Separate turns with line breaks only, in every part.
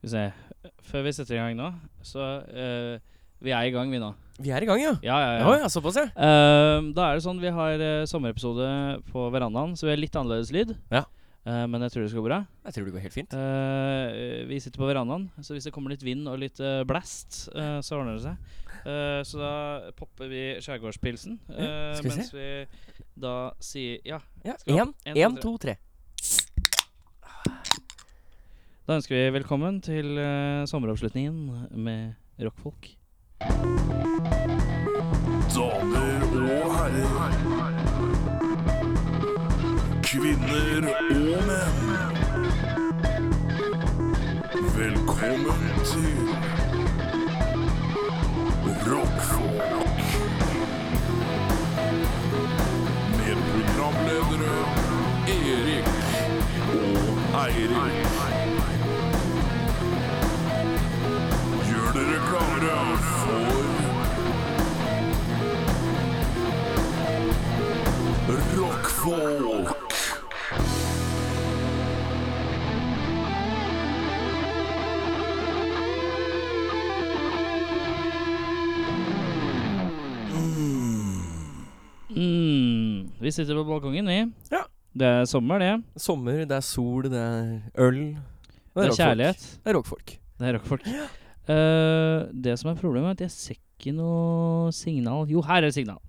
Skal vi se. Før vi setter i gang nå, så eh, Vi er i gang, vi nå.
Vi er i gang, ja.
Ja, ja, ja.
Ja, ja, såpass, ja.
Ehm, da er det sånn vi har eh, sommerepisode på verandaen, så vi har litt annerledes lyd.
Ja.
Eh, men jeg tror det skal gå bra.
Jeg tror det går helt fint.
Eh, vi sitter på verandaen, så hvis det kommer litt vind og litt eh, blast, eh, så ordner det seg. Eh, så da popper vi skjærgårdspilsen. eh,
skal vi se?
mens vi da sier Ja.
Ja,
Skål.
Én,
En,
én,
to,
to, tre.
Da ønsker vi velkommen til eh, sommeravslutningen med rockfolk.
Damer og herrer. Kvinner og menn. Velkommen til Rockfolk. Med programledere Erik og Eirik. Gjør dere klare for Rockfolk.
Mm, vi sitter på balkongen, vi.
Ja.
Det er sommer, det.
Sommer, det er sol, det er øl.
Det er
rockfolk.
kjærlighet.
Det er rockfolk.
Det er rockfolk. Eh, det som er problemet, er at jeg ser ikke noe signal. Jo, her er det signal.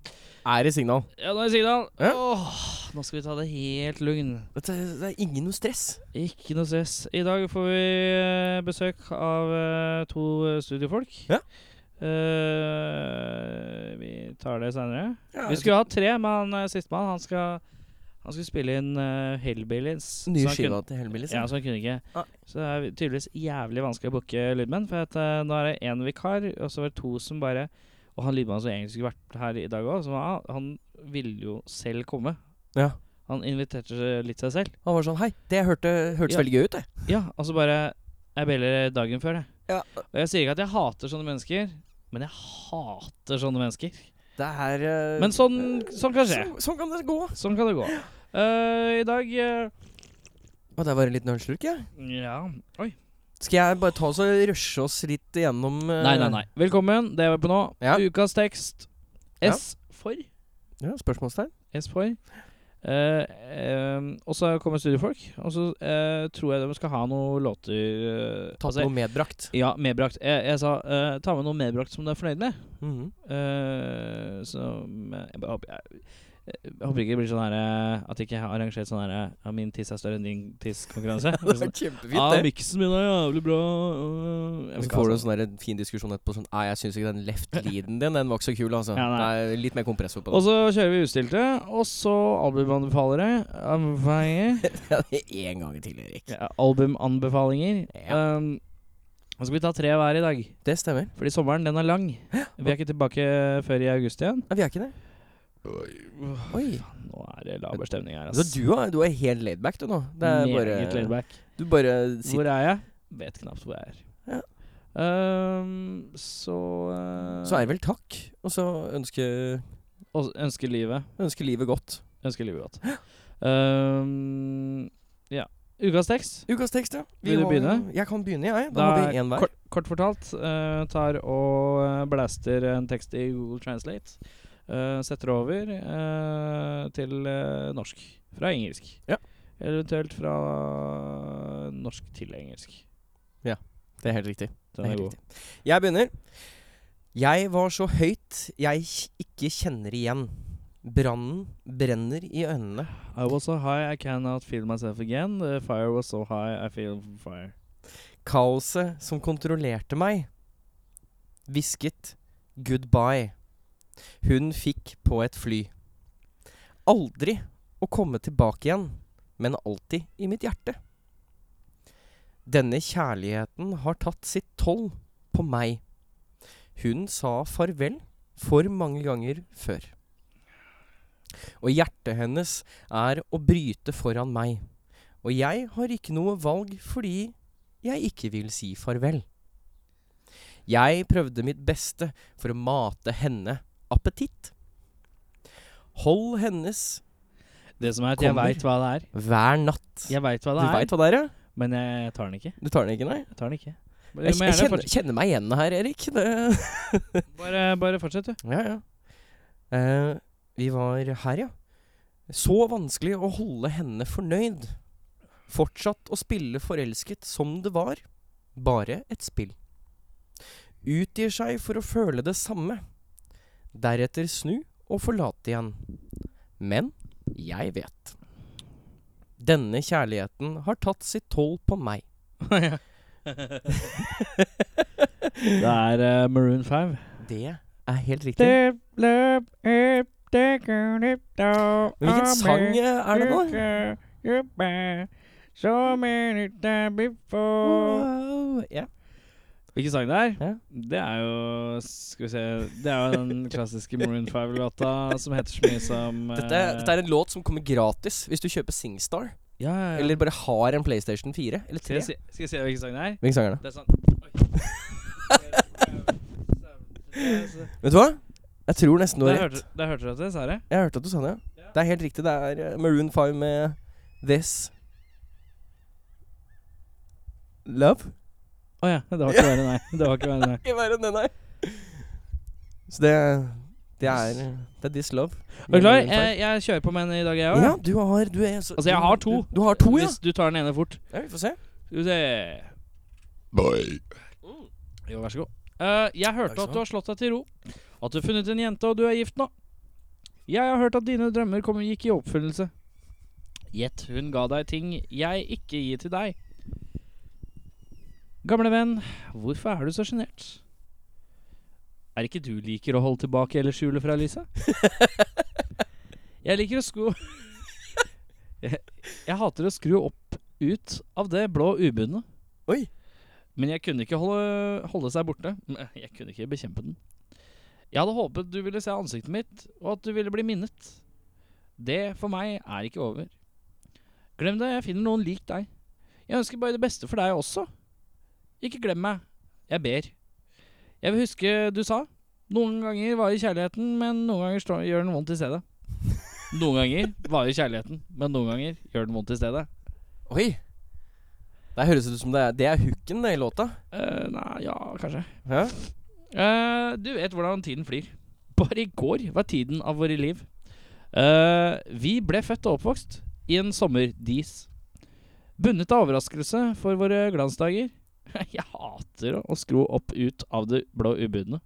Er det signal?
Ja, nå er det signal.
Ja.
Åh, nå skal vi ta det helt lugn.
Dette, det er ingen noe stress.
Ikke noe stress. I dag får vi eh, besøk av eh, to eh, studiefolk.
Ja.
Eh, vi tar det seinere.
Ja,
Vi skulle hatt tre, men han, eh, sistemann han skal, han skal spille inn uh, Hellbillies.
Ny
så han
skiva til Hellbillies.
Kunne, ja, så han kunne ikke.
Nei.
Så det er tydeligvis jævlig vanskelig å booke lydmenn. For at, eh, nå er det én vikar, og så var det to som bare Og han lydmannen som egentlig skulle vært her i dag òg, ah, han ville jo selv komme.
Ja.
Han inviterte seg- litt seg selv.
Han var sånn Hei, det hørte, hørtes
Ja.
veldig gøy ut, det.
Ja, og så bare Jeg beller dagen før, jeg.
Ja.
Og jeg sier ikke at jeg hater sånne mennesker, men jeg hater sånne mennesker.
Det er eh,
Men sånn, sånn kan skje.
sånn, sånn kan det gå.
Sånn kan det gå. Eh, I dag eh,
Og der var en liten ølslurk, ja.
Ja. Oi.
Skal jeg bare ta oss og rushe oss litt gjennom eh,
Nei, nei, nei. Velkommen. Det er vi på nå.
Ja.
Ukas tekst.
Ja.
S for.
Ja, spørsmålstegn?
S for. Eh, eh, og så kommer studiefolk. Og så eh, tror jeg de skal ha noen låter eh,
Ta
altså,
noe medbrakt.
Ja, medbrakt. Jeg, jeg sa eh, ta med noe medbrakt som du er fornøyd med.
Mhm.
Eh, som eh, jeg, bare håper, jeg, jeg håper ikke det blir sånn her eh, At jeg ikke har arrangert sånn her eh, ja, Min tiss er større enn din tiss-konkurranse.
Det er
Sånn,
kjempefint,
ah,
det.
miksen min er jævlig bra. øh, jeg vil
Og så
ikke ha
får du en
sånn.
sånn der fin diskusjon etterpå sånn Nei, jeg syns ikke den left leaden din Den var ikke så kul, altså.
Ja, nei.
nei. Litt mer kompressor på
Og så kjører vi utstilte, og så albumanbefalere. Anbefalinger.
den. Én gang til, Erik.
Ja, albumanbefalinger.
Ja.
Um, nå skal vi ta tre hver i dag,
Det stemmer.
fordi sommeren den er lang. Vi er ikke tilbake før i august igjen.
Nei, vi er ikke det. Oi.
Nå er det laber stemning her,
Så
ass.
du, er- du er helt laidback, du nå. Det er
Meget laid
bare
back.
Du bare sitter
Hvor er jeg? Vet knapt hvor jeg er.
Ja.
Ehm, så uh,
Så er det vel takk, og så ønske,
Og ønsker livet.
ønske livet godt.
Ønsker livet godt. Ehm, ja. Ukas tekst.
Ukas tekst, ja.
Vil du
har-
begynne?
Jeg kan begynne, jeg. Da,
Da
har vi én hver.
Kort, kort fortalt eh, tar og eh, blaster en tekst i Google Translate. eh, setter over eh, til eh, norsk. Fra engelsk.
Ja.
Eventuelt fra norsk til engelsk.
Det er helt riktig.
Den er,
helt
god.
Jeg begynner. Jeg var så høyt jeg k- ikke kjenner igjen. Brannen brenner i øynene.
I was so high I cannot feel myself again. The fire was so high I feel fire.
Kaoset som kontrollerte meg, hvisket 'goodbye'. Hun fikk på et fly. Aldri å komme tilbake igjen, men alltid i mitt hjerte. Denne kjærligheten har tatt sitt toll på meg. Hun sa farvel for mange ganger før. Og hjertet hennes er å bryte foran meg. Og jeg har ikke noe valg fordi jeg ikke vil si farvel. Jeg prøvde mitt beste for å mate henne appetitt. Hold hennes
Det som er at jeg
Kommer.
veit hva det er.
hver natt.
Jeg vet hva
Du
det er.
veit hva det er, ja?
Men jeg tar den ikke.
Du tar den ikke, nei?
Jeg tar den ikke. Bare,
Jeg,
du må
jeg
gjerne
kjenner, kjenner meg igjen her, Erik. Det
fortsette. Bare, bare fortsett, du.
Ja, ja. Eh, vi var her, ja. Så vanskelig å holde henne fornøyd. Fortsatt å spille forelsket som det var. Bare et spill. Utgir seg for å føle det samme. Deretter snu og forlate igjen. Men jeg vet. Denne kjærligheten har tatt sitt toll på meg.
Det er eh, Maroon 5.
Det er helt riktig. Men
Hvilken
hvilken sang eh, er det nå?
Hvilken
Wow, ja.
sang det er?
Ja.
Det er jo Skal vi se Det er jo den klassiske Maroon 5-låta som heter så mye som eh,
Dette, dette er en låt som kommer gratis hvis du kjøper Singstar.
ja, ja, ja.
Eller bare har en PlayStation 4 eller
skal,
3.
jeg se, skal jeg se hvilken sang det er?
Hvilken sang er det?
Det er sånn Oi.
Vet du hva? Jeg tror nesten du
Der
har rett.
hørte, der hørte dere det, sa dere?
Jeg hørte at du sa det. ja. Det er helt riktig. Det er eh, Maroon 5 med This Love.
Å ja. Det var ikke verre, nei. Det var ikke verre, nei.
Ikke verre enn den her. Så det det er, det er This Love.
Er du klar?
Maroon 5.
Jeg, jeg kjører på med en i dag, jeg òg.
ja, du har du er, så,
Altså, jeg har to.
Du, du har to, ja.
Hvis du tar den ene fort.
ja. Vi får se.
Skal vi se
Bye.
Jo, vær så god. Eh, jeg
Takk
hørte
skal
at
du
du har slått deg til ro. At du har funnet en jente, og du er gift nå. Jeg har hørt at dine drømmer kom, gikk i oppfyllelse. Gjett hun ga deg ting jeg ikke gir til deg. Gamle venn, hvorfor er du så sjenert? Er ikke du liker å holde tilbake eller skjule fra lyset? jeg liker å sko... jeg, jeg hater å skru opp ut av det blå ubundne.
Oi.
Men jeg kunne ikke holde, holde seg borte. Mm, eh, Jeg kunne ikke bekjempe den. Jeg hadde håpet du ville se ansiktet mitt, og at du ville bli minnet. Det for meg er ikke over. Glem det, jeg finner noen lik deg. Jeg ønsker bare det beste for deg også. Ikke glem meg. Jeg ber. Jeg vil huske du sa. Noen ganger varer kjærligheten, men noen ganger står- gjør den vondt i stedet. Noen ganger varer kjærligheten, men noen ganger gjør den vondt i stedet.
Oi. Det høres ut som det er, det er hooken det, i låta.
Eh, nei, ja, kanskje.
Ja.
Eh, du vet hvordan tiden flyr. Bare i går var tiden av våre liv. Eh, vi ble født og oppvokst i en sommerdis. Bundet av overraskelse for våre glansdager. Jeg hater å skro opp ut av det blå ubudne.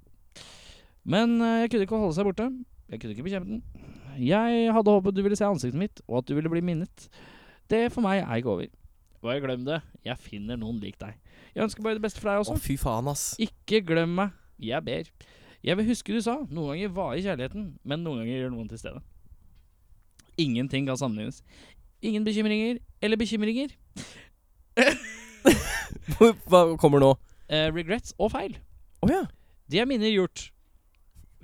Men eh, jeg kunne ikke holde seg borte. Jeg kunne ikke bekjempe den. Jeg hadde håpet du ville se ansiktet mitt, og at du ville bli minnet. Det for meg er ikke over. Bare glem det. Jeg finner noen lik deg. Jeg ønsker bare det beste for deg også.
Å, fy faen, ass.
Ikke glem meg. Jeg ber. Jeg vil huske du sa. Noen ganger varer kjærligheten, men noen ganger gjør noen til stede. Ingenting kan sammenlignes. Ingen bekymringer eller bekymringer.
Hva kommer nå?
Eh, regrets og feil.
Å ja.
De er minner gjort.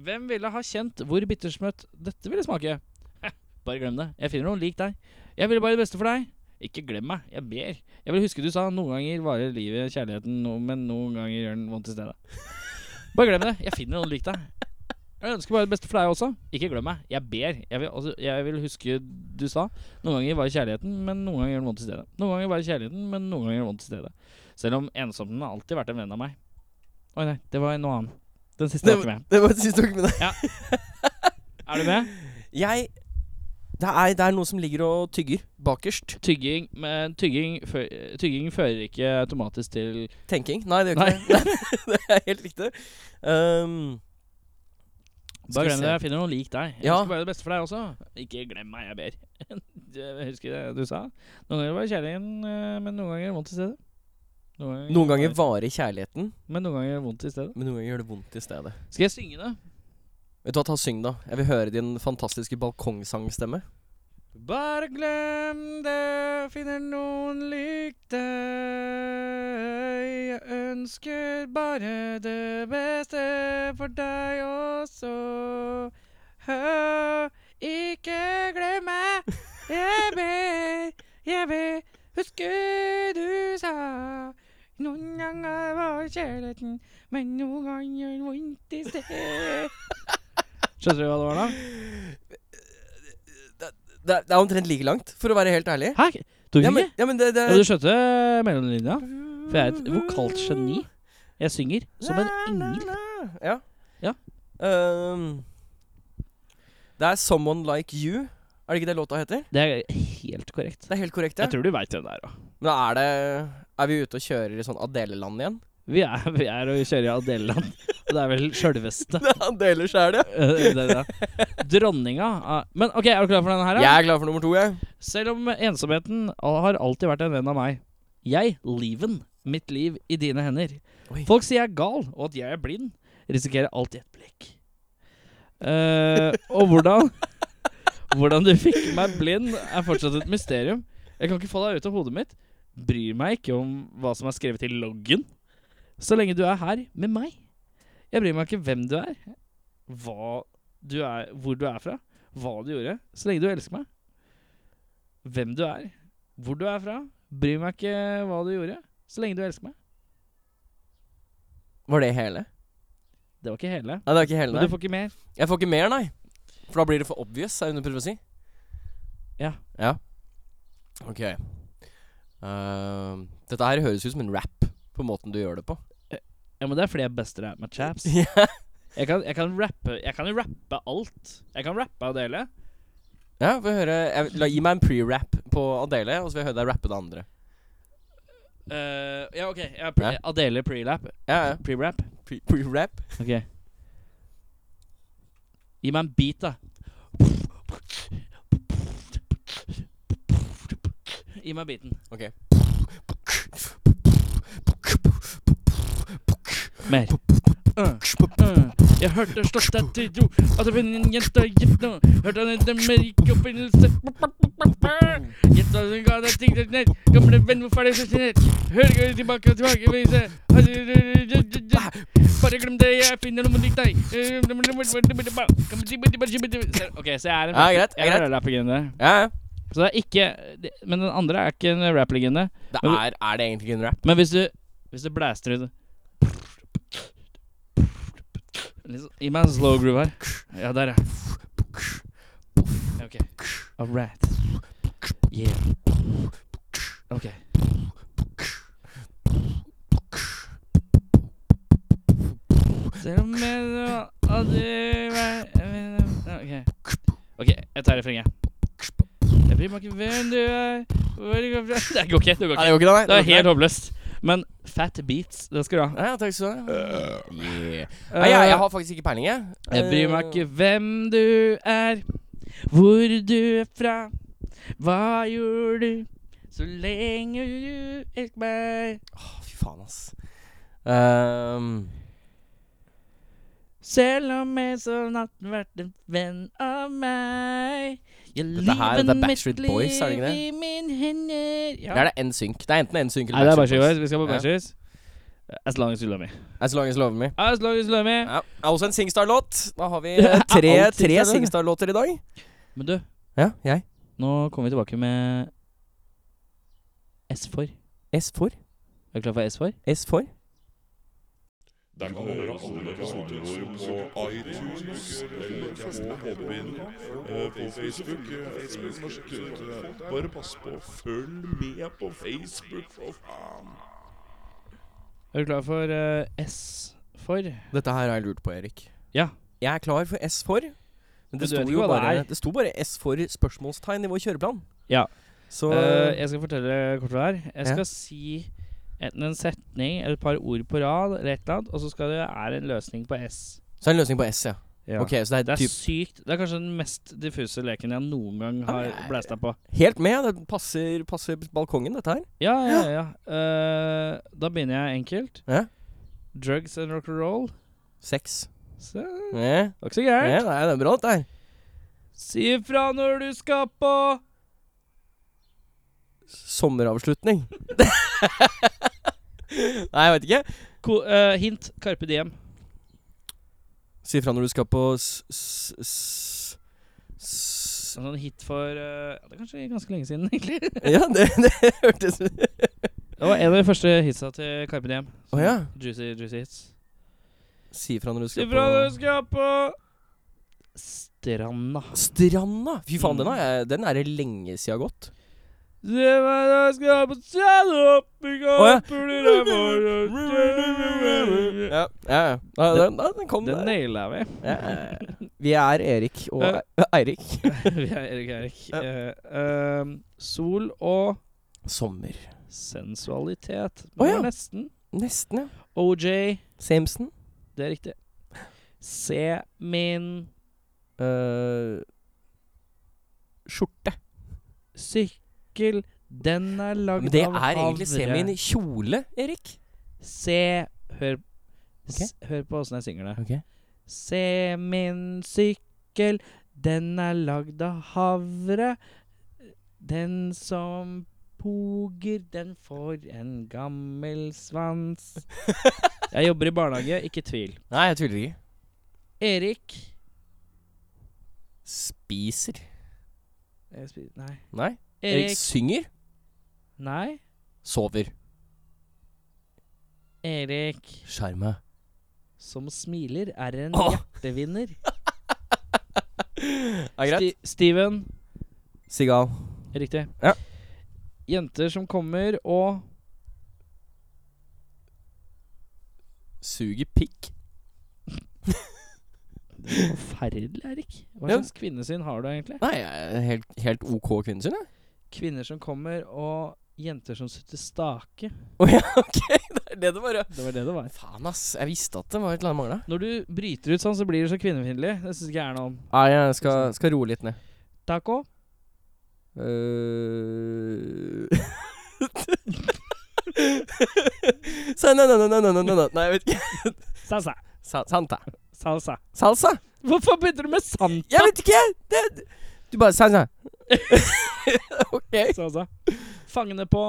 Hvem ville ha kjent hvor bittersmøtt dette ville smake? Heh, Bare glem det. Jeg finner noen lik deg. Jeg ville bare det beste for deg. Ikke glem meg. Jeg ber. Jeg vil huske du sa noen ganger varer livet kjærligheten, no- men noen ganger gjør den vondt i stedet. Bare glem det. Jeg finner noen lik deg. Jeg ønsker bare det beste for deg også. Ikke glem meg. Jeg ber. Jeg vil, altså, jeg vil huske du sa noen ganger varer kjærligheten, men noen ganger gjør den vondt i stedet. Noen ganger varer kjærligheten, men noen ganger gjør den vondt i stedet. Selv om ensomheten har alltid vært en venn av meg. Oi, nei. Det var noe annet. Den siste
Det
var ikke med.
Det var det siste dere mener.
Er du med?
Jeg det er, det er noe som ligger og tygger bakerst.
Tygging, men tygging, fø tygging fører ikke automatisk til
Tenking. Nei, det gjør ikke det. det er helt riktig. Um, Skal
Bare
vi
glem
se.
det, jeg finner noen lik deg. Jeg
Ja.
ønsker bare det beste for deg også. Ikke glem meg, jeg ber. Du- Husker det du sa? Noen ganger var det kjærligheten, eh, men noen ganger vondt i stedet. Noen ganger,
noen ganger varer kjærligheten,
Men noen ganger vondt i stedet.
men noen ganger gjør det vondt i stedet.
Skal jeg synge det?
Vet du hva, ta og syng, da. Jeg vil høre din fantastiske balkongsangstemme.
Bare glem det, finner noen lik deg. Jeg ønsker bare det beste for deg også. Hø, ikke glem meg, jeg ber, jeg ber. Husker du sa noen ganger var kjærligheten, men noen ganger vondt i sted. Skjønner du hva det var da?
Det, er- det er omtrent like langt, for å være helt ærlig.
Hæ? Du
ja,
fikk
men,
ikke?
ja, men det, det
Ja, du skjønte mellomlinja? For jeg er et vokalt geni. Jeg synger som en engel.
Ja.
Ja.
Ehm, det er 'Someone Like You'. Er det ikke det låta heter?
Det er helt korrekt.
Det er helt korrekt, ja.
Jeg tror du veit hvem det er òg.
Men er det Er vi ute og kjører i sånn Adele-land igjen?
Vi er, vi er og kjører i Adeland. Og det er vel sjølveste
Adele sjæl, ja.
eh, det der. Dronninga av Men OK, er du klar for denne her? da?
Jeg er glad for nummer to, jeg.
Selv om ensomheten har alltid vært en venn av meg. Jeg, liven, mitt liv i dine hender.
Oi.
Folk sier jeg er gal, og at jeg er blind. Risikerer alt i et blikk. Eh, og hvordan Hvordan du fikk meg blind, er fortsatt et mysterium. Jeg kan ikke få deg ut av hodet mitt. Bryr meg ikke om hva som er skrevet i loggen. Så lenge du er her med meg. Jeg bryr meg ikke hvem du er, hva du er hvor du er fra, hva du gjorde. Så lenge du elsker meg hvem du er, hvor du er fra. Bryr meg ikke hva du gjorde, så lenge du elsker meg.
Var det hele?
Det var ikke hele.
Nei, det er ikke hele,
Men du
nei.
får ikke mer.
Jeg får ikke mer, nei. For da blir det for obvious, er det hun prøver å si.
Ja.
Ja. Ok. Ehm, dette her høres ut som en rap, på måten du gjør det på.
Ja, men det er fordi jeg buster out my chaps.
Ja.
Jeg kan, jeg kan rappe Jeg kan jo rappe alt. Jeg kan rappe av det hele.
Ja, få høre jeg, la, Gi meg en pre-rap på Adele, og så vil jeg høre deg rappe det andre.
Eh, ja, OK. Jeg er pre
Ja.
Adele pre-lap.
Ja, ja.
Pre-rap.
Pre- Pre-rap?
OK. Gi meg en beat, da. Gi meg beaten.
Ok.
Mer. Uh. Uh, Jeg hørte slått deg til ro At det var en jente gitt nå Hørte han en amerik opprinnelse Gjett hva som ga deg ting til nett Gamle venn, hvorfor er det så snett? Hør går tilbake og tilbake vise. Bare glem det, jeg finner noe Eh, likt deg Ok, så jeg er en
Ja, greit,
Jeg er
greit.
en rapplegende
Ja, ja.
Så det er ikke Men den andre er ikke en rapplegende
Det
Men-
er, er det egentlig ikke en rap?
Men hvis du Hvis du blaster ut Litt sånn- Gi meg en slow groove her Ja, der ja Ok Alright Yeah Ok Selv om jeg nå aldri var- jeg mener- Ok Ok, jeg tar refrenget Jeg bryr meg ikke hvem du er Hvor du går fra Det går ikke, det går ikke
Nei, det går ikke, nei.
det er
går ikke,
helt håpløst. Men Fat Beats, det skal du ha.
nei. Ja, takk skal du ha. Nei, jeg, jeg har faktisk ikke peiling, jeg.
Eh,
Eh,
Jeg bryr meg ikke hvem du er, hvor du er fra, hva gjorde du, så lenge du elsker meg.
Åh, Fy faen, ass. Ehm,
Selv om jeg som natten vært en venn av meg. Jeg
Dette her, det er
livet
Backstreet
mitt
Boys, er det ikke det?
liv i mine hender. Ja.
det er det NSYNC. Det er enten NSYNC
Nei,
eller
det er
Backstreet
Backstreet
Boys.
Boys. Vi skal på
Ja.
Backstreet. As long as you love me.
As long as you love me.
As long as you love me.
Ja. Det er også en Singstar-låt. Da har vi
Det er
eh, tre,
alt
tre
Singstar-låter.
Singstar-låter i dag.
Men du,
Ja, jeg.
nå kommer vi tilbake med S for.
S for.
Er du klar for S for?
S for.
Der kan du høre alle episodene våre på iTunes, eller på Podbean, eh, på Facebook. eh, Facebook norsk kultur. Bare pass på, følg med på Facebook, for faen!
Er du klar for eh, S for?
Dette her har jeg lurt på, Erik.
Ja.
Jeg er klar for S for. Men
du
det, sto
vet ikke
jo
hva det
bare,
er.
det, sto bare S for spørsmålstegn i vår kjøreplan.
Ja.
Så
Eh, jeg skal fortelle kort hva det er. Jeg
Ja.
skal si enten en setning eller et par ord på rad, eller et eller annet, og så skal det være en løsning på S.
Så er det en løsning på S, ja. Ok, så det er,
Det er
typ
sykt. Det er kanskje den mest diffuse leken jeg noen gang har
Ja, men jeg-
blæsta på.
helt med. Det passer, passer balkongen, dette her.
Ja, ja, ja. Eh, da begynner jeg enkelt.
Ja.
Drugs and rock'n'roll.
Seks.
Så det
Ja.
var ikke så
Ja,
gærent.
det er det er bra, dette her.
Si ifra når du skal på
Sommeravslutning. Nei, jeg veit ikke.
Ko eh, Hint Carpe Diem.
Si ifra når du skal på s... s, s, s
En sånn hit for eh, Det er kanskje ganske lenge siden, egentlig.
ja, det, det hørtes ut
Det var en av de første hitsa til Carpe Diem.
Å ja.
Juicy, juicy hits.
Si ifra når du
Si
skal
fra når du
på
skal på Stranda.
Mm. Stranda! Fy faen, den, har jeg, den er det lenge siden jeg har gått.
Se meg, jeg skal ha på standup!
Å, ja.
Den
Ja, ja, ja. ja den, ja, den kom der.
naila vi.
Ja, ja, ja. Vi er Erik og
Ja.
E- Eirik.
vi er Erik og Erik.
Ja.
Eh, eh, sol og
Sommer.
sensualitet.
Å,
Det
ja.
var Nesten.
Nesten, ja.
OJ.
Samson.
Det er riktig. Se min
Eh, skjorte.
sykkel, den er lagd av havre.
Men det er egentlig semien i kjole, Erik.
Se Hør, s hør på åssen jeg synger det. Se min sykkel, den er lagd av havre. Den som poger, den får en gammel svans. Jeg jobber i barnehage, ikke tvil.
Nei, jeg tviler ikke.
Erik
Spiser.
Jeg spi- Nei.
Nei. Erik
Erik
synger.
Nei.
Sover.
Erik
Sjarma.
som smiler, er en
Åh.
hjertevinner.
Er greit.
Sti- Steven.
Sigal.
Riktig.
Ja.
Jenter som kommer og
Suger pikk.
Forferdelig, Erik. Hva
Ja.
slags kvinnesyn har du egentlig?
Nei, jeg er helt, helt OK kvinnesyn, jeg.
Kvinner som kommer, og jenter som sutter stake.
Å ja, OK. Det er det det bare
Det var det det var.
Faen, ass. Jeg visste at det var et eller annet mangla.
Når du bryter ut sånn, så blir du så kvinnefiendtlig. Det syns ikke jeg er noe.
Nei, jeg skal, skal roe litt ned.
Taco?
Uh... Sa- nei, nei, nei, nei, nei, nei, nei, nei, jeg vet ikke.
Salsa.
Sa- Santa.
Salsa.
Salsa?
Hvorfor begynner du med sant?
Jeg vet ikke! Det, du bare Salsa. ok.
Salsa. Fangene på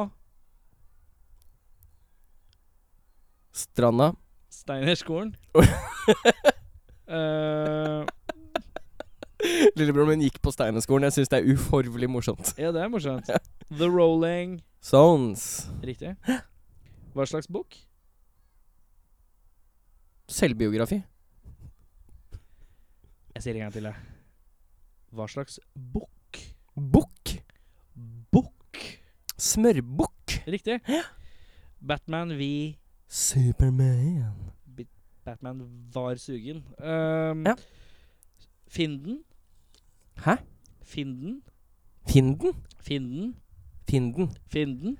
Stranda.
Steinerskolen. Eh,
Lillebroren min gikk på Steinerskolen. Jeg syns det er uforvelig morsomt.
ja, det er morsomt. The Rolling.
Zones.
Riktig. Hva slags bok?
Selvbiografi.
Jeg sier det en gang til, jeg. Hva slags bukk?
Bukk.
Bukk.
Smørbukk.
Riktig. Batman vi
Superman.
Batman var sugen. Ehm,
Ja.
Finden.
Hæ?
Finden.
Finden?
Finden.
Finden.
Finden.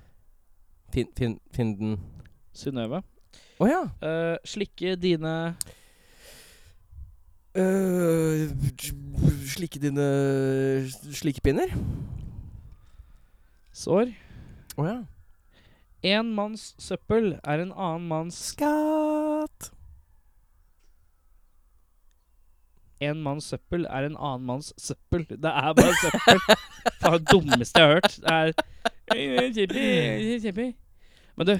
Fin, fin, finden.
Synnøve.
Å ja.
Eh, slikke dine
Øh, slikke dine slikkepinner?
sår.
Å ja.
En manns søppel er en annen manns
Skatt.
En manns søppel er en annen manns søppel. Det er bare søppel. Det er det dummeste jeg har hørt. Det er Kjempe, kjempe. Men du,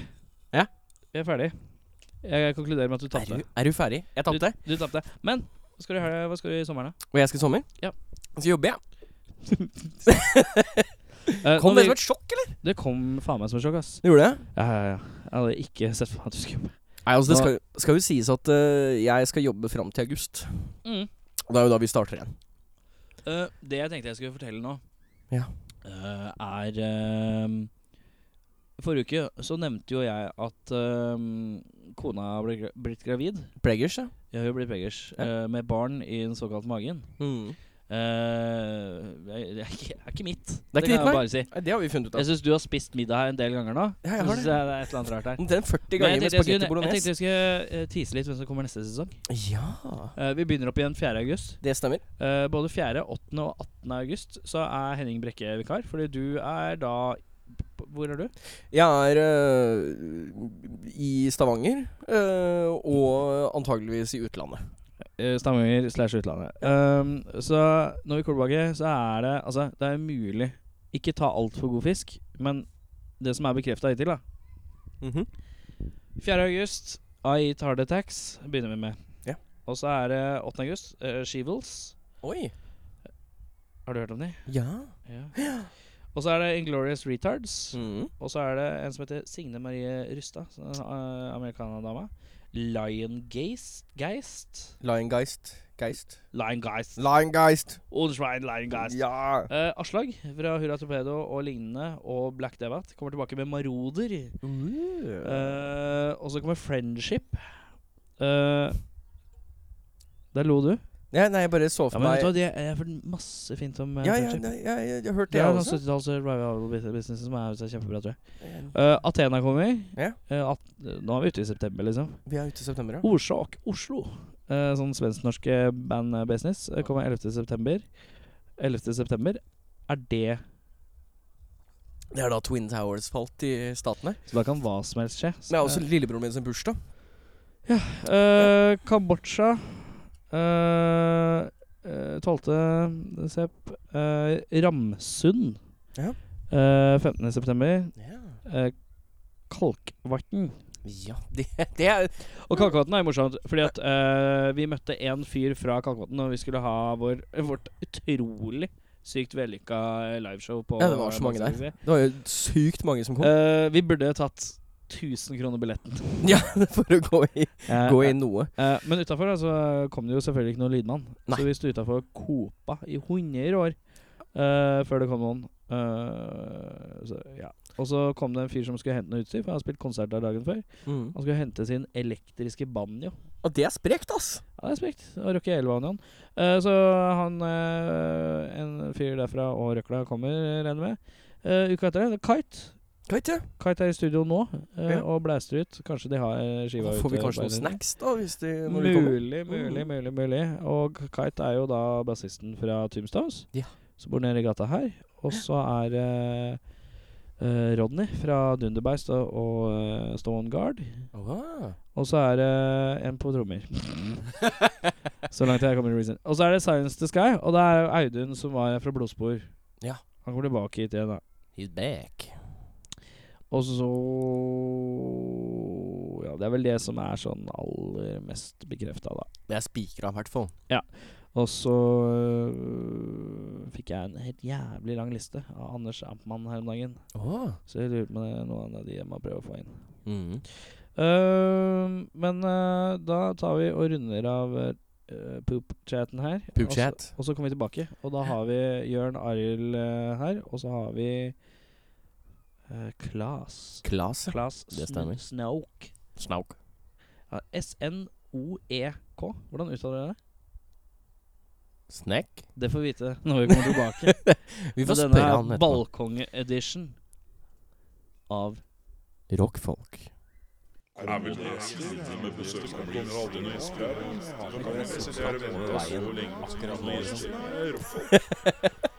Ja?
vi er ferdig. Jeg konkluderer med at du
Er du,
tapte.
er du ferdig? Jeg tapte.
Du tapte. Men hva skal du gjøre, hva skal du gjøre i sommeren, da?
Og jeg skal i sommer?
Ja.
Og så jobber jeg.
Eh,
Kom
nå
det
vil-
som et sjokk, eller?
det kom faen meg som et sjokk, ass.
Gjorde det?
Ja, ja, ja. Jeg hadde ikke sett for meg at du skulle jobbe.
Nei, altså Det
Nå-
skal, jo- skal jo sies at øh, jeg skal jobbe fram til august.
Mm.
Og det er jo da vi starter igjen.
Eh, det jeg tenkte jeg skulle fortelle nå,
Ja.
eh, er eh, Forrige uke så nevnte jo jeg at eh, kona ble gra- blitt gravid.
Plegers, ja.
Jeg har jo blitt beggers. eh, med barn i den såkalte magen.
Mm.
Eh, jeg- det, er ikke, det er ikke mitt.
Det er ikke ditt,
kan jeg
nei.
bare si.
Nei, det har vi funnet ut
Jeg
av.
syns du har spist middag her en del ganger nå.
Ja, jeg
Så
har
synes
det.
jeg det er et eller annet rart her.
Omtrent 40
Men
ganger
jeg
med
tenkte jeg
spagetti
skulle, jeg tenkte
bolognese.
jeg skulle eh, tease litt hvem som kommer neste sesong.
Ja,
Eh, vi begynner opp igjen 4. august.
det stemmer.
Eh, både 4., 8. og 18. august så er Henning Brekke vikar. Fordi du er da p- Hvor er du?
Jeg er øh, i Stavanger, øh, og antageligvis i utlandet.
Eh, Stavanger slash utlandet. Um, så når vi kommer tilbake, så er det Altså, det er mulig. Ikke ta altfor god fisk, men det som er bekrefta hittil, da
Mhm.
4. august, I Eat Hard Attacks begynner vi med.
Ja.
Og så er det 8. august, uh, Shevils.
Oi.
Har du hørt om de?
Ja.
Ja. Og så er det Inglorious Retards.
Mhm.
Og så er det en som heter Signe Marie Rustad, som er en, eh, amerikanerdama. Lion Geist, Geist.
Liongeist. Geist.
Linegeist.
Linegeist.
Odenschwein Linegeist.
Ja.
Eh, Aslag fra Hurra Torpedo og lignende og Black Devat kommer tilbake med Maroder.
Uh.
Eh, og så kommer Friendship. Eh, der lo du.
ja. Nei, jeg bare så
Ja,
for
men vet
meg
du hva, det er jeg har hørt masse fint om eh,
Ja, ja,
Friendship.
nei, ja, jeg, jeg har hørt
Det
det,
er
jeg
noen
også.
70-talls revival business som er så kjempebra, tror jeg.
Eh,
Eh, Athena kommer.
Ja.
Eh, at, nå er vi ute i september, liksom.
Vi er ute i september, ja.
Orsak Oslo. Eh, sånn svensk-norske band-business. Eh, kommer 11. september. 11. september er det
Det er da Twin Towers falt i statene.
Så da kan hva som helst skje. Så,
Men det er også lillebroren min sin bursdag.
Eh, Kambodsja. Eh, eh, 12. sepp. Eh, Ramsund.
Ja.
Eh, 15. september.
Ja,
Eh, Kalkvatn.
det, det er
Og Kalkvatn er jo morsomt, fordi at eh, vi møtte en fyr fra Kalkvatn når vi skulle ha vår, vårt utrolig sykt vellykka liveshow på
Ja, det var så mange der.
Maxi.
Det var jo sykt mange som kom.
Eh, vi burde tatt 1000 kroner billetten.
Ja, for å gå i,
Eh,
gå i noe.
eh, men utafor så kom det jo selvfølgelig ikke noen lydmann.
Nei.
Så vi sto utafor Copa i 100 år eh, før det kom noen. Eh, så, ja. Og så kom det en fyr som skulle hente noe utstyr, for han har spilt konsert der dagen før.
Mm.
Han skulle hente sin elektriske banjo.
Og det er sprekt, ass!
Ja, det er sprekt. Og Rocky Elvanion. så han eh, En fyr derfra og røkla kommer, eh, regner jeg med. Eh, uka etter det, Kite.
Kan ikke
Kite er i studio nå eh,
Ja.
og blæster ut. Kanskje de har skiva
Da
ute.
får vi kanskje
på
noen
en-
snacks, da, hvis de, når de kommer. Mm.
Mulig, mulig, mulig. mulig Og Kite er jo da bassisten fra Tombstones,
Ja.
som bor nede i gata her. Og så er eh, eh, Rodney fra Dunderbeist og, og eh, Stone Guard.
Ah.
Og så er det en på trommer. så langt jeg kommer i reason. Og så er det Science the Sky, og det er jo Audun som var her fra Blodspor.
Ja.
Han kommer tilbake hit igjen, da.
He's back.
Og så Ja, det er vel det som er sånn aller mest bekrefta, da.
Det er spikra, i hvert fall.
Og så øh, fikk jeg en helt jævlig lang liste av Anders Ampmann her om dagen. Så jeg lurer på om det er noen av de jeg må prøve å få inn.
Mm.
Ehm, men eh, da tar vi og runder av uh, poop-chaten her.
Poop chat.
Og så, og så kommer vi tilbake. Og da har vi Jørn Arild eh, her, og så har vi eh, Klas.
Klas.
Klas
Det stemmer.
Sn Snauk.
Snauk.
Ja, S-N-O-E-K. E Hvordan uttaler dere det?
Snack.
Det får vi vite når vi kommer tilbake.
Vi
For
får
denne
spørre han
er
etterpå.
balkonge-edition av
Rockfolk.
Er vel det jeg sitter med besøkskompliner og aldri noen gjester her? Da kan vi sitte her og vente så lenge som noen gjester. Det er rått.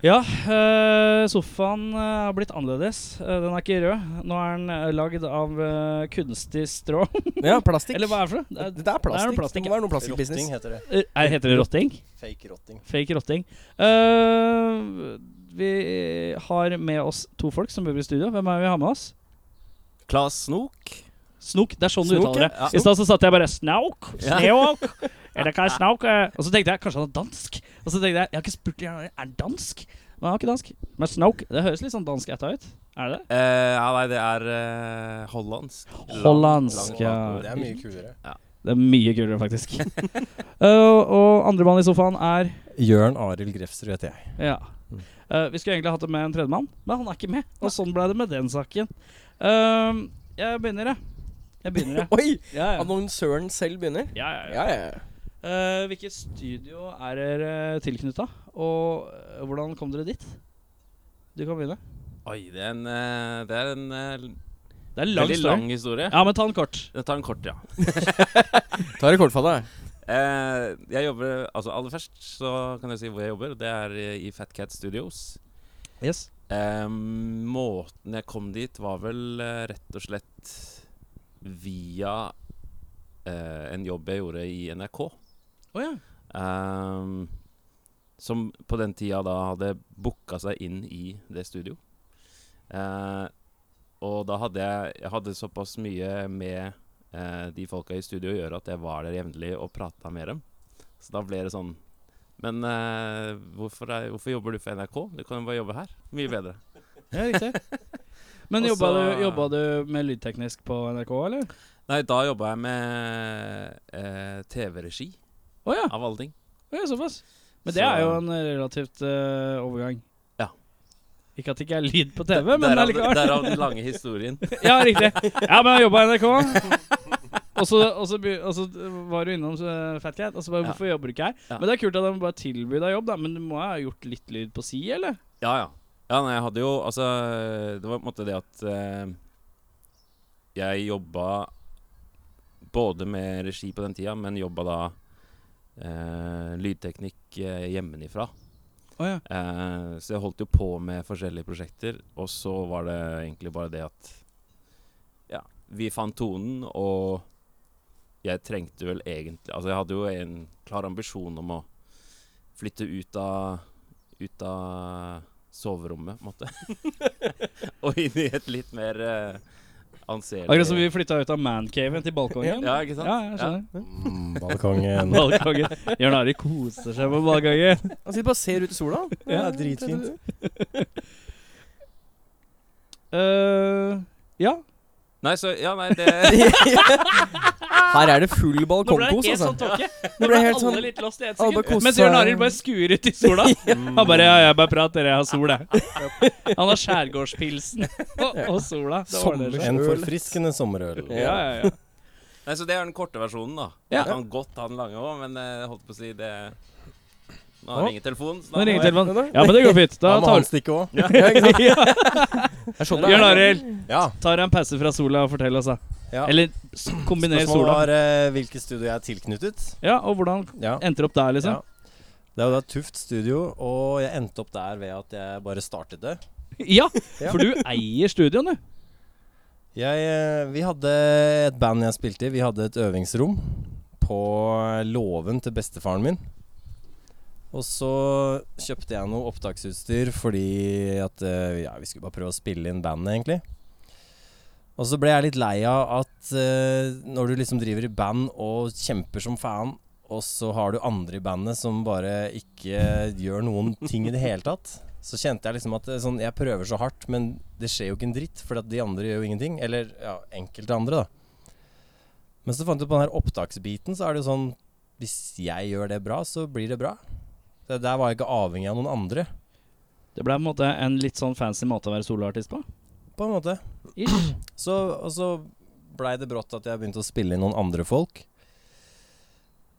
Ja, eh, sofaen eh, har blitt annerledes. Eh, den er ikke rød. Nå er den eh, lagd av eh, kunstig strå.
Ja, plastikk.
Eller hva er det for noe?
Det
Det
det er plastikk.
plastikk,
Det må være noe
Rotting
plastikkbusiness.
heter det.
er- er- Heter det rotting?
Fake rotting.
Fake rotting. Eh, vi har med oss to folk som bor i studio. Hvem er det vi har med oss?
Klas Snok.
Snok. Det er sånn du
Snok,
uttaler det.
ja.
I stad så satt jeg bare Snauk.
Ja.
Snauk. Er det hva er snauk? eh? Og så tenkte jeg kanskje han er dansk. Og så tenkte jeg jeg har ikke spurt om han er han dansk. Men han er ikke dansk. Men snauk, det høres litt sånn dansk ætta ut. Er det det?
ja, nei, det er eh, hollandsk.
Hollandsk,
Lang-
ja.
Det er mye kulere.
Det er mye kulere, faktisk. uh, og andremann i sofaen er
Jørn Arild Grefsrud heter jeg.
Ja. Uh, vi skulle egentlig hatt det med en tredjemann, men han er ikke med. Og sånn ble det med den saken. Uh, jeg begynner, jeg. Jeg begynner, jeg.
Oi!
Ja, ja.
Annonsøren selv begynner.
ja, ja, ja.
Ja, ja.
Uh, hvilket studio er dere tilknytta, og uh, hvordan kom dere dit? Du kan begynne.
Oi, det er en, eh, det er en eh,
Det er lang
veldig
story.
lang historie.
Ja, men ta den kort.
Jeg tar en kort, ja.
Ta rekordfallet.
Eh, jeg jobber, altså Aller først så kan jeg si hvor jeg jobber. Det er eh, i Fat Cat Studios.
Yes.
Eh, måten jeg kom dit, var vel eh, rett og slett via eh, en jobb jeg gjorde i NRK.
Å ja.
Ehm, som på den tida da hadde booka seg inn i det studio. Eh, og da hadde jeg, jeg hadde såpass mye med eh, de folka i studio å gjøre at jeg var der jevnlig og prata med dem. Så da ble det sånn Men eh, hvorfor, er, hvorfor jobber du for NRK? Du kan jo bare jobbe her. Mye bedre.
ja riktig. Men
Og
jobba du,
så-
jobba du med lydteknisk på NRK, eller?
Nei, da jobba jeg med eh, TV-regi.
Å ja.
av alle ting.
Å ja, såpass. Men
Så-
det er jo en relativt eh, overgang.
Ja.
Ikke at det ikke er lyd på TV, men
derav,
allikevel.
derav den lange historien.
Ja, riktig. Ja, men jeg jobba i NRK. Og så, og, så, be- og så var du innom eh, Fatcat, og så bare
Ja.
Hvorfor jobber du ikke her?
Ja.
Men det er kult at de bare tilbyr deg jobb, da. Men du må ha gjort litt lyd på si, eller?
Ja, ja. Ja, nei, jeg hadde jo Altså, det var på en måte det at eh, Jeg jobba både med regi på den tida, men jobba da eh, lydteknikk eh, hjemmefra.
Å ja.
Eh, så jeg holdt jo på med forskjellige prosjekter, og så var det egentlig bare det at Ja, vi fant tonen, og jeg trengte vel egentlig Altså, jeg hadde jo en klar ambisjon om å flytte ut av Ut av soverommet, på en måte. og inn i et litt mer eh, anselig
Akkurat som vi flytta ut av mancaven til balkongen.
Ja, ikke sant?
Ja, jeg skjønner.
Mm, balkongen.
Balkongen. Jørn Ari koser seg på balkongen.
Han sitter bare og ser ut i sola.
Ja, dritfint.
Eh, ja.
Nei, så Ja, nei, det
Her er det full balkongkos, altså.
sånn tåke.
Nå ble det helt sånn
litt lost i ett
Alle koser
Mens Jørn Arild bare skuer ut i sola. Han bare ja, 'Jeg bare prater, jeg har sol, jeg'. Han har skjærgårdspilsen og, og sola. Det ordner seg.
En forfriskende sommerøl.
Ja, ja, ja.
Nei, så det er den korte versjonen, da.
Ja.
Jeg kan godt ta den lange òg, men jeg holdt på å si det Nå
Å.
ringer telefonen. Så
Nå ringer
må jeg-
telefonen. Ja, men det går fint. Da
Da må
tar
han stikke òg.
Ja.
Jeg så
Jørn Arild,
Ja.
tar en pause fra sola og fortell oss, da.
Ja.
Eller s- kombiner
Spørsmålet
sola.
var eh, hvilket studio jeg er tilknyttet.
Ja, og hvordan
Ja.
endte opp der, liksom?
Ja. Det er jo da Tuft studio, og jeg endte opp der ved at jeg bare startet det.
Ja,
Ja.
for du eier studioen, du.
Jeg, eh, vi hadde et band jeg spilte i. Vi hadde et øvingsrom på låven til bestefaren min. Og så kjøpte jeg noe opptaksutstyr fordi at eh, ja, vi skulle bare prøve å spille inn bandet, egentlig. Og så ble jeg litt lei av at eh, når du liksom driver i band og kjemper som fan, og så har du andre i bandet som bare ikke gjør noen ting i det hele tatt, så kjente jeg liksom at eh, sånn, jeg prøver så hardt, men det skjer jo ikke en dritt, for at de andre gjør jo ingenting. Eller ja, enkelte andre, da. Men så fant jeg på den her opptaksbiten, så er det jo sånn Hvis jeg gjør det bra, så blir det bra. Det der var jeg ikke avhengig av noen andre,
Det ble på en måte en litt sånn fancy måte å være soloartist på.
på en måte.
Ish.
Så, og så blei det brått at jeg begynte å spille inn noen andre folk.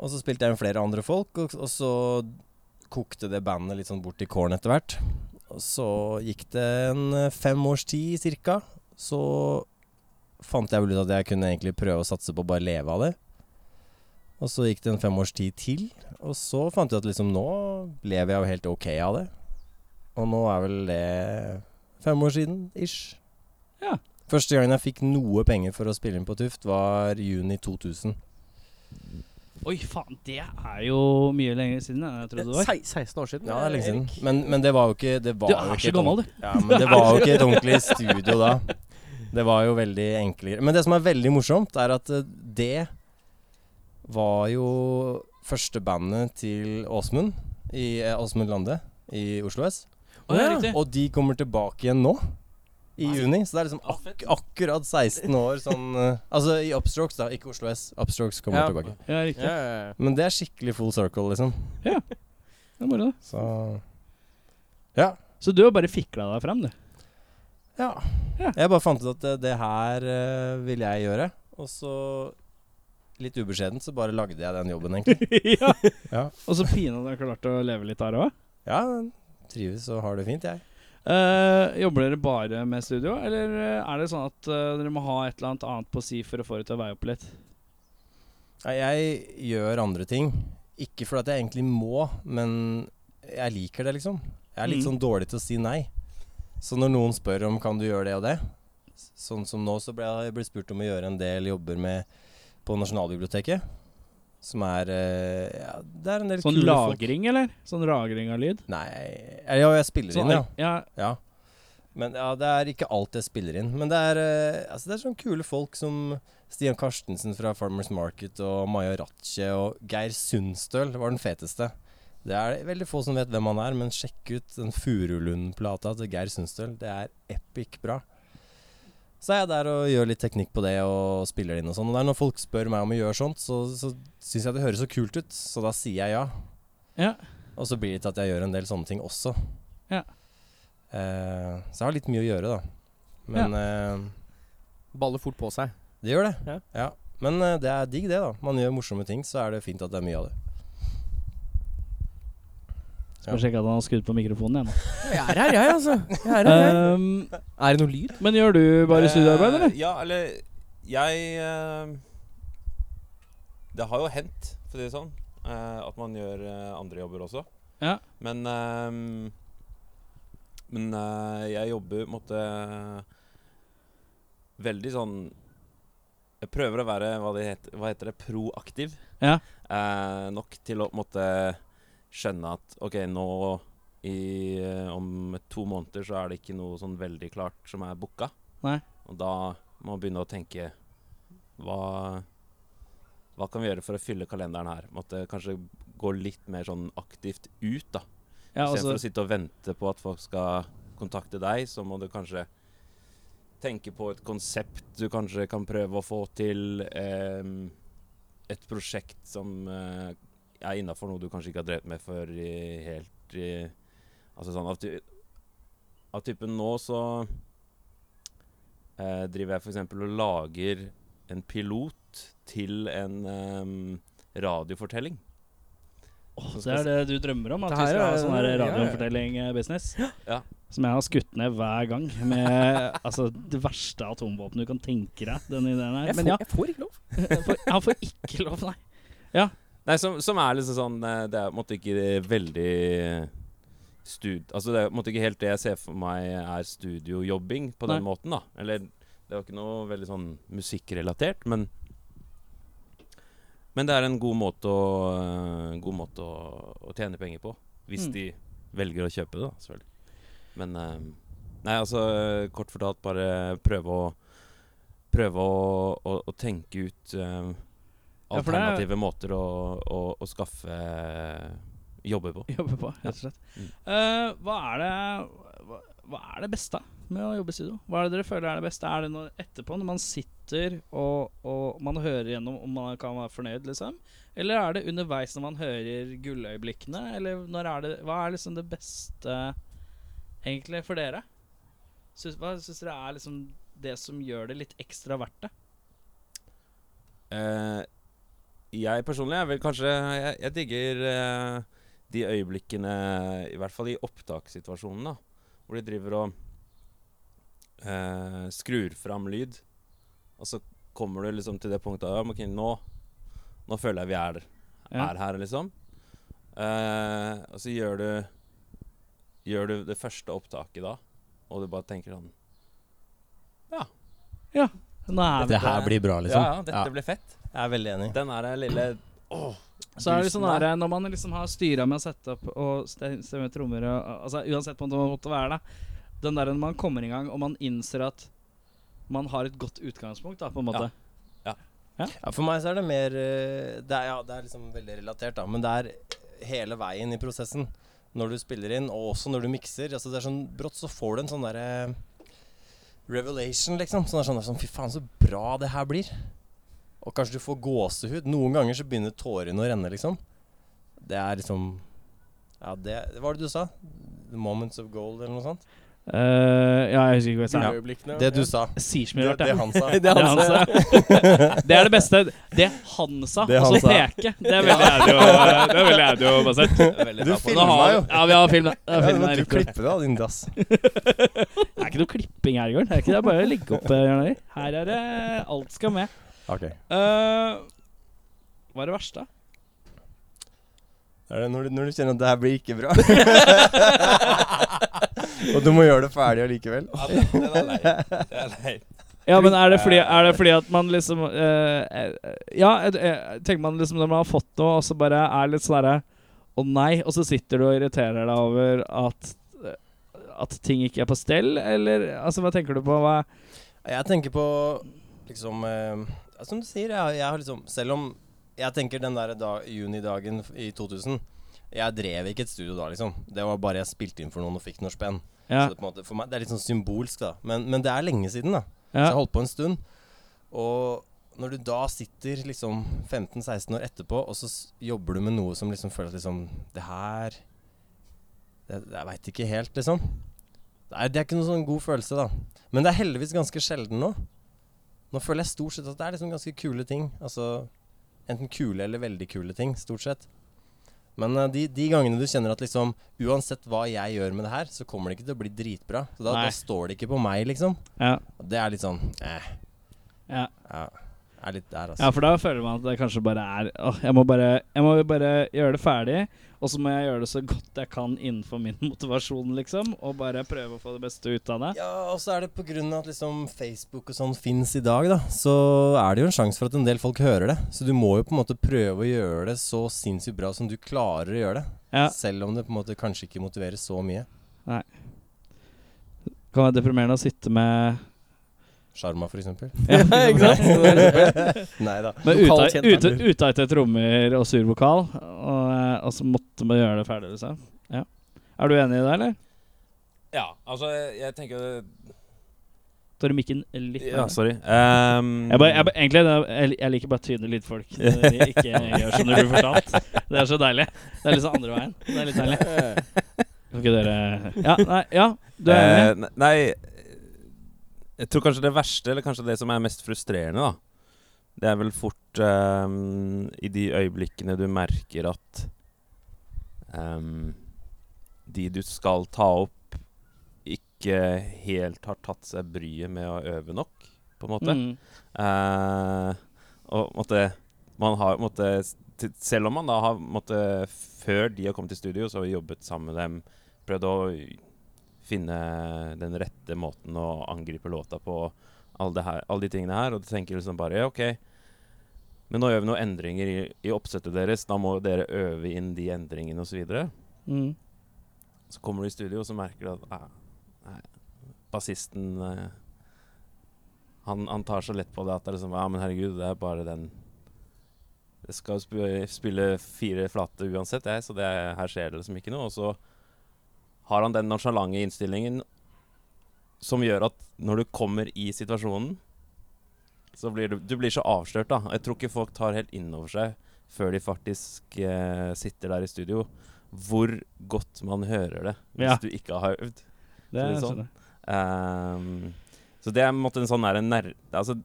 Og så spilte jeg inn flere andre folk, og, og så kokte det bandet litt sånn bort i kålen etter hvert. Og så gikk det en eh, fem års tid cirka. Så fant jeg vel ut at jeg kunne egentlig prøve å satse på å bare leve av det. Og så gikk det en fem års tid til, og så fant jeg ut at liksom nå lever jeg jo helt ok av det. Og nå er vel det fem år siden, ish. Første gangen jeg fikk noe penger for å spille inn på Tuft, var juni 2000.
Oi, faen, det er jo mye lenger siden enn jeg trodde det var.
16 år siden.
Ja, det er lenge siden. Men, men det var jo ikke det var
Du
jo
er
ikke
så
et
gammel,
ordent-
du.
Ja, men det var jo ikke et ordentlig studio da. Det var jo veldig enklere. Men det som er veldig morsomt, er at eh, det var jo første bandet til Åsmund i eh, Åsmund Lande i Oslo S.
Å, ja, riktig.
Og de kommer tilbake igjen nå, i juni. Så det er liksom
Å,
ak
fett.
akkurat 16 år sånn eh, Altså i Upstrokes, da. Ikke Oslo S. Upstrokes kommer
Ja.
tilbake.
Ja, riktig.
Ja, ja, ja.
Men det er skikkelig full circle, liksom.
Det er moro, det.
Så
Så du har bare fikla deg frem, du.
ja.
Ja.
Jeg bare fant ut at det, det her eh, vil jeg gjøre. Og så, litt ubeskjedent, så bare lagde jeg den jobben, egentlig.
ja.
Ja.
Og så pinadø har klart å leve litt der òg.
Ja, trives og har det fint, jeg.
Eh, jobber dere bare med studio, eller eh, er det sånn at eh, dere må ha et eller annet annet på si for å få det til å veie opp litt?
Nei, Jeg gjør andre ting. Ikke fordi at jeg egentlig må, men jeg liker det, liksom. Jeg er litt
Mm.
sånn dårlig til å si nei. Så når noen spør om kan du gjøre det og det s- Sånn som nå, så ble jeg ble spurt om å gjøre en del jobber med på Nasjonalbiblioteket. Som er eh, ja, Det er en del
Sånn
kule folk.
lagring, eller? Sånn lagring av lyd?
Nei Ja, jeg spiller
Sånn,
inn, ja.
ja.
ja. Men ja, det er ikke alt jeg spiller inn. Men det er, eh, altså, det er sånne kule folk som Stian Karstensen fra Farmers Market og Maja Ratche og Geir Sundstøl var den feteste. Det er veldig få som vet hvem han er, men sjekk ut den Furulund-plata til Geir Sundstøl. Det er epic bra. Så er jeg der og gjør litt teknikk på det og spiller det inn og sånn. Og det er når folk spør meg om å gjøre sånt, så, så syns jeg det høres så kult ut, så da sier jeg ja.
Ja.
Og så blir det til at jeg gjør en del sånne ting også.
Ja.
Eh, så jeg har litt mye å gjøre, da. Men eh,
Baller fort på seg.
det gjør det.
Ja.
Men eh, det er digg, det, da. Man gjør morsomme ting, så er det fint at det er mye av det.
Skal sjekke at han har skrudd på mikrofonen igjen.
Jeg er her, jeg, altså. Jeg er, her, jeg.
Um,
er det noe lyd?
men gjør du bare studiearbeid, eller?
Eh, Ja, eller Jeg eh, Det har jo hendt, for å si det sånn, eh, at man gjør eh, andre jobber også.
Ja.
Men eh, Men eh, jeg jobber på en måte veldig sånn Jeg prøver å være hva, det heter, hva heter det, proaktiv.
Ja.
Eh, nok til å på en måte skjønne at OK, nå i, eh, om to måneder så er det ikke noe sånn veldig klart som er booka. Og da må man begynne å tenke hva, hva kan vi gjøre for å fylle kalenderen her? Måtte kanskje gå litt mer sånn aktivt ut, da.
Ja, altså,
Istedenfor å sitte og vente på at folk skal kontakte deg, så må du kanskje tenke på et konsept du kanskje kan prøve å få til. ehm, et prosjekt som eh, er innafor noe du kanskje ikke har drevet med før i, helt i Altså sånn av, ty av typen nå så eh, driver jeg f.eks. og lager en pilot til en ehm, radiofortelling.
åh,
som
det
skal
er det du drømmer om? At
Det
vi
her
skal ha
er-
sånn her
ja, ja.
radiofortelling-business?
Ja.
Som jeg har skutt ned hver gang med altså, det verste atomvåpenet du kan tenke deg. Den ideen her.
Jeg får,
Men ja,
jeg får ikke lov.
jeg får, jeg får ikke lov, nei.
Nei, som, som er liksom sånn eh, Det er på en måte ikke veldig eh, stud... Altså det er på en måte ikke helt det jeg ser for meg er studiojobbing på den måten, da. Eller det var ikke noe veldig sånn musikkrelatert, men Men det er en god måte å, eh, god måte å, å tjene penger på. Hvis
Mm.
de velger å kjøpe det, da, selvfølgelig. Men eh, Nei, altså eh, kort fortalt bare prøve å Prøve å, å, å tenke ut eh,
Ja, for det er-
alternative måter å, å, å skaffe jobbe på.
Jobbe på, rett og slett. Eh, hva, er det, hva, hva er det beste med å jobbe i studio? Hva er det dere føler er det beste? Er det når, etterpå, når man sitter og, og man hører gjennom om man kan være fornøyd, liksom? Eller er det underveis når man hører gulløyeblikkene? Eller når er det, hva er liksom det beste egentlig for dere? Syns, hva syns dere er liksom det som gjør det litt ekstra verdt det?
Eh, jeg personlig er vel kanskje Jeg, jeg digger eh, de øyeblikkene, i hvert fall i opptakssituasjonen, da. Hvor de driver og eh, skrur fram lyd. Og så kommer du liksom til det punktet at ja, men ok, nå, nå føler jeg vi er,
Ja.
er her, liksom. Eh, og så gjør du Gjør du det første opptaket da, og du bare tenker sånn
Nå er vi
Det her blir bra, liksom.
Ja, ja, dette ble fett.
Jeg er veldig enig.
Den er den lille
Så er det
Brusen
sånn der, Når man liksom har styra med å sette opp og ste- stemme trommer og, altså, Uansett på om det måtte være det Den der når man kommer i gang og man innser at man har et godt utgangspunkt, da, på en måte.
Ja, for meg så er det mer eh, det er, Ja, det er liksom veldig relatert, da. Men det er hele veien i prosessen. Når du spiller inn, og også når du mikser. Altså, det er sånn brått så får du en sånn derre revelation, liksom. Sånn, er sånn, sånn Fy faen, så bra det her blir. Og kanskje du får gåsehud. Noen ganger så begynner tårene å renne, liksom. Det er liksom Ja, det Hva var det du sa? The moments of gold, eller noe sånt?
ja, jeg husker ikke hva jeg sa.
Det du sa.
Sier så
Det,
mye rart,
det
jeg.
han sa.
Det han sa. Det er det beste. Det han sa,
Det
og
han
så
sa.
peke. Det er veldig ærlig og- det er veldig ærlig og basert.
Du
Nå
filma
har-
jo.
Ja, vi har film. da. Ja,
Ja,
filmen
men
er
du
litt kul.
klipper det av din dass.
Det er ikke noe klipping her, Jørgen. Det er ikke det. Det er bare å legge opp. eh, Jørgen Øyer. Her er det Alt skal med.
Okay.
Eh, hva er det verste?
Det er det når du, når du kjenner at det her blir ikke bra. og du må gjøre det ferdig allikevel.
Ja, den, den er lei. Den er lei.
Ja, men er det fordi, er det fordi at man liksom eh, eh, Ja, eh, eh, tenker man liksom når man har fått noe, og så bare er litt sånn herre Å nei, og så sitter du og irriterer deg over at eh, at ting ikke er på stell, eller altså, hva tenker du på? Hva,
Jeg tenker på liksom eh, ja, Som du sier, jeg, jeg har liksom Selv om jeg tenker den der da, junidagen f- i 2000 Jeg drev ikke et studio da, liksom. Det var bare jeg spilte inn for noen og fikk noen spenn.
ja,
Så det, på en måte, for meg, det er litt sånn symbolsk, da. Men, men det er lenge siden, da.
Ja.
Så jeg holdt på en stund. Og når du da sitter liksom 15-16 år etterpå, og så s- jobber du med noe som liksom føles liksom Det her det, Jeg veit ikke helt, liksom. Det er, det er ikke noen sånn god følelse, da. Men det er heldigvis ganske sjelden nå. Nå føler jeg stort sett at det er liksom ganske kule ting. Altså enten kule eller veldig kule ting, stort sett. Men eh, de, de gangene du kjenner at liksom Uansett hva jeg gjør med det her, så kommer det ikke til å bli dritbra. Så da,
Nei.
da står det ikke på meg, liksom.
Ja.
Og Det er litt sånn eh,
Ja.
ja. Er litt der,
ja,
altså.
for da føler man at det kanskje bare er Åh, jeg må bare, jeg må bare gjøre det ferdig, og så må jeg gjøre det så godt jeg kan innenfor min motivasjon, liksom. Og bare prøve å få det beste ut av det.
Ja, og så er det på grunn av at liksom Facebook og sånn fins i dag, da, så er det jo en sjanse for at en del folk hører det. Så du må jo på en måte prøve å gjøre det så sinnssykt bra som du klarer å gjøre det.
Ja.
Selv om det på en måte kanskje ikke motiverer så mye.
Kan være deprimerende å sitte med
Sjarma, for eksempel.
ja,
Nei da.
Med ute-
Lokalt liksom kjent
ute-
band.
utagte trommer og sur vokal, og, eh, og så måtte man gjøre det ferdig, liksom. Ja. Er du enig i det, eller?
Ja, altså, jeg, jeg tenker
Tar du mikken litt
Ja, altså,
nærmere?
sorry. Ehm,
Jeg, bare, jeg, bare- egentlig, det er- jeg, jeg liker bare tynne lydfolk. Når de ikke gjør som de blir fortalt. Det er så deilig. Det er liksom andre veien. Det er litt deilig. Kan ikke dere Ja, nei, ja du er enig?
Eh, ne- nei Jeg tror kanskje det verste, eller kanskje det som er mest frustrerende, da Det er vel fort ehm, i de øyeblikkene du merker at ehm, de du skal ta opp, ikke helt har tatt seg bryet med å øve nok, på en måte.
Mm.
Eh, og på en måte, man har på en måte, s- til- Selv om man da har på en måte, Før de har kommet i studio, så har vi jobbet sammen med dem. Prøvd å finne den rette måten å angripe låta på. Alle, det her, alle de tingene her. Og du tenker liksom bare ja, OK. Men nå gjør vi noen endringer i, i oppsettet deres. Da må dere øve inn de endringene osv. Så, videre.
Mm.
så kommer du i studio, og så merker du at eh, nei, bassisten eh, han, han tar så lett på det at det er liksom Ja, men herregud, det er bare den Det skal jo sp spille fire flate uansett, jeg, så det er, her skjer det liksom ikke noe. Og så har han den nonsjalante innstillingen som gjør at når du kommer i situasjonen, så blir du, du blir så avslørt, da. Jeg tror ikke folk tar helt inn over seg før de faktisk eh, sitter der i studio, hvor godt man hører det hvis
Ja.
du ikke har øvd.
Det er
Så det er
sånn.
Ehm, så det er på en måte en sånn der, nær, altså,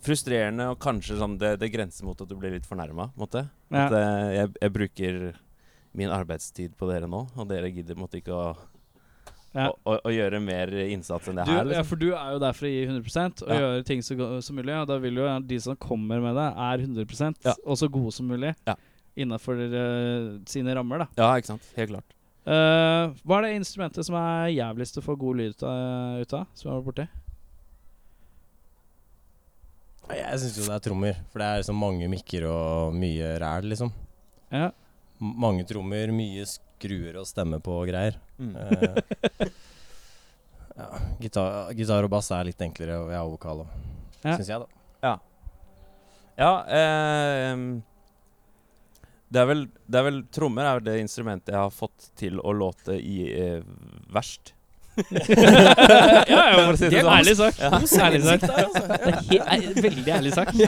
Frustrerende og kanskje sånn det, det grenser mot at du blir litt fornærma.
Ja.
At eh, jeg, jeg bruker min arbeidstid på dere nå, og dere gidder på en måte ikke å,
Ja.
å, å, å gjøre mer innsats enn det
Du,
her.
ja,
Liksom.
for du er jo der for å gi 100 og
Ja.
gjøre ting så go- som mulig. Og da vil jo gjerne de som kommer med det, er 100
Ja.
og så gode som mulig
Ja.
innafor eh, sine rammer, da.
Ja, ikke sant. Helt klart.
Eh, hva er det instrumentet som er jævligst å få god lyd ut av? Ut av som er borte?
Nei, Jeg syns jo det er trommer, for det er liksom mange mikker og mye ræl, liksom.
Ja.
M- Mange trommer, mye skruer å stemme på og greier.
Mm.
Eh, ja, gitar, gitar og bass er litt enklere, og jeg har vokal òg,
Ja.
syns jeg, da.
Ja, ehm, det, er vel, det er vel Trommer er det instrumentet jeg har fått til å låte i eh, verst.
ja, ja,
For å si det
det er
sånn.
ærlig sagt. Ærlig sagt. Det er altså, he- er veldig ærlig sagt.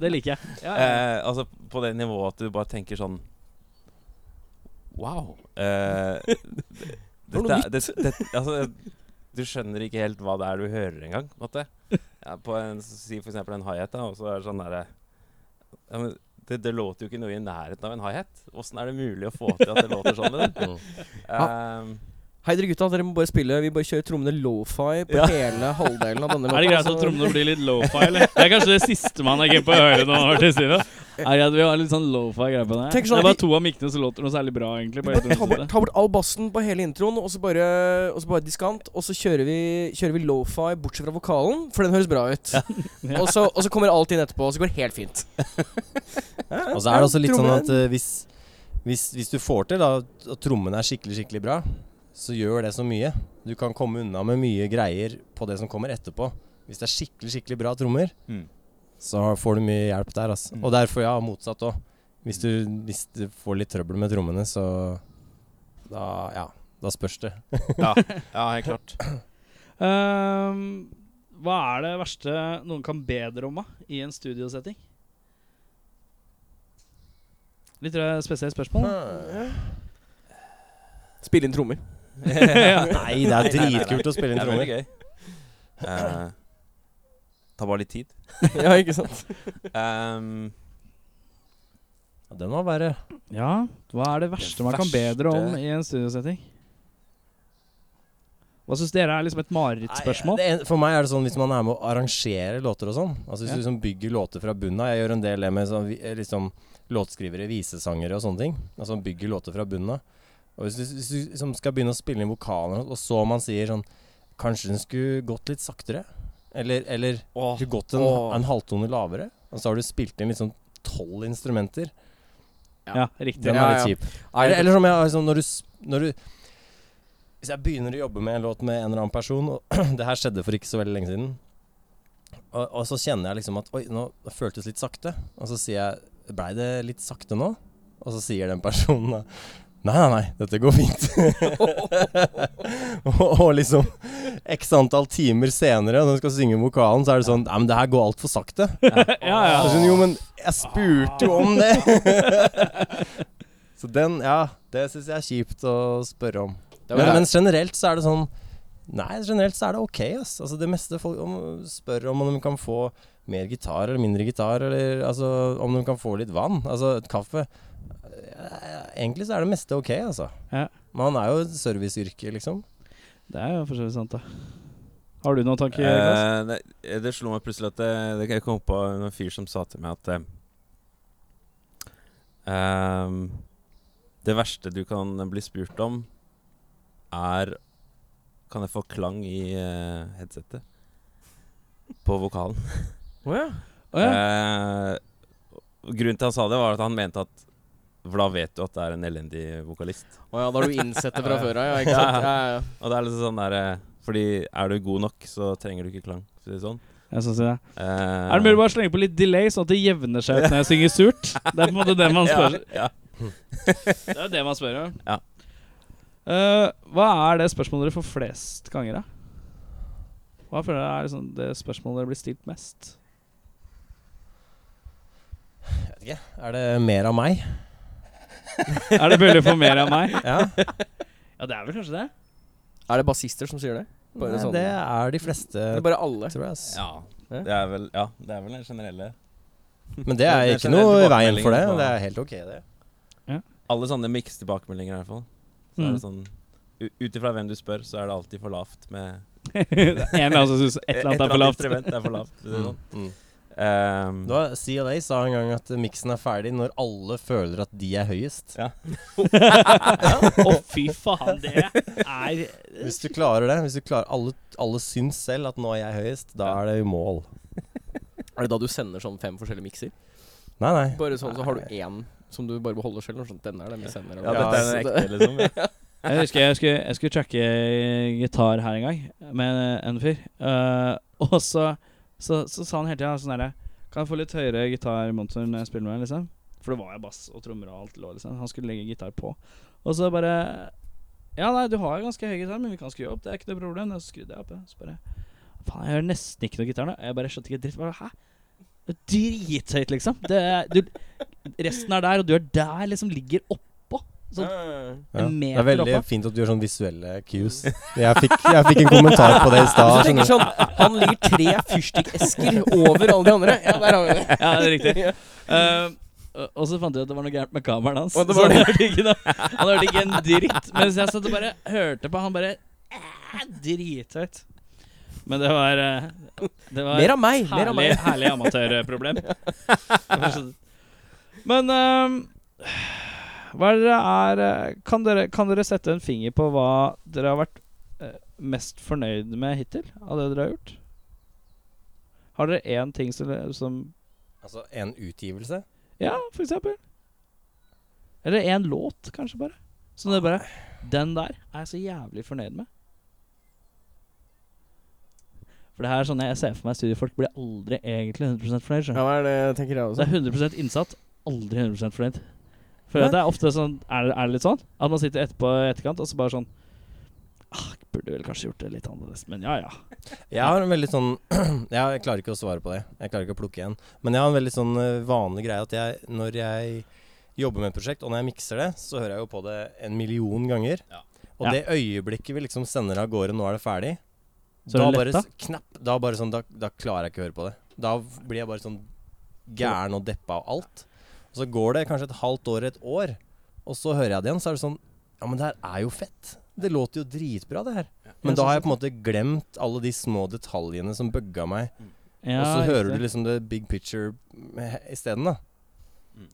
Det liker jeg. Ja, ja.
Eh, altså på det nivået at du bare tenker sånn Wow. Eh, det,
var noe
dette er- det, det, altså, du skjønner ikke helt hva det er du hører engang. på en måte. Ja, på en, si for eksempel en hi-hat, da, og så er det sånn derre ja, men det, det låter jo ikke noe i nærheten av en hi-hat. Åssen er det mulig å få til at det låter sånn? Liksom? Eh,
Hei, dere gutta. Dere må bare spille. Vi bare kjører trommene lo-fi på
Ja.
hele halvdelen av denne
Er det greit
så-
at trommene blir litt lofi, eller? Det er kanskje det siste man er keen på å høre når man har til side. Er det at vi har litt sånn lofi greier på det? her?
Tenk
det
sånn at
er bare
vi-
to av mikkene som låter noe særlig bra, egentlig. På
Bare
hele
ta bort,
trommesiden.
ta bort all bassen på hele introen, og så bare, og så bare diskant. Og så kjører vi, kjører vi lo-fi bortsett fra vokalen, for den høres bra ut.
Ja.
Og, så, og så kommer alt inn etterpå, og så går det helt fint.
Og så er det også litt sånn
Trommer.
at eh, hvis, hvis, hvis du får til da, at at trommene er skikkelig, skikkelig bra, så gjør det så mye. Du kan komme unna med mye greier på det som kommer etterpå. Hvis det er skikkelig, skikkelig bra trommer,
Mm.
så får du mye hjelp der, altså.
Mm.
Og derfor, ja, motsatt òg. Hvis, du- hvis du får litt trøbbel med trommene, så da Ja, da spørs det.
ja, ja, helt klart.
Eh, Ehm, hva er det verste noen kan be dere om da, i en studiosetting? Litt eh, spesielt spørsmål.
Hm.
da.
Spille inn trommer.
Nei, det er dritkult å spille inn
Det er veldig
trommer.
gøy. Eh, tar bare litt tid.
ja, ikke sant?
Ehm,
Ja, Den var verre.
Ja, hva er det verste man kan be
verste-
dere om i en studiosetting? Hva syns dere er liksom et marerittspørsmål?
Nei, det en- For meg er det sånn hvis man er med å arrangere låter og sånn. Altså Hvis
Ja.
du liksom bygger låter fra bunnen av. Jeg gjør en del det med sånn, vi- eh, liksom, låtskrivere, visesangere og sånne ting. Altså man bygger låter fra bunnen av. Og hvis du, hvis du liksom skal begynne å spille inn vokaler, og så man sier sånn Kanskje den skulle gått litt saktere? Eller, eller
Åh,
skulle gått en,
åh.
en halvtone lavere? Og så har du spilt inn liksom tolv instrumenter.
Ja, riktig.
Den
Ja,
er
ja.
litt kjip. Eller, eller som jeg har liksom, når, du, s- når du Hvis jeg begynner å jobbe med en låt med en eller annen person Og det her skjedde for ikke så veldig lenge siden Og, og så kjenner jeg liksom at Oi, nå føltes litt sakte Og så sier jeg Blei det litt sakte nå? Og så sier den personen da Nei, nei, nei, dette går fint og, og liksom X antall timer senere Når du skal synge vokalen Så er det sånn Nei, men det her går alt for sakte
Ja,
Og
ja.
så sier hun, Altså, Jo, men jeg spurte jo om det. så den, ja, det syns jeg er kjipt å spørre om.
Det
Men,
var-
men generelt så er det sånn Nei, generelt så er det ok, ass. Altså, det meste folk om, spør om om de kan få mer gitar eller mindre gitar, eller altså om de kan få litt vann. Altså et kaffe. Eh, Egentlig så er det meste ok, altså.
Ja.
Man er jo et serviceyrke, liksom.
Det er jo for så vidt sant, da. Har du noen tanker? Klas?
eh, nei, det slo meg plutselig at eh, det, det Jeg kom på en fyr som sa til meg at eh, ehm, Det verste du kan bli spurt om, er Kan jeg få klang i eh, headsetet? På vokalen.
Å ja.
Å ja.
Eh, grunnen til han sa det, var at han mente at For da vet du at det er en elendig vokalist.
Å ja, da har du innsett det fra før av, ja. Ikke sant? Ja, ja, ja.
Og det er liksom sånn der eh, Fordi er du god nok, så trenger du ikke klang. For å si det sånn.
Jeg synes det.
Eh,
Er det mulig å bare slenge på litt delay, sånn at det jevner seg ut når jeg synger surt? Det er på en måte det man spør
Ja,
Det er jo det man spør om.
Ja.
Eh, hva er det spørsmålet dere får flest ganger, da? Hva føler dere er liksom det spørsmålet dere blir stilt mest?
Jeg vet ikke. Er det mer av meg?
Er det mulig å få mer av meg?
Ja.
Ja, det er vel kanskje det.
Er det bassister som sier det? Bare
Nei,
sånn.
Det er de fleste,
Det er bare alle.
tror altså. jeg. Ass.
ja. ja. Det er vel Ja, det er vel den generelle
Men det er altså.
Det er
ikke
generelt
noe i veien for det.
tilbakemeldingen på-
Det er helt ok, det.
Alle sånne miks-tilbakemeldinger, i hvert fall.
Mm.
Så er det sånn u- Ut ifra hvem du spør, så er det alltid for lavt med
det er en eller annen som syns et eller annet er for lavt.
instrument er for lavt. for å si det Sånn.
Mm.
Ehm,
Det var CLA sa en gang at miksen er ferdig når alle føler at de er høyest.
Å, fy faen, det er
Hvis du klarer det, hvis du klarer alle, alle syns selv at nå er jeg høyest, da er det i mål.
Er det da du sender sånn fem forskjellige mikser?
Nei, nei.
Bare sånn, så har du én som du bare beholder selv? og Sånn, denne er den vi sender.
ja,
eller?
dette er
så
den
det-
ekte, liksom. Ja.
Jeg husker jeg skulle, jeg skulle tracke gitar her en gang med en fyr. Eh, og så, så, så sa han hele tida sånn herre Kan jeg få litt høyere gitarmonter når jeg spiller med deg, liksom? For det var jo bass og trommer og alt lå, liksom. Han skulle legge gitar på. Og så bare Ja, nei, du har jo ganske høy gitar, men vi kan skru opp. Det er ikke noe problem. Og så skrudde jeg opp. ja. Så bare Faen, jeg hører nesten ikke noe gitar nå. Jeg bare skjønte ikke dritt. Bare, Hæ? Det er Drithøyt, liksom. Det er, du, resten er der, og du er der, liksom. Ligger oppå. Sånn
Ja.
en
Det
meter
er veldig
oppe.
fint at du gjør sånn visuelle cues. Jeg fikk, jeg fikk en kommentar på det i
Hvis
stad.
du tenker
skjønner du.
sånn Han ligger tre fyrstikkesker over alle de andre. Ja, der har vi det.
Ja, det er riktig. Ehm, og- og så fant jeg ut at det var noe gærent med kameraet hans.
Og det
så
var
han hørte ikke noe Han hørte ikke en dritt. Mens jeg satt og bare hørte på, han bare "Æ, Drithøyt. Men det var eh, Det var
Mer av meg! Mer
herlig,
av meg.
herlig amatørproblem. sånn. Men ehm, hva er det er eh, kan dere, kan dere sette en finger på hva dere har vært eh, mest fornøyd med hittil? Av det dere har gjort? Har dere én ting som, som
Altså, en utgivelse?
ja, for eksempel. Eller en låt, kanskje, bare. Som det bare Den der er jeg så jævlig fornøyd med. For det her er sånn jeg ser for meg studiefolk blir aldri egentlig 100 fornøyd. skjønner du.
Ja, det tenker
altså.
jeg
Det er 100 innsatt, aldri 100 fornøyd. For det er ofte sånn er, det- er det litt sånn? At man sitter etterpå i etterkant og så bare sånn ah, Burde vel kanskje gjort det litt annerledes, men ja ja.
Jeg har en veldig sånn Jeg klarer ikke å svare på det. Jeg klarer ikke å plukke en. Men jeg har en veldig sånn eh, vanlig greie at jeg, når jeg jobber med et prosjekt, og når jeg mikser det, så hører jeg jo på det en million ganger.
Ja.
Og
Ja.
det øyeblikket vi liksom sender av gårde 'nå er det ferdig',
Så er
da
det
bare
letta?
s- knapp Da bare sånn da, da klarer jeg ikke å høre på det. Da v- blir jeg bare sånn gæren og deppa av alt. Og så går det kanskje et halvt år, et år, og så hører jeg det igjen, så er det sånn Ja, men det her er jo fett. Det låter jo dritbra, det her. Men da har jeg på en måte glemt alle de små detaljene som bugga meg.
ja
og så hører
riktig.
du liksom the big picture med- isteden, da.
Mm.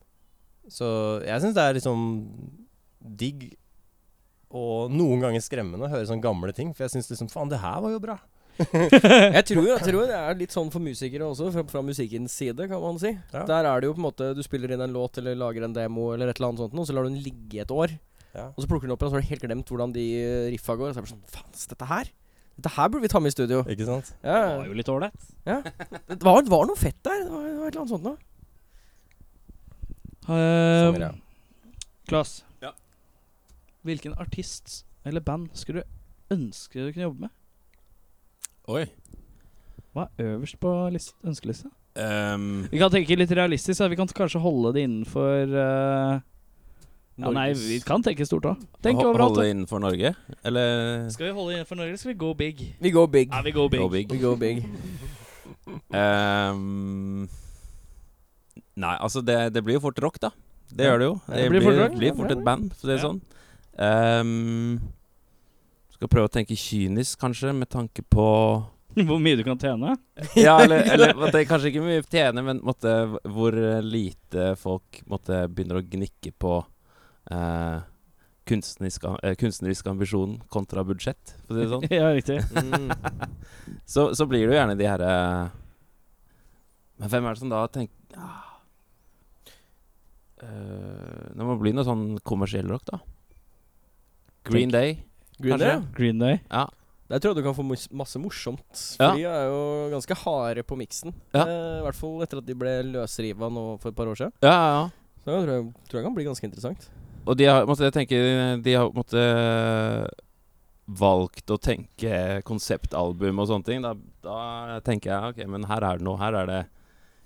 Så jeg syns det er liksom digg og noen ganger skremmende å høre sånne gamle ting. For jeg syns liksom faen, det her var jo bra.
Jeg tror, jeg tror det er litt sånn for musikere også, fra, fra musikkens side, kan man si.
Ja.
Der er det jo på en måte Du spiller inn en låt eller lager en demo eller et eller annet sånt, noe, så lar du den ligge et år.
Ja.
Og så plukker du den opp igjen, og så har du helt glemt hvordan de eh, riffa går. Og så er det bare sånn Faen, dette her Dette her burde vi ta med i studio.
Ikke sant?
Ja,
Det var jo litt ålreit.
det var, det var noe fett der. Det var, det var et eller annet sånt noe.
Eh,
Sanger, ja.
Klas.
Ja.
Hvilken artist eller band skulle du ønske du kunne jobbe med?
Oi.
Hva er øverst på list ønskelista?
Ehm,
Vi kan tenke litt realistisk. Da. Vi kan kanskje holde det innenfor eh, ja, Nei,
Norges-
vi kan tenke stort òg. Tenk
ho-
overalt.
Holde
da.
innenfor Norge? Eller
Skal vi holde det innenfor Norge, eller skal vi go big?
We go big.
Ja, vi go big.
go big?
We go big.
Ehm, nei, altså det, det blir jo fort rock, da. Det
Ja.
gjør det jo. Det,
det blir
blir,
fort
blir
rock.
fort, et band, for å si det
Ja.
sånn. Ehm, skal prøve å tenke kynisk, kanskje, med tanke på
Hvor mye du kan tjene?
Ja, eller, eller at det kanskje ikke mye tjener, men måtte, hvor eh, lite folk måtte, begynner å gnikke på eh, kunstnerisk, am- eh, kunstnerisk ambisjon kontra budsjett, for å si det sånn.
ja, riktig.
Så, så blir det jo gjerne de herre Men hvem er det som da tenker ah. Eh, Det må bli noe sånn kommersiell rock, da. Green Day.
Green Day.
Kanskje.
Green Day.
Der tror jeg du kan få mos- masse morsomt.
Ja.
For de er jo ganske harde på miksen.
Ja.
Eh, I hvert fall etter at de ble løsriva nå for et par år siden.
Ja, ja, ja.
Så jeg tror jeg, tror jeg kan bli ganske interessant.
Og de har, måtte jeg tenke, de har måtte, eh, valgt å tenke konseptalbum og sånne ting. Da, da tenker jeg ok, men her er det noe. Her er det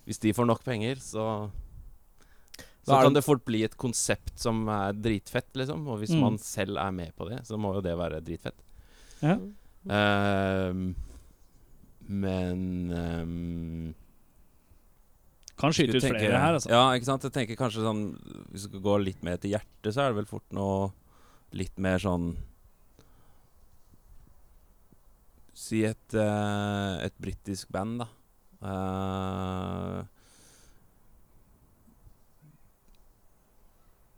Hvis de får nok penger, så
Hva
så
er
kan
det-
det fort bli et konsept som er dritfett, liksom. Og hvis
Mm.
man selv er med på det, så må jo det være dritfett.
Ja.
Ehm, men ehm,
Kan skyte
skulle
ut
tenke-
flere her, altså.
Ja, ikke sant? Jeg tenker kanskje sånn Hvis du går litt mer til hjertet, så er det vel fort noe litt mer sånn Si et, eh, et britisk band, da. Eh,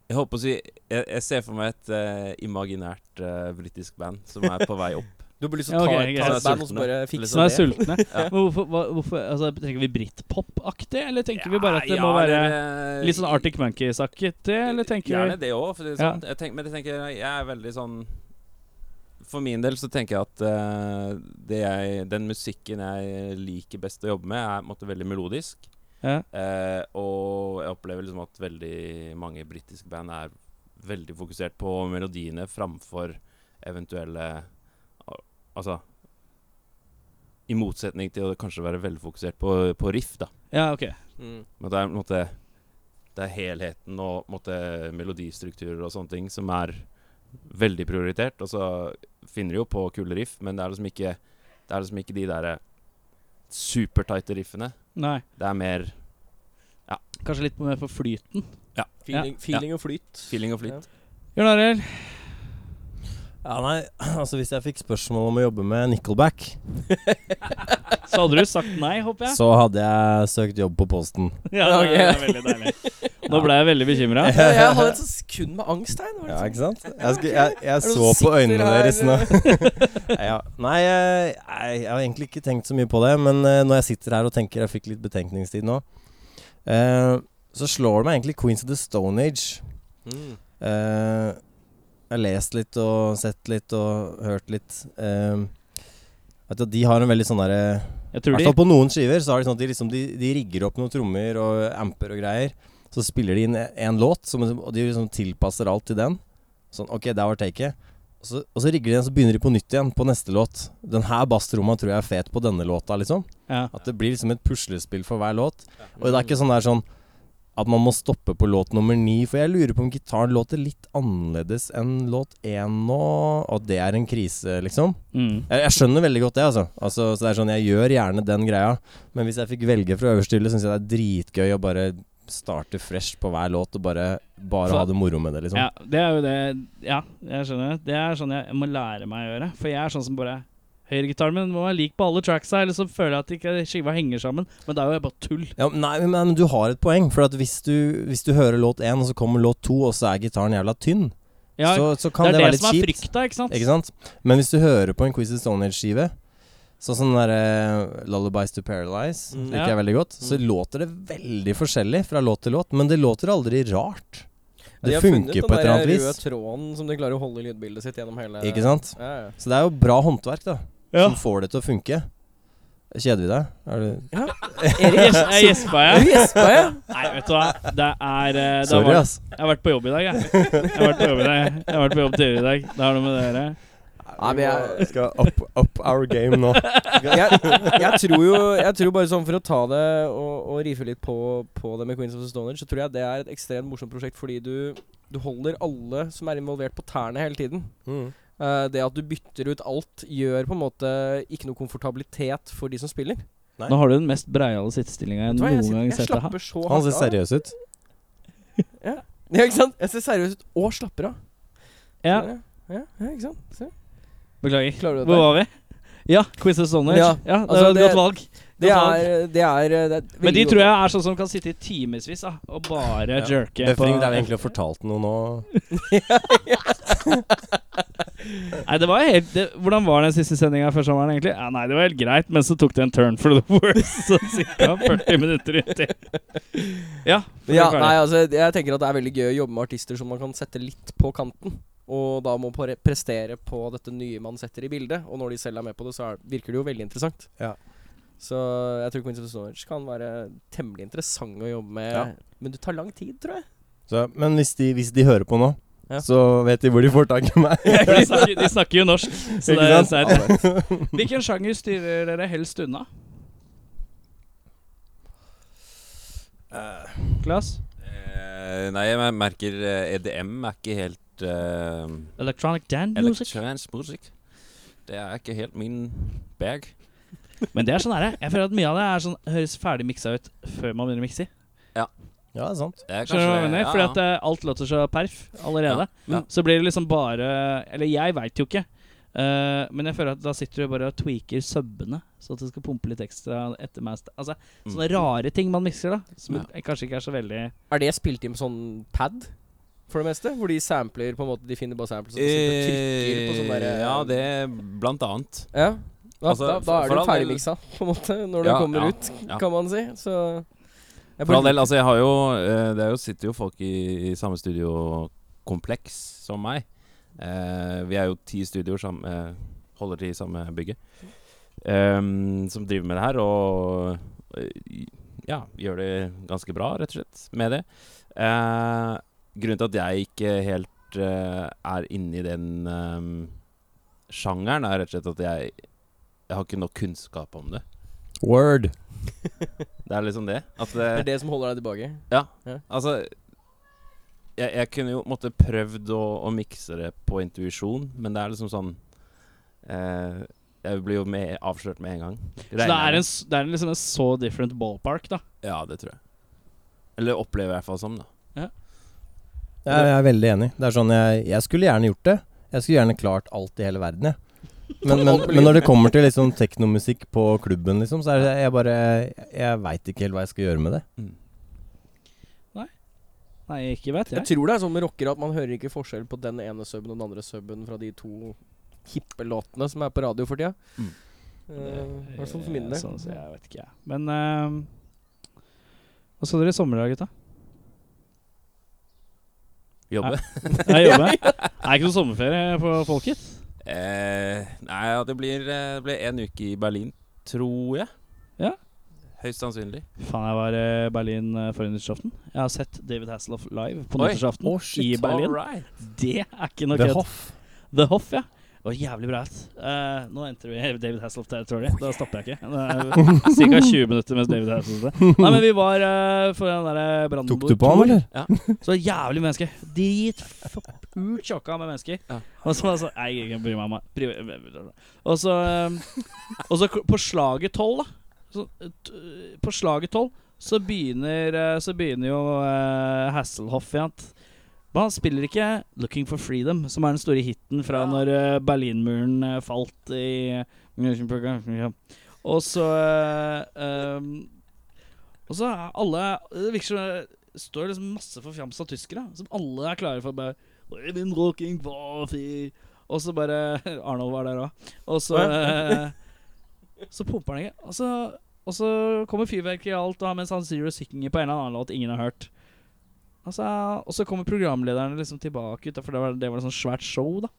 jeg håper å si jeg, jeg ser for meg et eh, imaginært eh, britisk band som er på vei opp.
Du har lyst
til å Ja, ta- ok, ta
greit. et band og så bare
fikse
sånn.
Som er sultne. Men hvorfor, hva, hvorfor altså, Tenker vi britpop-aktig, eller tenker vi bare at det
Ja,
må være
eller, eh,
litt sånn Arctic Monkey-saktig, eller tenker vi
Gjerne det òg, for å si det
Ja.
sånn. Jeg tenk- men jeg tenker jeg er veldig sånn For min del så tenker jeg at eh, det jeg, den musikken jeg liker best å jobbe med, er på en måte veldig melodisk.
Ja.
Eh, og jeg opplever liksom at veldig mange britiske band er veldig fokusert på melodiene framfor eventuale al- Altså I motsetning til å kanskje være veldig fokusert på, på riff, da.
ja, ok.
Mm.
Men det er på en måte Det er helheten og på en måte, melodistrukturer og sånne ting som er veldig prioritert. Og så finner de jo på kule riff, men det er liksom ikke Det er liksom ikke de der supertighte riffene.
Nei.
Det er mer
Kanskje litt mer på flyten.
Feeling, feeling og flyt.
feeling og flyt.
Jørn Arild,
Ja, nei, altså hvis jeg fikk spørsmål om å jobbe med Nickelback,
så hadde du sagt nei, håper jeg?
så hadde jeg søkt jobb på Posten.
Ja, det er- det er veldig deilig. Nå ble jeg veldig bekymra.
Ja, jeg hadde et sånt sekund med angst her. nå,
Ja,
liksom.
ikke sant? Jeg, skulle, jeg,
det
jeg så
noen
på
sitter
øynene
her,
deres nå. ja. Nei, jeg, jeg, jeg har egentlig ikke tenkt så mye på det, men eh, når jeg sitter her og tenker Jeg fikk litt betenkningstid nå. eh, så slår det meg egentlig Queens of the Stone Age.
Mm.
Eh, jeg har lest litt og sett litt og hørt litt. Eh, vet du, de har en veldig sånn derre
Jeg
I
tror
hvert
de
fall på noen skiver så er det sånn at de, liksom, de, de rigger opp noen trommer og amper og greier. Så spiller de inn en låt, som, og de liksom tilpasser alt til den. Sånn OK, der var taket. Og så, og så rigger de igjen, så begynner de på nytt igjen på neste låt. Den her basstromma tror jeg er fet på denne låta, liksom.
Ja.
At det blir liksom et puslespill for hver låt. Og det er ikke sånn der sånn at man må stoppe på låt nummer ni, for jeg lurer på om gitaren låter litt annerledes enn låt én nå, og det er en krise, liksom.
Mm.
Jeg, jeg skjønner veldig godt det, altså. altså. Så det er sånn, Jeg gjør gjerne den greia, men hvis jeg fikk velge fra øverste hylle, syns jeg det er dritgøy å bare starte fresh på hver låt og bare, bare
For-
ha det moro med det, liksom.
Ja, det er jo det Ja, jeg skjønner. Det er sånn jeg må lære meg å gjøre. For jeg er sånn som bare Høyregitaren min må være lik på alle tracksa, eller så føler jeg at ikke skiva henger sammen. Men det er jo bare tull.
Ja, men nei, men- men du har et poeng. For at hvis, du, hvis du hører låt én, og så kommer låt to, og så er gitaren jævla tynn,
Ja,
så, så kan det,
det er
være
det,
litt
som er
kjipt.
frykta, ikke sant?
Ikke sant? Men hvis du hører på en Quiz of Stone Age-skive, sånn som den derre 'Lullabies to Paralyze',
Mm.
liker
Ja.
jeg veldig godt, så låter det veldig forskjellig fra låt til låt, men det låter aldri rart. sånn- Det
De har
funker på et eller annet
funnet den der røde
vis.
tråden som de klarer å holde i lydbildet sitt gjennom hele
Ikke sant?
Ja, ja.
Så det er jo bra håndverk, da,
Ja.
som får det til å funke. Kjeder vi deg? Er du
Gjes- Jeg gjespa, jeg.
Gjespa jeg?
Nei, vet du hva. Det er eh, det
Sorry,
var,
ass.
Jeg har vært på jobb i dag, jeg. Jeg har vært på jobb i dag Jeg har vært på jobb tidligere i dag. Det har noe med det å gjøre.
Nei, men jeg-
Vi skal up, up our game nå.
jeg, jeg tror jo Jeg tror bare sånn For å ta det og, og rife litt på, på det med Queens of the Stone Age, så tror jeg det er et ekstremt morsomt prosjekt fordi du, du holder alle som er involvert, på tærne hele tiden.
Mm.
Mm.
Eh, det at du bytter ut alt, gjør på en måte ikke noe komfortabilitet for de som spiller.
Nå har du den mest breiale sittestillinga jeg
Vet du hva,
noen
jeg, sitter-
gang har sett deg ha.
jeg slapper så
Han
hardt
ser
av.
seriøs ut.
Ja, ikke sant? Jeg ser seriøs ut og slapper av.
Ja,
Ser du? ja, ja ikke sant? Se.
beklager.
Klarer du
Hvor
det?
var vi? Ja, Quiz of Stone Age.
Ja,
Ja, det
altså,
var et
det-
godt valg.
Det
Godt valg.
er, det er, det er et
Men de
veldig
tror
godt-
jeg er sånn som kan sitte i timevis da, og bare
Ja.
jerke. på
Bøfring, det er vi egentlig har fortalt noe nå.
Nei, det var helt det, Hvordan var den siste sendinga før sommeren, egentlig? Ja, nei, det var helt greit, men så tok det en turn for the worse. Så ca. 40 minutter uti. Ja. for
Ja,
det er
nei,
klart.
altså, jeg tenker at det er veldig gøy å jobbe med artister som man kan sette litt på kanten. Og da må pre- prestere på dette nye man setter i bildet. Og når de selv er med på det, så er, virker det jo veldig interessant.
Ja.
Så jeg tror Queens of the Stone Age kan være temmelig interessant å jobbe med.
Ja.
Men det tar lang tid, tror jeg.
Så, men hvis de, hvis de hører på nå,
Ja.
så vet de hvor de får tak i meg.
For de, snakker, de snakker jo norsk, så det
Ikke
så
sant?
er det. Hvilken sjanger styrer dere helst unna? Claes?
Eh, nei, jeg merker eh, EDM er ikke helt uh,
Electronic Dan Music?
Electronic music. Det er ikke helt min bag.
Men det er sånn her, jeg føler at mye av det er sånn, høres ferdig miksa ut før man begynner å mikse.
Ja, det er sant.
Det
Skjønner du hva jeg
er kanskje-
mener?
ja,
Fordi
ja.
at eh, alt låter så perf allerede.
Ja, ja.
Så blir det liksom bare Eller jeg veit jo ikke. Eh, men jeg føler at da sitter du bare og tweaker subbene, så at det skal pumpe litt ekstra etter meg. Altså sånne rare ting man mikser, da. Som kanskje ikke er så veldig
Er det spilt inn på sånn pad? For det meste? Hvor de sampler på en måte De finner bare samples og
sånn
så sitter og trykker på sånn derre
Eh, Ja, det er blant annet.
ja. Da,
Altså,
da, da er
for
du
all del-
ferdigmiksa, på en måte, når
Ja,
du kommer
ja,
ut,
ja.
kan man si. Så jeg
For all
bare-
del, altså jeg har jo eh, Det er jo, sitter jo folk i, i samme studiokompleks som meg. Eh, vi er jo ti studioer som eh, holder til i samme bygget, ehm, som driver med det her, og eh, ja, gjør det ganske bra, rett og slett, med det. Eh, grunnen til at jeg ikke helt eh, er inni den ehm, sjangeren, er rett og slett at jeg, jeg har ikke nok kunnskap om det.
Word.
Det er liksom det. At det
Det er det som holder deg tilbake.
Altså jeg, jeg kunne jo måtte prøvd å, å mikse det på intuisjon, men det er liksom sånn eh, Jeg blir jo med, avslørt med en gang.
Så det er, en, s- det er liksom en så different ballpark, da.
Ja, det tror jeg. Eller opplever jeg i hvert fall som, da.
Jeg, jeg er veldig enig. Det er sånn jeg, jeg skulle gjerne gjort det. Jeg skulle gjerne klart alt i hele verden, jeg. Men, men, men når det kommer til liksom teknomusikk på klubben, liksom, så er det jeg bare Jeg veit ikke helt hva jeg skal gjøre med det.
Nei, ikke vet
Jeg
jeg.
tror det er sånn med rockere at man hører ikke forskjell på den ene subben og den andre subben fra de to hippe låtene som er på radio for tida.
Mm.
Eh, I hvert fall for min
Eh,
del.
Sånn, så jeg vet ikke, jeg. Men eh, hva skal dere i sommer da, gutta?
Jobbe.
Jeg jobber. Det er ikke noe sommerferie på folket.
Eh, nei, ja, det blir, eh, det blir en uke i Berlin, tror jeg.
Ja.
Høyst sannsynlig.
Faen, jeg var i Berlin eh, forrige nyttårsaften. Jeg har sett David Hasselhoff live på
Oi.
nyttårsaften i Berlin.
All right.
Det er ikke noe
The
kødd.
Hoff.
The Hoff, ja. Det var jævlig bra. ass. Eh, nå endte vi i David Hasselhoff-territory. Da stopper jeg ikke. Ca. 20 minutter mens David Hasselhoff Nei, men vi var eh, for den derre Brandenburg
Tok du på han,
Tor.
eller?
Så jævlig mennesker. Dritfult sjokka med mennesker.
Ja.
Og så var jeg sånn Nei, jeg kan bry meg om meg. Bry- Og så um, Og så k- på slaget tolv, da. Så, eh, t- eh, på slaget tolv så begynner eh, Så begynner jo eh, Hasselhoff igjen. Men han spiller ikke 'Looking for Freedom', som er den store hiten fra når eh, Berlinmuren eh, falt i Og så eh, um, Og så er alle Det virker som det står liksom masse forfjamsa tyskere som alle er klare for bare «We've been looking for free-» Og så bare Arnold var der òg. Og så eh, Så pumper han ikke. Og så, og så kommer fyrverkeri og alt, og mens han Zero synger på en eller annen låt ingen har hørt. Altså, og så kommer programlederne liksom tilbake ut, da, for det var, det var et sånt svært show, da.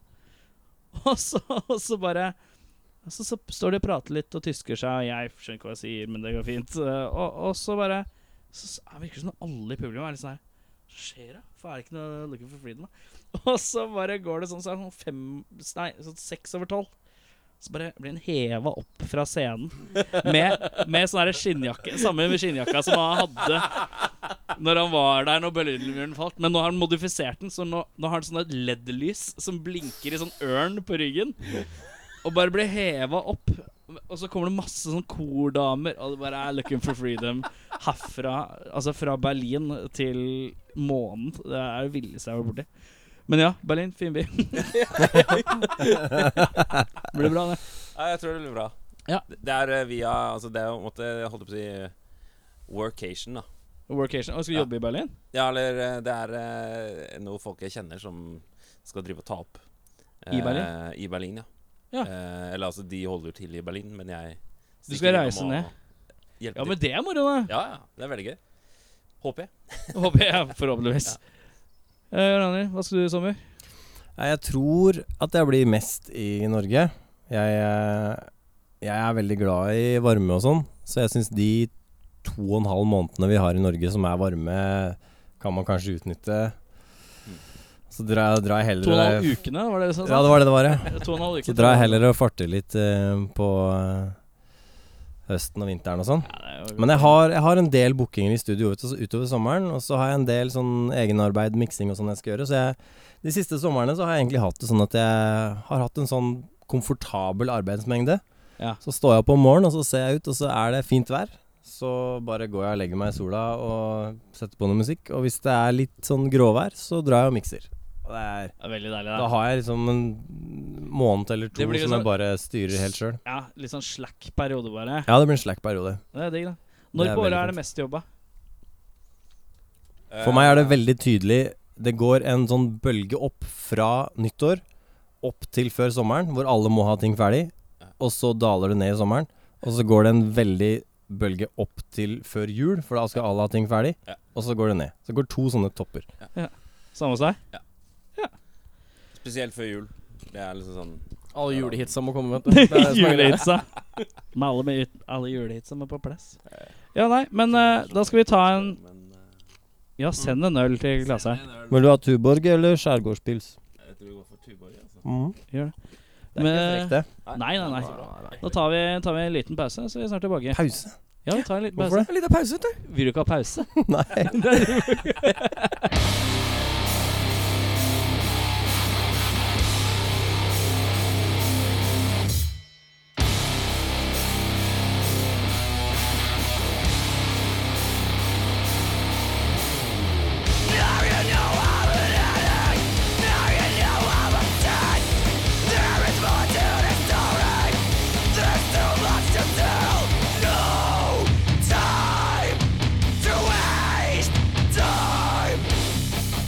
Og så, og så bare så, så står de og prater litt og tysker seg, og jeg skjønner ikke hva jeg sier, men det går fint. Eh, Og, og så bare Så s- er det virker det som om alle i publikum er litt sånn her Hva skjer da? For er det ikke noe Looking for Freedom, da? Og så bare går det sånn, så er det sånn fem Nei, sånn seks over tolv. Så bare blir han heva opp fra scenen med, med sånn her skinnjakke. Samme med skinnjakka som han hadde når han var der når Berlinmuren falt. Men nå har han modifisert den, så nå, nå har han sånn et LED-lys som blinker i sånn ørn på ryggen. Og bare blir heva opp. Og så kommer det masse sånn kordamer, og det bare er 'Looking for freedom' herfra. Altså fra Berlin til månen. Det er det villeste jeg har vært borti. Men ja, Berlin, fin by. Blir bra, det.
Ja, jeg tror det blir bra.
Ja.
Det- Det er eh, via Altså, det er jo på en måte Jeg holdt på å si eh, workation, da.
Workation. Og skal du
Ja.
jobbe i Berlin?
Ja, eller eh, det er eh, noen folk jeg kjenner som skal drive og ta opp.
I
eh,
Berlin?
I Berlin, ja.
Ja.
Eh, eller altså, de holder jo til i Berlin, men jeg
Du skal
stikker innom
reise
og
ned?
Hjelpe
Ja,
til.
men det er moro, da.
Ja, ja. Det er veldig gøy. Håper jeg.
Håper jeg. Forhåpentligvis. Eh, Rani, hva skal du i sommer?
Nei, jeg tror at jeg blir mest i Norge. Jeg, eh, jeg er veldig glad i varme og sånn, så jeg syns de to og en halv månedene vi har i Norge som er varme, kan man kanskje utnytte. Så drar jeg, drar jeg
Mm. To og sånn? en
heller
halv ukene, var det det som
Ja, det var det det var, ja.
To og en halv uke.
Så drar jeg heller og farter litt eh, på eh, høsten og vinteren og sånn.
Ja, det er jo-
Men jeg har, jeg har en del bookinger i studio ut, utover sommeren, og så har jeg en del sånn egenarbeid, miksing og sånn jeg skal gjøre. Så jeg, de siste somrene så har jeg egentlig hatt det sånn at jeg har hatt en sånn komfortabel arbeidsmengde.
Ja.
Så står jeg opp om morgenen, og så ser jeg ut, og så er det fint vær. Så bare går jeg og legger meg i sola og setter på noe musikk. Og hvis det er litt sånn gråvær, så drar jeg og mikser. Og det er,
Det er veldig deilig,
da
da.
har jeg liksom en måned eller to
Det
som
blir liksom-
jeg bare styrer helt sjøl.
Ja, Litt sånn slack periode, bare.
Ja, det blir en slack periode.
Det er digg, da.
Det
Når
er
på året
veldig
er det mest jobba?
For meg er det
Eh,
veldig tydelig Det går en sånn bølge opp fra nyttår Opp til før sommeren Hvor alle må ha ting ferdig Og så daler det ned i sommeren Og så går det en veldig bølge opp til før jul For da skal alle ha ting ferdig
Ja.
Og så går det ned Så det går to sånne topper
Samme hos deg?
Spesielt før jul. Det er liksom sånn
Alle julehitsa må komme, vet du. Det er det som er greia.
Julehitsa. Med alle, med, alle julehitsa med på plass. Ja, nei, men eh, da skal vi ta en
Men eh,
Ja, send en øl til klasse.
Vil du ha Tuborg eller skjærgårdspils?
jeg tror vi går for Tuborg. Altså.
Gjør det.
Det er ikke
Men-
frekk det
Nei, nei, nei. Da tar vi, tar vi en liten pause, så er vi snart tilbake.
Pause
Ja, vi tar en liten
Hvorfor
pause.
det? En liten pause vet
Vil du ikke ha pause?
du Nei
Time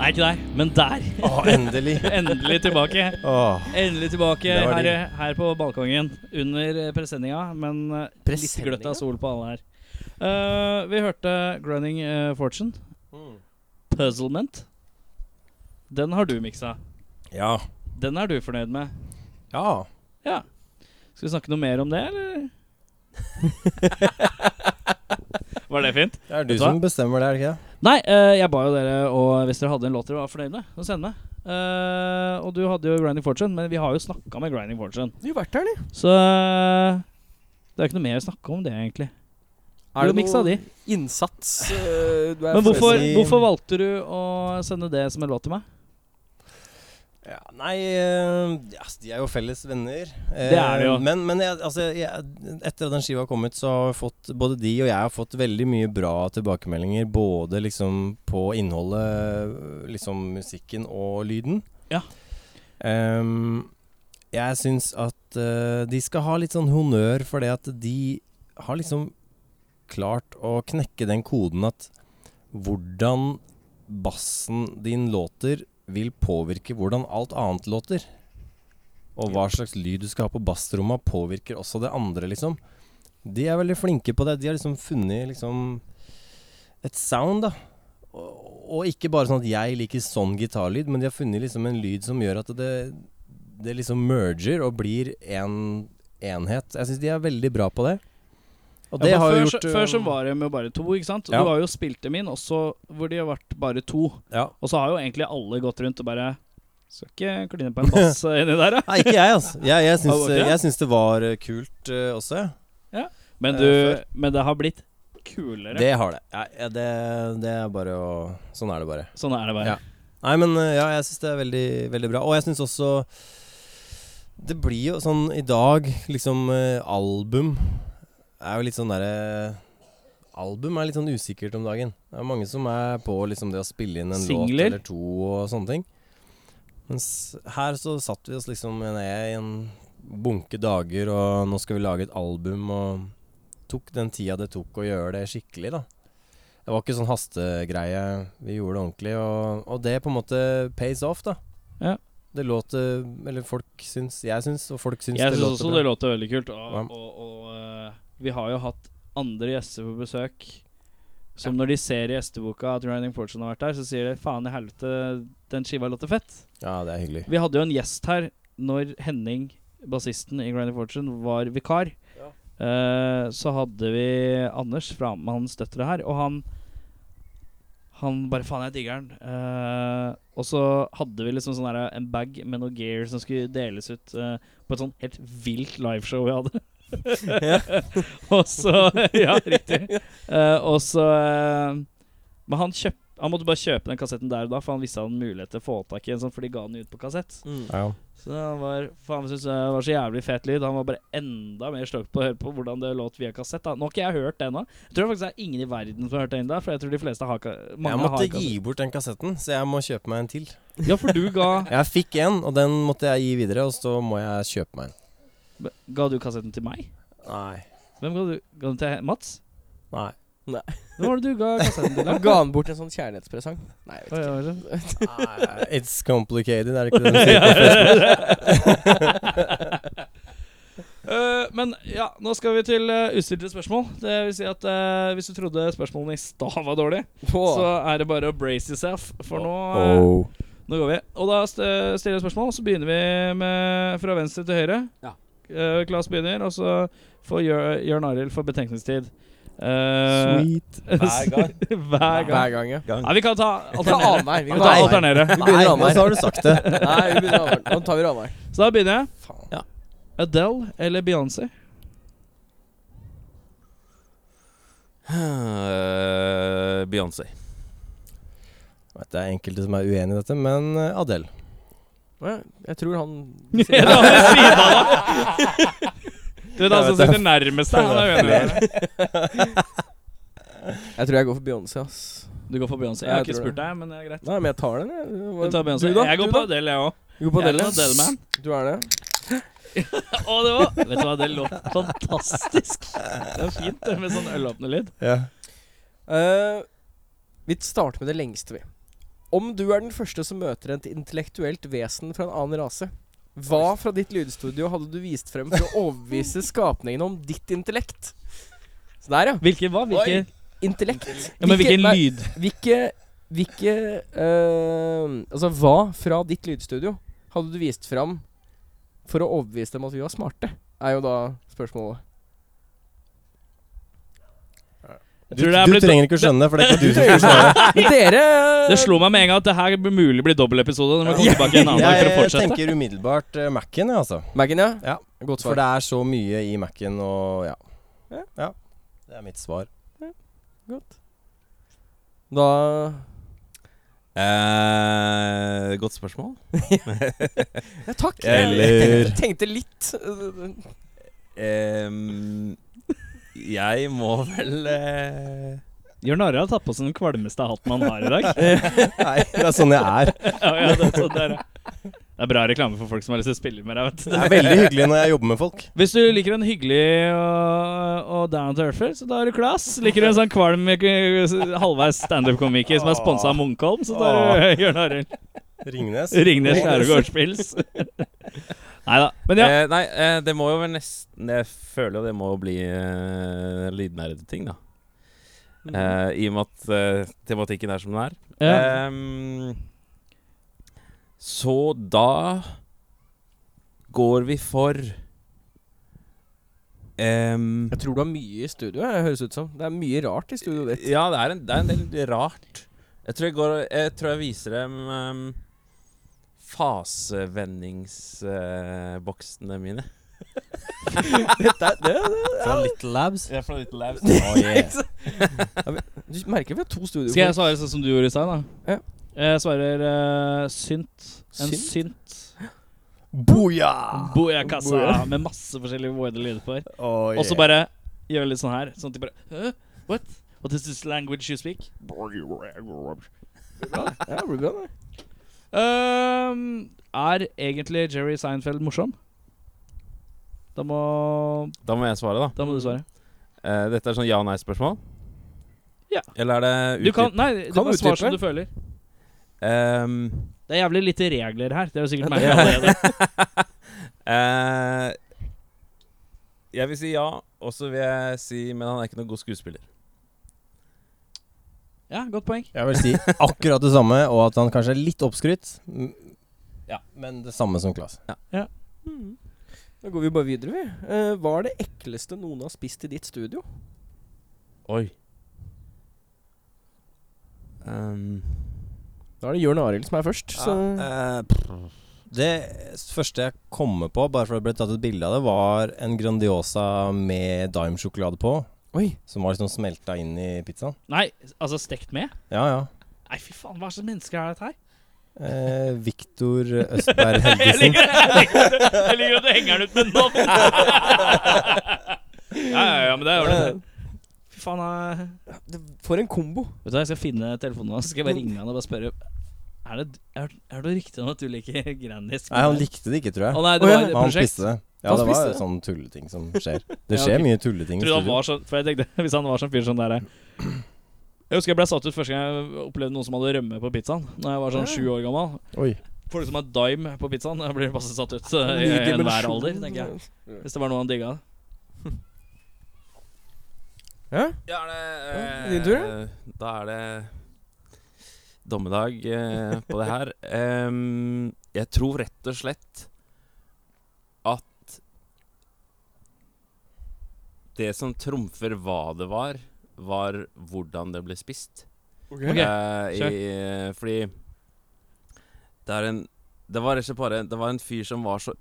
Nei, ikke der, men der.
Å, endelig.
Endelig tilbake.
Åh.
Endelig tilbake
Det var
her, her på balkongen under eh, presenninga. Men eh, litt gløtt av sol på alle her. Eh, vi hørte Grunning eh, Fortune.
Mm.
Puzzlement. Den har du miksa.
Ja.
Den er du fornøyd med.
Ja.
Ja. Skal vi snakke noe mer om det, eller? Var det fint?
Det er du
Vet du
som bestemmer det, er det ikke det?
Nei, eh, jeg ba jo dere, og hvis dere hadde en låt dere var fornøyd med, så send meg. Eh, og du hadde jo Grinding Fortune, men vi har jo snakka med Grinding Fortune.
Du har vært der, eller?
Så eh, det er jo ikke noe mer å snakke om det, egentlig. Er det miksa de?
innsats eh, du er
Men hvorfor,
fornøyd med?
hvorfor valgte du å sende det som en låt til meg?
Ja, nei eh, ja, De er jo felles venner. Eh,
Det er det jo.
Men, men jeg, altså, jeg, etter at den skiva har kommet, så har jeg fått både de og jeg har fått veldig mye bra tilbakemeldinger. Både liksom på innholdet, liksom musikken og lyden.
Ja.
Ehm, jeg syns at eh, de skal ha litt sånn honnør for det at de har liksom klart å knekke den koden at hvordan bassen din låter vil påvirke hvordan alt annet låter. Og hva slags lyd du skal ha på bassromma påvirker også det andre, liksom. De er veldig flinke på det. De har liksom funnet liksom et sound, da. Og, og ikke bare sånn at jeg liker sånn gitarlyd, men de har funnet liksom en lyd som gjør at det, det liksom merger og blir en enhet. Jeg syns de er veldig bra på det. Og det
Ja, for
har jo
før,
gjort
så,
øh,
før så var det med bare to, ikke sant?
Ja.
Du har jo spilt dem inn, og så hvor de har vært bare to.
ja.
Og så har jo egentlig alle gått rundt og bare Skal ikke kline på en bass inni der, da.
Nei, ikke jeg, altså. Jeg,
Ah,
jeg, syns,
var det ikke det?
jeg syns det var øh, kult øh, også, jeg.
Men,
Eh,
du,
før.
men det har blitt kulere.
Det har det. Ja, ja, det. Det er bare å Sånn er det bare.
Sånn er det bare.
Ja. Nei, men øh, ja, jeg syns det er veldig, veldig bra. Og jeg syns også Det blir jo sånn i dag, liksom øh, Album er jo litt sånn derre Album er litt sånn usikkert om dagen. Det er mange som er på liksom det å spille inn en
Singler.
låt eller to og sånne ting. Mens her så satt vi oss liksom ned i en bunke dager, og nå skal vi lage et album, og tok den tida det tok å gjøre det skikkelig, da. Det var ikke sånn hastegreie. Vi gjorde det ordentlig, og, og det på en måte pays off, da.
Ja.
Det låter Eller folk syns Jeg syns, og folk syns
Jeg
det
syns
låter
også
bra.
det låter veldig kult. Og,
Ja.
og, og eh, vi har jo hatt andre gjester på besøk. Som når de ser i gjesteboka at Ryan Fortune har vært der, så sier de faen i helvete, den skiva låter fett.
Ja, det er hyggelig.
Vi hadde jo en gjest her når Henning, bassisten i Grindy Fortune, var vikar. Eh, så hadde vi Anders fra hans døtre her, og han Han bare Faen, jeg digger den. Eh, og så hadde vi liksom sånn her, en bag med noe gear som skulle deles ut eh, på et sånn helt vilt liveshow vi hadde. og så Ja, riktig. Eh, og så eh, Men han kjøp, han måtte bare kjøpe den kassetten der og da, for han visste han hadde mulighet til å få tak i en sånn, for de ga den ut på kassett.
Ja.
Så han var Faen, jeg synes det var så jævlig fet lyd. Han var bare enda mer sløkt på å høre på hvordan det låt via kassett. Da. Nå har ikke jeg hørt det ennå. Jeg tror faktisk det er ingen i verden som har hørt det ennå. For jeg tror de fleste har ka mange
Jeg måtte
har
gi
kassett.
bort den kassetten, så jeg må kjøpe meg en til.
Ja, for du ga
Jeg fikk en, og den måtte jeg gi videre, og så må jeg kjøpe meg en.
Ga du kassetten til meg?
Nei.
Hvem ga du? Ga den til Mats?
Nei.
Hva var det du ga kassetten til? da?
Han ga han bort en sånn kjærlighetspresang. Nei, jeg vet
Oi,
ikke.
oi, oi.
It's complicated, er det ikke det du sier?
Eh, men ja, nå skal vi til eh, ustilte spørsmål. Det vil si at eh, hvis du trodde spørsmålene i stad var dårlige,
Åh.
så er det bare å brace yourself, for nå eh,
Oh.
Nå går vi. Og da st- stiller jeg spørsmål, så begynner vi med fra venstre til høyre.
Ja.
Eh, Klas begynner, og så får Jør- Jørn Arild for betenkningstid. Eh,
Hver gang.
Hver gang.
Hver gang, ja.
Nei, vi kan ta
Vi kan
alternere.
annenhver. Vi
Vi
kan
kan ta
ta annenhver.
alternere.
Vi begynner
Nei,
annenhver. Så har du sagt det.
Nei, vi begynner annenhver. Nå tar vi annenhver.
Så da begynner jeg.
Faen.
Adele eller Beyoncé?
Eh, Beyoncé.
Jeg vet Det er enkelte som er uenig i dette, men eh, Adele.
Åh, ja. Jeg tror han
Ja, da ved siden av deg. Du vet han som
Jeg vet det.
sitter nærmest deg, han er uenig med deg.
Jeg tror jeg går for Beyoncé, ass.
Du går for Beyoncé. Jeg
Jeg
har ikke
tror
spurt
det.
deg, men det er greit.
Nei, men jeg tar den, jeg.
Du tar Beyoncé.
Du da?
Jeg går
Du
på
da?
Adele, jeg òg.
Du går på
Jeg er
Adele.
en Adele-man.
Du er det?
Å, det var Vet du hva, det låt fantastisk. Det er fint det med sånn ølåpnerlyd.
Eh, vi starter med det lengste, vi. Om du er den første som møter et intellektuelt vesen fra en annen rase, hva fra ditt lydstudio hadde du vist frem for å overbevise skapningene om ditt intellekt? Så der, ja.
Hvilke hva? Hvilke,
Intellekt.
ja, men hvilken
nei,
lyd?
Hvilke, hvilke eh, Altså, hva fra ditt lydstudio hadde du vist fram for å overbevise dem at vi var smarte? Er jo da spørsmålet.
Du,
tror det er
du
blitt-
trenger ikke å skjønne, for det er ikke du som skal svare.
Men dere
Ah, Det slo meg med en gang at det her blir mulig blir dobbeltepisode. Når vi kommer tilbake en annen dag for å
Jeg
fortsette
tenker umiddelbart eh, Mac-en, jeg, altså.
Maggen, ja?
Ja,
Godt
For
svar.
det er så mye i Mac-en og ja.
Ja.
ja. Det er mitt svar.
Da
Eh, godt spørsmål.
Ja, takk.
Eller-
Jeg tenkte litt. eh,
Ehm, jeg må vel eh,
Jørn Arild har tatt på seg den kvalmeste hatten han har i dag.
Nei, det er sånn jeg er.
ja, ja, det, er sånn det er, ja. det er bra reklame for folk som har lyst til å spille med deg, vet du.
Det er veldig hyggelig når jeg jobber med folk.
Hvis du liker en hyggelig og, og down to earther, så da er du class. Liker du en sånn kvalm eh, halvveis standup-komiker som er sponsa av Munkholm, så da er du Jørn Arild.
Ringnes.
Ringnes Skjærgårdspils. Nei da. Men ja.
eh, Nei, eh, det må jo vel nesten Jeg føler jo det må bli eh, lydnerdeting, da. Eh, I og med at eh, tematikken er som den er.
Mm. ja.
Ehm, så da går vi for ehm,
Jeg tror du har mye i studio, jeg, høres ut som. Det er mye rart i studioet ditt.
Ja, det er, en, det er en del rart. Jeg tror jeg, går, jeg, tror jeg viser dem ehm, fasevendingsboksene mine.
Fra Little Labs.
Jeg er fra Little Labs.
Du merker vi har to studioer.
Skal jeg svare sånn som du gjorde i stad, da?
Ja.
Jeg svarer eh, synt. En synt.
Boja!
Bojakassa med masse forskjellige våde lyder på. Og så bare gjøre litt sånn her. Sånn at de bare Hæ? What? What is this language you speak?
Ja, det blir bra, det.
Øhm, er egentlig Jerry Seinfeld morsom? Da må,
Da må jeg svare, da.
da må du svare.
Eh, dette er sånn ja- og nei-spørsmål?
Ja.
Eller er det
Du kan Nei, du
Kan
kan svare
utdype.
som du føler.
Ehm,
Det er jævlig lite regler her. Det er jo sikkert merket allerede.
eh, jeg vil si ja, og så vil jeg si Men han er ikke noen god skuespiller.
Ja, godt poeng.
Jeg vil si akkurat det samme, og at han kanskje er litt oppskrytt. Mm. Ja, men det samme som Klas.
Da går vi bare videre, vi. Eh, hva er det ekleste noen har spist i ditt studio?
Oi.
Ehm.
Um,
Da er det Jørn Arild som er først. Så
Ja, eh, pff. det første jeg kommer på, bare for det ble tatt et bilde av det, var en Grandiosa med daimsjokolade på.
Oi.
Som var liksom smelta inn i pizzaen.
Nei, altså stekt med?
Ja, ja.
Nei, fy faen, hva slags mennesker er dette her?
Eh, Viktor
Jeg
Østberg Helgesen.
liker, jeg liker, jeg liker at du henger den ut med navn. Ja, ja, ja, men det er jo det. Fy faen, eh, jeg
For en kombo.
Vet du hva, Jeg skal finne telefonen hans. Skal jeg bare ringe han og bare spørre Er det, er, er det riktig om at du liker Grannis?
Nei, han likte det ikke, tror
Å
jeg.
nei, det
Å, ja.
var et
Han
prosjekt.
spiste det. Ja,
Han
det var
spiste det.
sånn tulleting som skjer.
Ja,
Det skjer
ok.
mye tulleting. i
Jeg trodde han
studio.
var sånn For jeg tenkte Hvis han var sånn fyr som der Jeg husker jeg ble satt ut første gang jeg opplevde noen som hadde rømme på pizzaen. Når jeg var sånn sju år gammel.
Oi.
Folk som har dime på pizzaen, jeg blir passe satt ut eh, i
Ny
enhver
dimensjon.
alder, tenker jeg. Hvis det var noe han digga.
Ja, er
Ja, din
det
tur,
eh, Da er det dommedag eh, på det her. Em, jeg tror rett og slett at Det som trumfer hva det var, var hvordan det ble spist.
Ok.
Eh, i, fordi det er en Det var rett og slett bare Det var en fyr som var så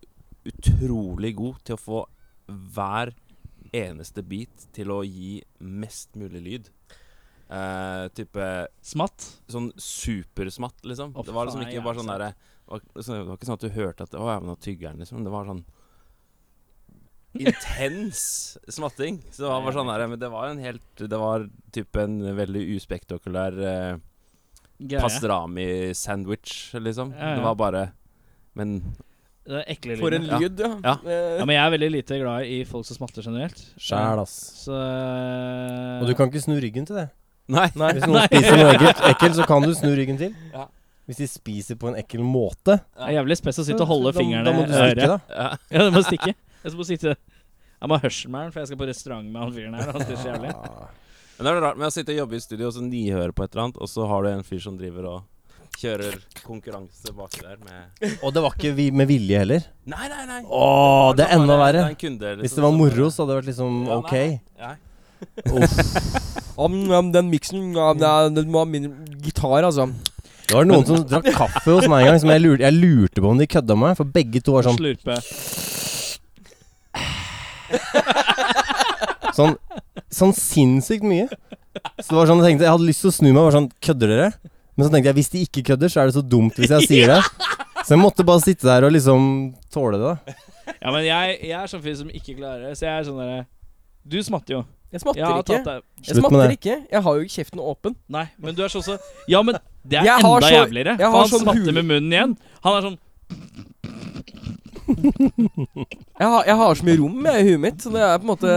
utrolig god til å få hver eneste bit til å gi mest mulig lyd. Eh, type
Smatt.
sånn supersmatt, liksom.
Å,
det var liksom
faen,
ikke
ja,
bare sånn
sant.
derre det var- liksom, Det var ikke sånn at du hørte at Å ja, men nå tygger han, liksom. Det var sånn Intens smatting. Så det var bare sånn der, Men det var en helt Det var type en veldig uspektakulær eh,
Greie.
pastrami-sandwich, liksom.
Ja, ja.
Det var bare Men
Det er ekle
For en
lyder.
Ja.
lyd, ja. Eh,
Ja.
Ja, men jeg er veldig lite glad i folk som smatter generelt.
Sjæl, ass.
Så eh,
Og du kan ikke snu ryggen til det.
Nei.
Hvis noen spiser noe ekkelt, ekkelt, så kan du snu ryggen til. Hvis de spiser på en ekkel måte
Det er jævlig spes å sitte og holde
da-
fingrene
Da må du stikke, da.
Ja.
Ja, du må stikke. Jeg skal bare sitte Jeg må ha hørselen, for jeg skal på restaurant med han fyren her. Han sier så jævlig.
Men det er det rart med å sitte og jobbe i studio og så nyhøre på et eller annet, og så har du en fyr som driver og kjører konkurranse baki der med
Og det var ikke vi med vilje heller.
Nei, nei, nei!
Åh, det er enda
Bare-
verre.
er en kunde, liksom,
Hvis det var
som-
moro, så hadde det vært liksom
Ja,
ok.
nei, nei.
Om, om den miksen ja, nei, Den må ha mindre gitar, altså.
Det var noen som drakk kaffe hos meg en gang, som jeg lurte, jeg lurte på om de kødda med meg, for begge to var sånn
Slurpe.
Sånn, sånn sinnssykt mye. Så det var sånn, Jeg tenkte, jeg hadde lyst til å snu meg og var sånn Kødder dere? Men så tenkte jeg hvis de ikke kødder, så er det så dumt hvis jeg sier det. Så jeg måtte bare sitte der og liksom tåle det. da
Ja, men jeg, jeg er sånn fyr som ikke klarer det, så jeg er sånn derre Du smatter jo.
Jeg smatter
Jeg har tatt
ikke.
deg
Jeg
Slutt med
smatter
det.
ikke. Jeg har jo ikke kjeften åpen.
Nei, men du er sånn så Ja, men det er
Jeg har
enda
så-
jævligere.
jeg
For
har
han
sånn
smatter
hul-
med munnen igjen. Han er sånn
Jeg har, jeg har så mye rom jeg, i huet mitt, så det er på en måte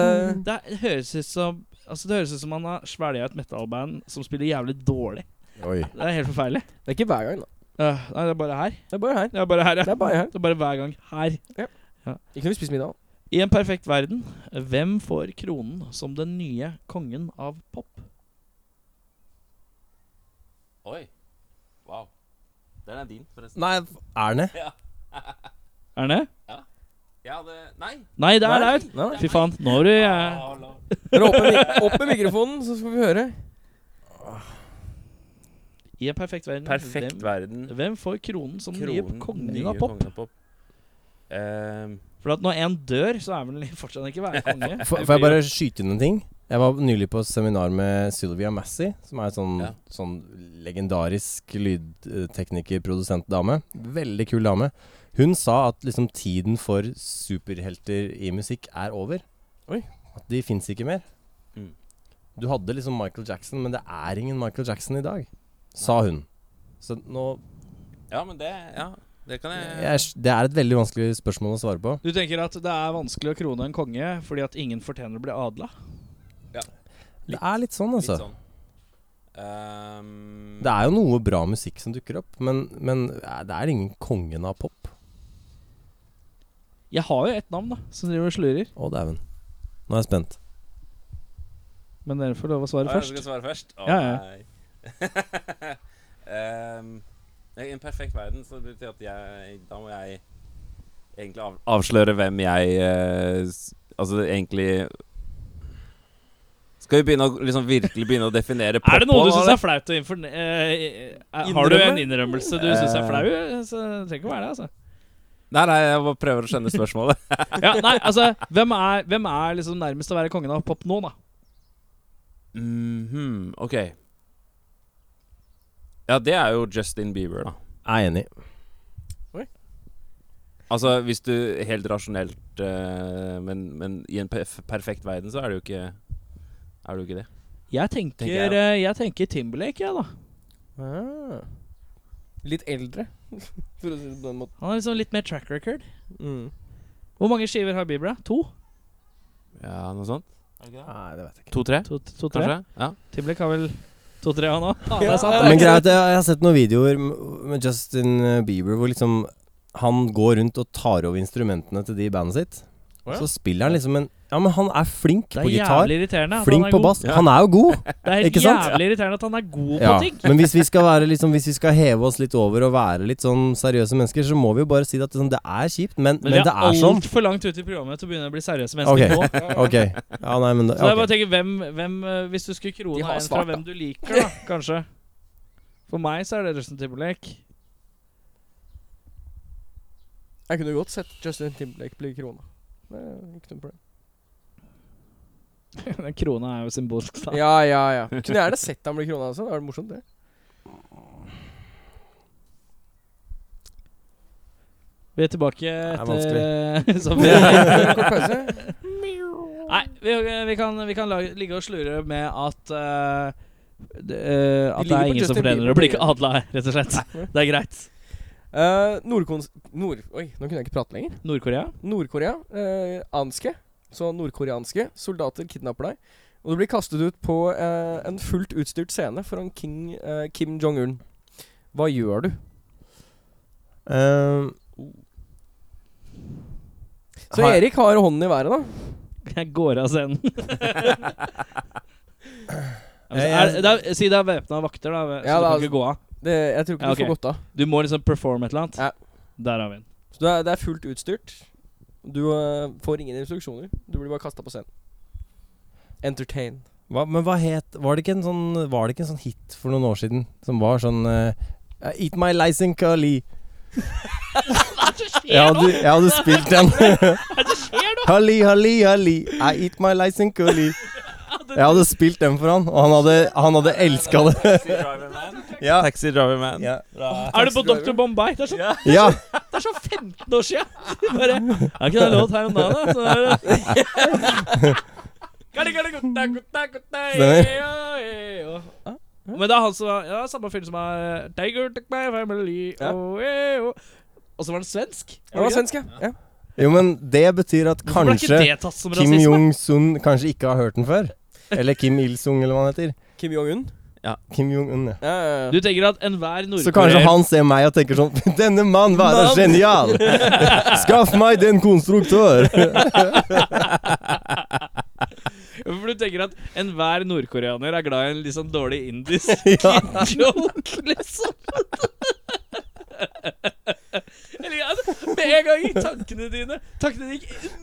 Det er- høres ut som Altså Det høres ut som han har svelga et metalband som spiller jævlig dårlig. Det er helt forferdelig.
Det er ikke hver gang, da.
Øh, nei, det er bare her.
Det er bare her.
Det er bare her, ja.
Det er bare her.
Det er bare hver gang her.
Ikke når vi spiser middag.
I en perfekt verden, hvem får kronen som den nye kongen av pop?
Oi. Wow. Den er din, forresten.
Nei, er den det?
Er det?
Jeg hadde Nei! Ah.
Nei, det er der!
Nei, nei.
Fy faen, nå har du jeg
Hallo.
Dere opp, med, mi- opp med mikrofonen, så skal vi høre.
I en perfekt verden,
Perfekt
hvem,
verden.
hvem får kronen som den nye kongen av pop?
kongen av pop. Ehm,
For at når en dør, så er vel fortsatt ikke være konge.
Får får jeg bare skyte inn en ting? Jeg var nylig på et seminar med Sylvia Massey, som er en sånn,
Ja.
sånn legendarisk lydtekniker-produsentdame. Veldig kul dame. Hun sa at liksom tiden for superhelter i musikk er over.
Oi.
At de fins ikke mer.
Mm.
Du hadde liksom Michael Jackson, men det er ingen Michael Jackson i dag, sa hun. Så nå
ja, men det Ja, det kan jeg
jeg, Det er et veldig vanskelig spørsmål å svare på.
Du tenker at det er vanskelig å krone en konge fordi at ingen fortjener å bli adla?
Det er litt sånn,
Litt
altså.
sånn. Ehm,
Det er jo noe bra musikk som dukker opp, men, men eh, det er ingen kongen av pop.
Jeg har jo ett navn, da, som driver og slurer.
Å, dæven. Nå er jeg spent.
Men dere får lov å
Å,
svare
jeg skal
først.
svare først? Å,
Ja,
nei. Ehm, I en perfekt verden så betyr det at jeg Da må jeg egentlig av, avsløre hvem jeg eh, s- Altså egentlig Skal vi begynne å liksom virkelig begynne å definere pop?
Er det noe du
nå,
syns
eller?
er flaut å informere eh, Har du en innrømmelse du syns er flau? Så det trenger ikke å være det, altså.
Nei, nei, jeg bare prøver å skjønne spørsmålet.
Ja, nei, altså Hvem er, hvem er liksom nærmest å være kongen av pop nå, da?
Mhm, ok. Ja, det er jo Justin Bieber, da.
Jeg er enig.
Altså, hvis du helt rasjonelt eh, men, men i en perf perfekt verden, så er det jo ikke Er det jo ikke det.
Jeg tenker,
Tenker jeg,
jeg,
da.
jeg tenker Timberlake, jeg, da.
Ah. Litt eldre, for å si det på den måten.
Han har liksom litt mer track record.
Mm.
Hvor mange skiver har Bieber? da? To?
Ja, noe sånt?
Nei, det vet jeg ikke.
To-tre,
To, to, tre.
kanskje? Ja.
Timberlake har vel to-tre, han òg. Ja, det
Ja,
er sant.
Men greit, jeg, jeg har sett noen videoer m- med Justin eh, Bieber hvor liksom han går rundt og tar over instrumentene til de i bandet sitt.
Å, ja.
Så spiller han liksom en Ja, men han er flink
Det er
på gitar.
jævlig irriterende. at han
Flink
er
på
god.
bass. Han er jo god.
Det er
ikke
helt
sant?
jævlig irriterende at han er god på
Ja.
ting.
Men hvis vi, skal være liksom, hvis vi skal heve oss litt over og være litt sånn seriøse mennesker, så må vi jo bare si at liksom, det er kjipt, men,
Men,
men,
vi
det
er
er sånn.
altfor langt ute i programmet til å begynne å bli seriøse
Ok.
mennesker nå.
Ok. Ja, nei, men da,
Så jeg
ok.
bare tenker, hvem, hvem eh, Hvis du skulle krone
De har
en fra
svart, da.
hvem du liker, da, kanskje For meg så er det Justin Timberlake.
Jeg kunne godt sett Justin Timberlake bli krona. Det er Ikke noe problem.
Den krona er jo symbolsk. Da.
Ja, ja, ja. Kunne gjerne sett han bli krona også. Det var morsomt, det.
Vi er tilbake
er
etter som vi,
Kort pause.
Nei, vi, vi kan, vi kan lage, ligge og slure med at eh, det, eh, At
Vi ligger
det
på
er ingen som
Justin
fortjener
Bieber
å bli
på
adla her, rett og slett. Det er greit.
Eh, Nordkons... Nord... Oi, nå kunne jeg ikke prate lenger.
Nord-Korea?
Nord-Korea. Eh, anske, så nordkoreanske soldater kidnapper deg. Og du blir kastet ut på eh, en fullt utstyrt scene foran King, eh, Kim Jong-un. Hva gjør du?
Ehm,
Så
Har-
Erik har hånden i været, da.
Jeg går av scenen. Ja, men så
Jeg-
er, det er, si det er væpna vakter, da. Så
Ja,
du
da-
kan ikke gå av.
Det, jeg tror ikke
Ja,
du
ok.
får godt av.
Du må liksom performe et eller annet.
Ja.
Der har vi den.
Så du er, det er fullt utstyrt. Du øh, får ingen instruksjoner. Du blir bare kasta på scenen. Entertain.
hva, men hva het var det, ikke en sånn, var det ikke en sånn hit for noen år siden som var sånn eh, Eat my Lysen Kali. Jeg hadde, jeg hadde spilt den. Halli, halli, halli. I eat my Lysen Kali. Jeg hadde spilt den for han, og han hadde, han hadde elska det. Ja.
Taxi Driver Man.
Ja.
Er du på Dr. Bombay? Det er sånn,
ja.
det er sånn 15 år sia! Bare Er ikke det en låt her om dagen, da? Så er det Gutta, gutta, gutta, gutta,
Stemmer.
ja, ja. Men det er han som er ja, samme fyr som er Tiger took my family
Ja.
oh, eh, oh. Og så var han svensk.
Det var svensk, ja. ja.
Jo, men det betyr at
Hvorfor ble ikke
kanskje
det tatt som
Kim
rasisme?
Jong-sun kanskje ikke har hørt den før. Eller Kim Il-sung, eller hva han heter.
Kim Jong-un.
Kim Jong-un, ja.
Ja, ja, ja.
Du tenker at enhver
Så kanskje
nordkoreer
han ser meg og tenker sånn Denne mann være
Mann.
genial! Skaff meg den konstruktør!
For du tenker at enhver nordkoreaner er glad i en litt sånn dårlig indisk
Ja.
joke, liksom. Eller ja, altså, Med en gang gikk tankene dine Tankene dine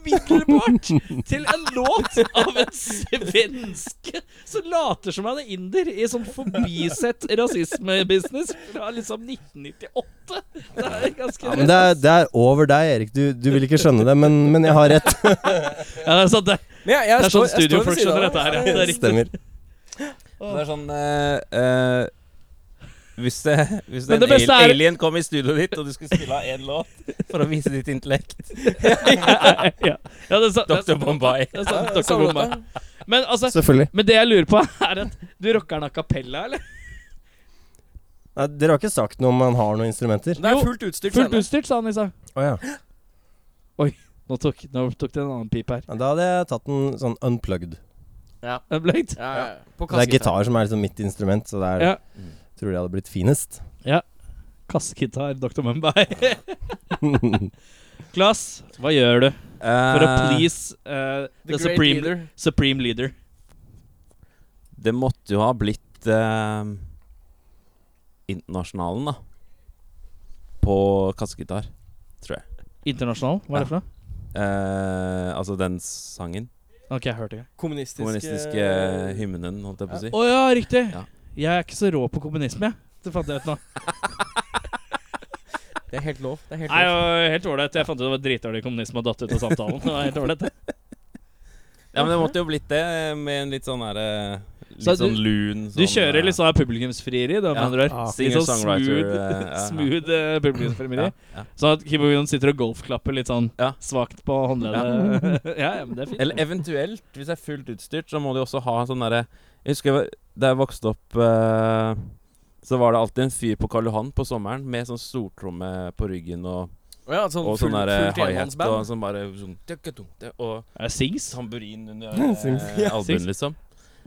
gikk umiddelbart til en låt av en svenske som later som han er inder, i sånn forbisett rasismebusiness fra liksom 1998. Det er ganske
Ja, men det er, det er over deg, Erik. Du, du vil ikke skjønne det, men, men jeg har rett.
Ja, det er sant, det.
Men jeg, jeg, står, jeg
Det er sånn
står ved
studiofolk
siden av
skjønner
deg.
dette her. Ja. Det er riktig.
Stemmer.
Det er sånn eh, eh, Hvis det, hvis det,
Men det
en
beste
al-
er-
alien kom i studioet ditt, og du skulle spille av én låt for å vise ditt intellekt
ja. ja, det er sant.
Dr. Bombay.
Det er sant, Dr.
Samme
Bombay.
dette.
Men altså
Selvfølgelig.
Men det jeg lurer på, er at du rocker den a cappella, eller?
Nei, dere har ikke sagt noe om han har noen instrumenter?
Det
Jo,
er fullt utstyrt
Fullt
scene.
utstyrt, sa han i stad.
Å ja.
Nå tok, nå tok det en annen pip her.
Ja, Da hadde jeg tatt en sånn unplugged.
Unplugged.
Ja, ja, ja. På
Det er
kassegitar.
gitar som er liksom mitt instrument, så det er,
Ja.
tror jeg hadde blitt finest.
Kassegitar, Dr. Mumbai. Klass, hva gjør du for å
Eh,
please eh,
The
the,
Great
supreme leader.
Leader.
supreme leader?
Det måtte jo ha blitt eh, Internasjonalen, da. På kassegitar.
Internasjonal, hva er det for noe?
Eh, altså den sangen.
Ok, jeg hørte ikke.
Kommunistiske
Kommunistiske eh, hymnen, holdt jeg på å si.
Å ja, riktig!
Ja.
Jeg er ikke så rå på kommunisme, jeg. Det fant jeg ut nå.
Det er helt lov. Det er helt
Nei,
lov.
og helt ålreit. Jeg fant ut det var dritdårlig kommunisme og datt ut av samtalen. Det var helt ålreit. det.
Ja, men det måtte jo blitt det, med en litt sånn herre Litt
Så du-
sånn lun
Du kjører litt
liksom
sånn publikumsfrieri, da, med
Ja.
andre
Ah.
ord. Litt sånn
Singer-songwriter.
smooth
eh, ja, ja.
Smooth uh, publikumsfremmeri.
Ja, ja.
Sånn at Kim Jong-un sitter og golfklapper litt sånn
Ja.
svakt på håndleddet. Ja. ja, men det er fint.
Eller eventuelt, hvis det er fullt utstyrt, så må du jo også ha en sånn derre Jeg husker jeg var- da jeg vokste opp eh, Så var det alltid en fyr på Karl Johan på sommeren med sånn stortromme på ryggen og,
Å ja, sånn
og
full-
sånn derre
fullt
high-hat
enmannsband.
og sånn bare sånn, tuk-tuk-tuk, Og
Er det Sings?
tamburin under
Sånn-
Syns-
eh, albuen, liksom.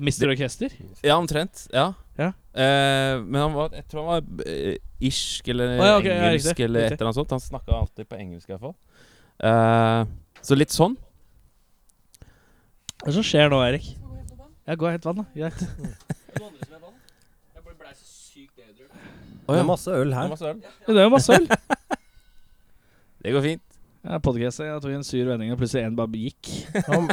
Mister Orkester?
Ja, omtrent. Ja.
Ja.
Eh, men han var, jeg tror han var eh, irsk eller
Å, ja, ok, ja,
engelsk
riktig,
eller et
riktig.
eller annet sånt. Han snakka alltid på engelsk, i hvert fall. Eh, så litt sånn.
Hva er det som skjer nå, Erik? Jeg går og henter vann, da. Greit.
Det er masse øl her.
Men det er jo masse øl.
Det går fint.
Ja, Podkastet. Jeg tok en sur vending, og plutselig en bare gikk.
Han,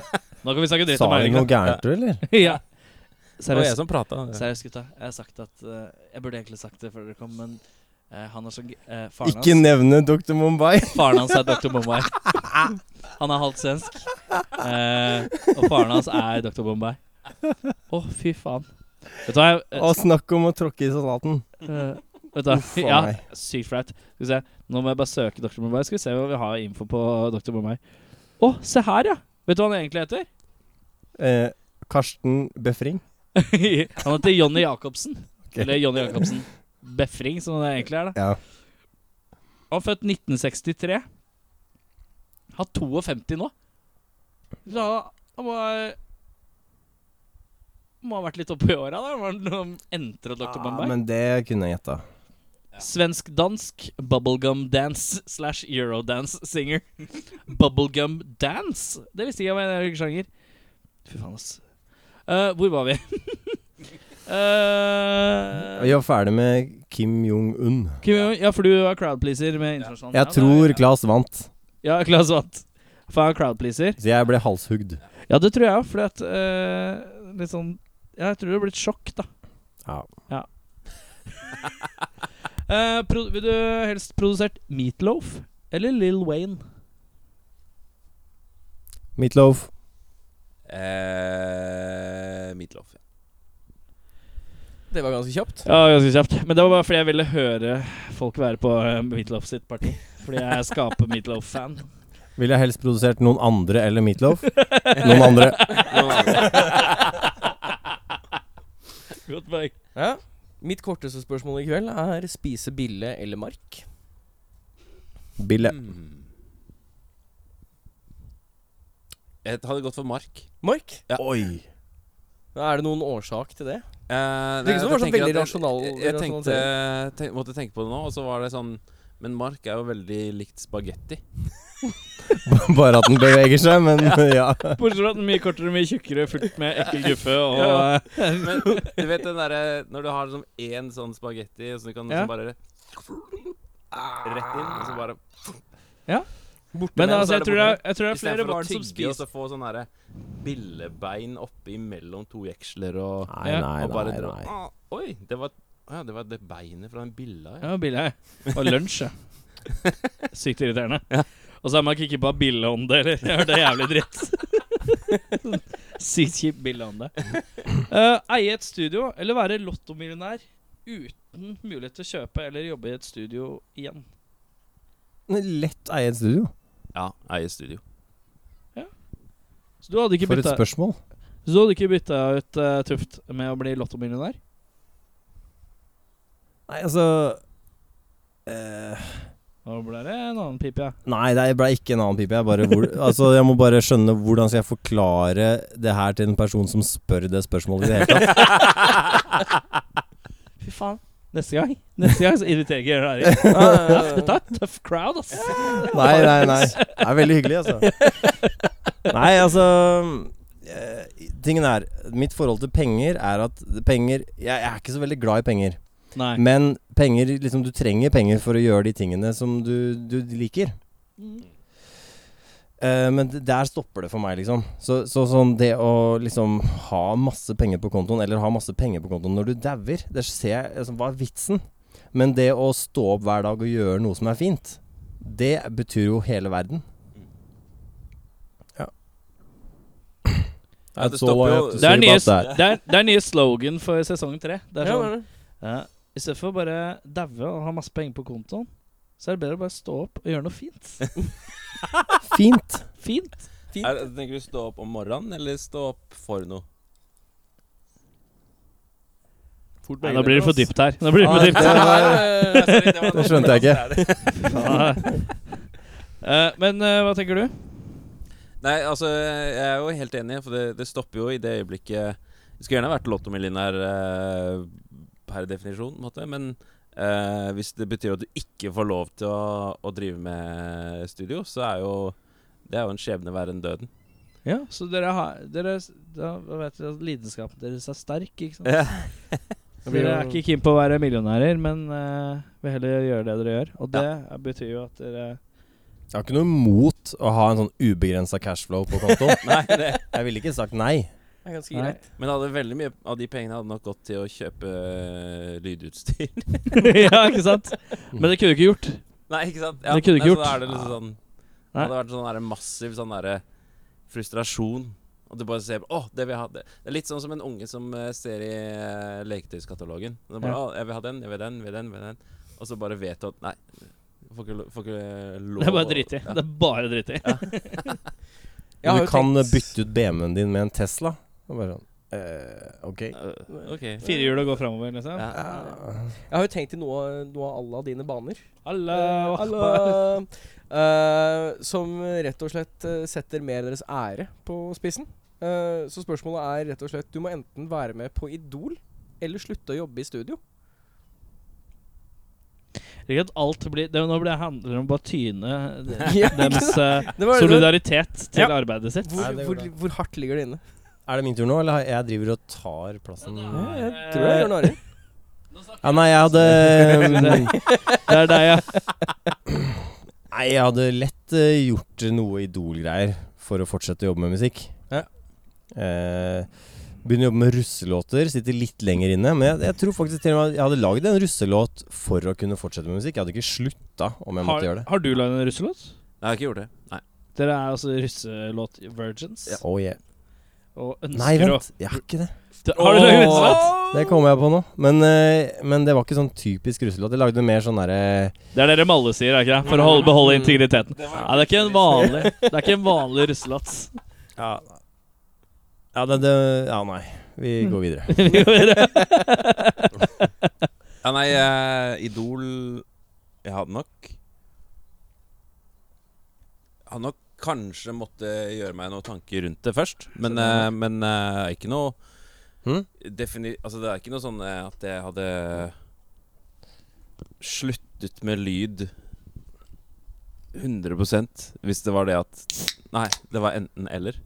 Nå kan vi snakke dritt
sa
om
han
Eirik.
noe gærent, du, eller?
da. ja.
Det var jeg
Seriøst,
som prata.
seriøst, gutta. Jeg har sagt at eh, Jeg burde egentlig sagt det før dere kom, men eh, han er så g- eh, Faren hans
Ikke nevne Dr. Mumbai.
Faren hans er Dr. Bombay. Han er halvt svensk. Eh, og faren hans er Dr. Bombay. Å, fy faen. Vet du hva jeg eh,
Og snakk om å tråkke i salaten.
eh, Vet du hva?
Uff a
Ja,
meg.
sykt flaut. Skal vi se. Nå må jeg bare søke Dr. Bombay. Skal vi se hva vi har info på Dr. Bombay. Å, se her, ja. Vet du hva han egentlig heter?
Eh, Karsten Befring.
han heter Jonny Jacobsen.
Ok.
Eller Jonny Jacobsen Befring, som det egentlig er. da
Ja.
Han er født 1963. Har 52 nå. Så han- han må ha Må ha vært litt oppe i åra, da. Var han entret Dr.
Ah,
Bombay?
men det kunne jeg gjetta.
Svensk-dansk bubblegum dance slash eurodance singer. bubblegum dance? Det visste ikke jeg var en egen sjanger. Fy faen, ass. Eh, hvor var vi? Eh,
Vi var ferdig med Kim Jong-un.
Kim Jong-un, ja, for du var crowdpleaser med internasjonal
Jeg tror Claes vant,
Ja, Claes vant. For han er crowdpleaser.
så jeg ble halshugd.
Ja, det tror jeg òg, fordi at eh, Litt sånn ja, Jeg tror det blir et sjokk, da.
Ja.
Eh, pro vil du helst produsert Meatloaf eller Lill Wayne?
Meatloaf.
Eh, Meatloaf. Ja.
Det var ganske kjapt.
Ja, ganske kjapt. Men det var bare fordi jeg ville høre folk være på eh, Meatloaf sitt parti. Fordi jeg skaper Meatloaf-fan.
Ville jeg helst produsert noen andre eller Meatloaf? Noen andre.
Godt poeng.
Ja. Mitt korteste spørsmål i kveld er spise bille eller mark.
Bille.
Mm. Jeg hadde gått for Mark.
Mark?
Oi.
Er det noen årsak til det?
Eh, nei,
virker som det var sånn
tenker
veldig
at
rasjonal-
Jeg, jeg tenkte, eh,
rasjonalisering.
tenk, måtte tenke på det nå, og så var det sånn Men mark er jo veldig likt spagetti.
Bare at den beveger seg, men ja.
Bortsett fra at den er mye kortere, mye tjukkere, fullt med ekkel guffe og eh,
Ja. Men du vet den derre når du har liksom én sånn spagetti, og så du kan
Ja.
liksom bare Rett inn, og så bare
Men
Og
altså,
så er
jeg
det
tror det er,
borte.
jeg tror det er flere
Istedenfor å
barn som
tygge og
spiser
så få sånn derre billebein oppi mellom to jeksler og
Nei,
Ja.
nei,
og bare
nei.
dra.
nei.
Ah, Oi, det var ja, det var det beinet fra den billa. Ja.
Ja, bille Og lunsj, ja. Sykt irriterende. Og så er man ikke på billehånde heller. Jeg hørte det er jævlig dritt. Sykt kjip billehånde. Eh, eie et studio eller være lottomillionær uten mulighet til å kjøpe eller jobbe i et studio igjen.
Lett eie et studio.
ja, eie studio.
Så du hadde ikke
For et
bytta,
spørsmål.
så du hadde ikke bytta ut eh, Tuft med å bli lottomillionær?
Nei, altså eh,
Da ble det en annen pipe, ja.
Nei, det ble ikke en annen pipe. Jeg, bare, hvor, altså, jeg må bare skjønne hvordan skal jeg forklare det her til en person som spør det spørsmålet i det hele tatt.
Fy faen. Neste gang Neste gang så inviterer jeg deg.
sånn-
Dette er en tøff crowd, ass.
Nei, nei, nei. Det er veldig hyggelig, altså. Nei, altså eh, Tingen er Mitt forhold til penger er at penger Jeg er ikke så veldig glad i penger.
Nei.
Men penger, liksom, du trenger penger for å gjøre de tingene som du, du liker. Eh, men d- der stopper det for meg, liksom. Så, så sånn det å liksom ha masse penger på kontoen, eller ha masse penger på kontoen når du dauer, det ser jeg altså, Hva er vitsen? Men det å stå opp hver dag og gjøre noe som er fint, det betyr jo hele verden. Ja.
Ja, det stopper jo-
Det er, nye, det, er, det er nye slogan for sesong tre. Det er
Ja,
sånn,
det er det.
ja, I stedet for å bare daue og ha masse penger på kontoen, så er det bedre å bare stå opp og gjøre noe fint.
Fint.
Fint.
Er, tenker du stå opp om morgenen, eller stå opp for noe?
Fort
Nei,
begge
nå blir det
deler,
for
ass.
dypt her. Nå blir det for dypt
Ja, ja, ja, ja.
Det
sånn-
skjønte jeg ikke.
Eh, Men eh, hva tenker du?
Nei, altså, jeg er jo helt enig, for det, det stopper jo i det øyeblikket Det skulle gjerne vært lottomillionær eh, per definisjon, på en måte, men eh, hvis det betyr at du ikke får lov til å, å drive med studio, så er jo det er jo en skjebne verre enn døden.
Ja, så dere har dere, da vet dere at lidenskapen deres er sterk, ikke sant?
Ja.
Så Dere er ikke keen på å være millionærer, men eh, vil heller gjøre det dere gjør. Og det eh, betyr jo at dere
Jeg har ikke noe imot å ha en sånn ubegrensa cashflow på kontoen.
Nei, det.
Jeg ville ikke sagt nei.
Det er ganske
Nei.
greit.
Men hadde veldig mye av de pengene hadde nok gått til å kjøpe eh, lydutstyr.
Ja, ikke sant? Men det kunne du ikke gjort.
Nei, ikke sant?
Det kunne du
nei,
ikke
så
gjort.
da er det liksom sånn Det
Nei.
hadde vært sånn der massiv sånn derre frustrasjon. At du bare ser Å, det vil jeg ha. Det det er litt sånn som en unge som eh, ser i eh, leketøyskatalogen. Og så bare,
Ja.
Å, jeg vil ha den, jeg vil den, jeg vil den, jeg vil den. Og så bare vet du at Nei, jeg får ikke, lo- får ikke lov
Det er bare
å-
dritt i.
Ja.
Det er bare dritt i.
Jeg har
Du
jo
kan
tenkt-
bytte ut BMW-en din med en Tesla. Det er bare sånn eh, Ok.
Eh, OK.
Fire hjul og gå framover, liksom.
Ja.
Eh,
Jeg har jo tenkt i noe, noe av alle dine baner.
Allah,
Eh,
akbar.
alle, eh, som rett og slett eh, setter mer deres ære på spissen. Eh, så spørsmålet er rett og slett Du må enten være med på Idol eller slutte å jobbe i studio.
Ikke at alt blir det, Nå blir det handler det om bare å tyne
Ja,
deres eh,
Det var-
solidaritet til
Ja.
arbeidet sitt.
Hvor,
Nei, det går
hvor,
bra.
hvor hardt ligger det inne?
Er det min tur nå, eller har- jeg driver og tar plassen? Ja,
Jeg tror jeg gjør Nari.
nei, jeg hadde
Det er deg, ja.
Nei, jeg hadde lett eh, gjort noe Idol-greier for å fortsette å jobbe med musikk.
Ja.
Eh, begynne å jobbe med russelåter, sitter litt lenger inne. Men jeg, jeg tror faktisk til og med at jeg hadde lagd en russelåt for å kunne fortsette med musikk. Jeg hadde ikke slutta om jeg måtte
Har,
gjøre det.
har du lagd en russelåt?
Jeg har ikke gjort det. Nei.
Dere er altså russelåt-virgins.
Oh, yeah.
Og ønsker
Nei,
å
vent. Jeg har ikke det.
Du- Har du lagd russelåt?
Det kommer jeg på nå. Men, eh, men det var ikke sånn typisk russelåt. Jeg lagde mer sånn derre
Det er det Malle sier, er ikke det? For å holde, beholde integriteten. Ja, det er ikke en vanlig Det er ikke en vanlig russelåt.
ja. Ja, det, det Ja, nei. Vi går videre.
Ja, nei, eh, Idol Jeg hadde nok Jeg hadde nok kanskje måtte gjøre meg noen tanker rundt det først. Men, eh, men eh, ikke noe
Hm?
defini... Altså, det er ikke noe sånn eh, at jeg hadde sluttet med lyd 100 hvis det var det at Nei, det var enten eller.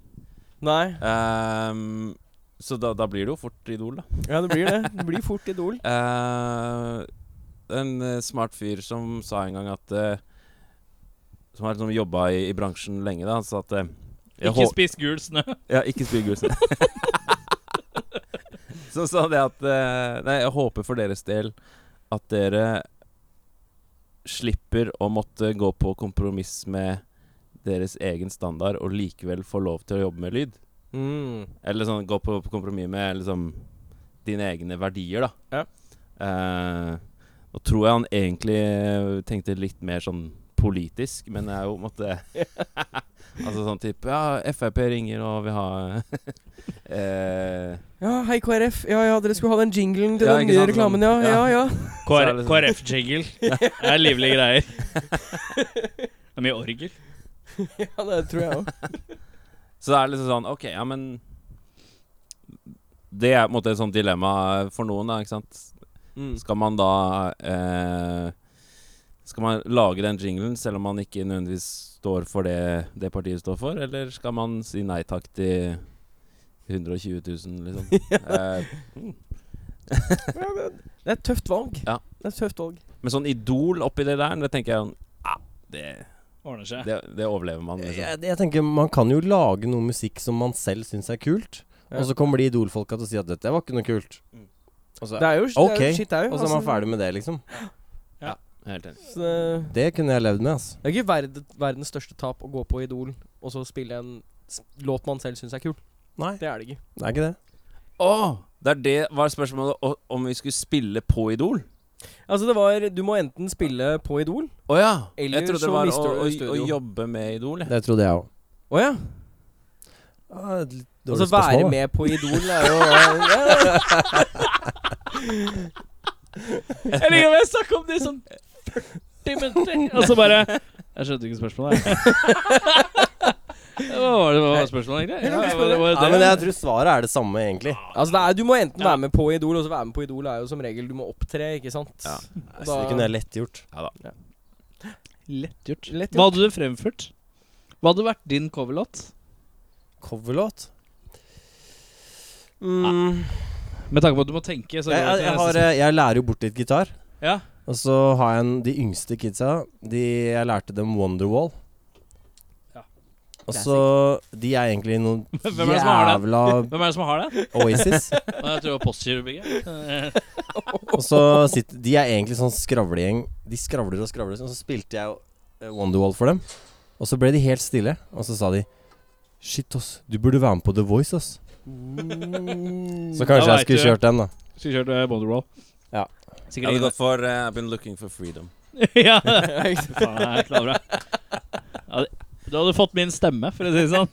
Nei.
Ehm, så da, da blir det jo fort Idol, da.
Ja, det blir det. Det blir fort Idol.
Eh, en eh, smart fyr som sa en gang at eh, Som har liksom jobba i, i bransjen lenge, da. Han sa at eh, jeg
Ikke
hå-
spis gul snø.
ja, ikke spill gullsnø. så sa det at eh, Nei, jeg håper for deres del at dere slipper å måtte gå på kompromiss med deres egen standard og likevel få lov til å jobbe med lyd.
Mm.
Eller sånn gå på, på kompromiss med liksom dine egne verdier, da.
Ja.
Eh, nå tror jeg han egentlig tenkte litt mer sånn politisk, men jeg er jo på en måte Altså sånn type Ja, Frp ringer og vil ha eh,
Ja, hei KrF. Ja, ja, dere skulle ha den jinglen til
Ja,
den
ikke
nye
sant, sånn-
reklamen, ja. Ja,
ja.
ja.
Så er det sånn-
KrF-jingle. Det er livlige greier. Det er mye orgel.
Ja, det tror jeg òg.
Så det er liksom sånn Ok, ja, men Det er på en måte et sånt dilemma for noen, da, ikke sant?
Mm.
Mm.
Skal man da eh, Skal man lage den jinglen selv om man ikke nødvendigvis står for det, det partiet står for, eller skal man si nei takk til 120 000, liksom? eh,
Det er et tøft valg.
Ja.
Det er et tøft valg.
men sånn Idol oppi det der, det tenker jeg ah, det,
Ordner seg.
det, det overlever man, liksom.
Jeg, jeg tenker Man kan jo lage noe musikk som man selv syns er kult,
Ja.
og så kommer de Idol-folka til å si at 'dette var ikke noe kult'. Og så,
Det er jo,
Ok,
det er jo shit, det er jo.
og så er man
altså,
ferdig med det, liksom.
Helt enig.
så eh, det-
Det kunne jeg levd med, altså.
Det er ikke verd verdens største tap å gå på Idol og så spille en s- låt man selv syns er kul.
Nei.
Det er det ikke.
Det er ikke det.
Å! det er det var spørsmålet o- om vi skulle spille på Idol.
Altså, det var Du må enten spille på Idol
Å ja!
Eller
Jeg trodde
så
det var å,
mister du
å, å
studio.
jobbe med Idol. jeg.
Det trodde jeg òg.
Å ja.
Altså,
Og så Altså, være med på Idol er jo ja, ja.
Jeg liker å snakke om det i sånn 40 minutter, og så bare Jeg skjønte ikke spørsmålet. jeg. Hva var det hva var spørsmålet, egentlig? Ja, det var- det var
Ja, men
det.
jeg tror svaret er det samme, egentlig.
Altså, det er, du må enten være med på Idol, og så være med på Idol er jo som regel du må opptre, ikke sant?
Ja.
Og
altså,
Så det kunne jeg lett gjort.
Lett gjort.
Lett
Hva hadde du fremført? Hva hadde vært din coverlåt?
Coverlåt? Mm.
Med tanke på at du må tenke. Så
Jeg, jeg, jeg, har, eh, jeg lærer jo bort litt gitar.
Ja.
Og så har jeg en, de yngste kidsa de, Jeg lærte dem Wonderwall.
Ja.
Og så De er egentlig noen
Hvem er det som har den?
jævla
Hvem er det som har det?
Oasis.
Nei, Jeg tror det var Postgirobygget. Eh,
Og så sitter De er egentlig sånn skravlegjeng. De skravler og skravler. Og så spilte jeg eh, Wonderwall for dem. Og så ble de helt stille, og så sa de Shit, ass. Du burde være med på The Voice, ass.
Mm.
Så
Mm.
kanskje
Da
jeg
vet
skulle
du.
kjørt den, da.
Skulle kjørt eh, Wonderwall.
Ja.
Jeg
Sikkert
hadde
ingen
gått for eh, I've been looking for freedom.
ja, Fy faen, jeg er klar over det. Ja, det- Du hadde fått min stemme, for å si det sånn.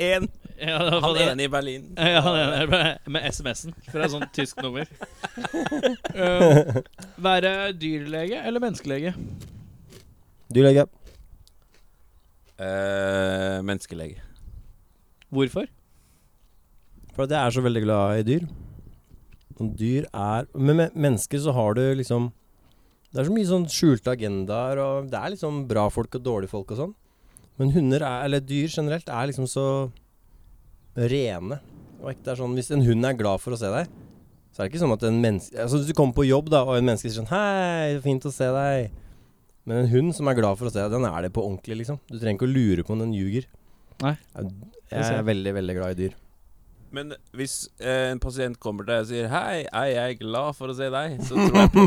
En,
Ja, du hadde
han
fått det.
ene i Berlin.
Ja, det er med SMS-en fra et sånt sånn tysk nummer. Eh, være dyrlege eller menneskelege?
Du legger
Eh, menneskelege.
Hvorfor?
For at jeg er så veldig glad i dyr. Og dyr er Men med mennesker så har du liksom Det er så mye sånn skjulte agendaer, og det er liksom bra folk og dårlige folk og sånn. Men hunder, er, eller dyr generelt, er liksom så rene. Og ikke det er sånn, Hvis en hund er glad for å se deg, så er det ikke sånn at en menneske Altså Hvis du kommer på jobb da, og en menneske sier sånn 'Hei, fint å se deg', men en hund som er glad for å se deg, den er det på ordentlig, liksom. Du trenger ikke å lure på om den ljuger.
Nei.
Jeg, jeg er veldig, veldig glad i dyr.
Men hvis eh, en pasient kommer til deg og sier 'Hei, er jeg glad for å se deg', så tror jeg på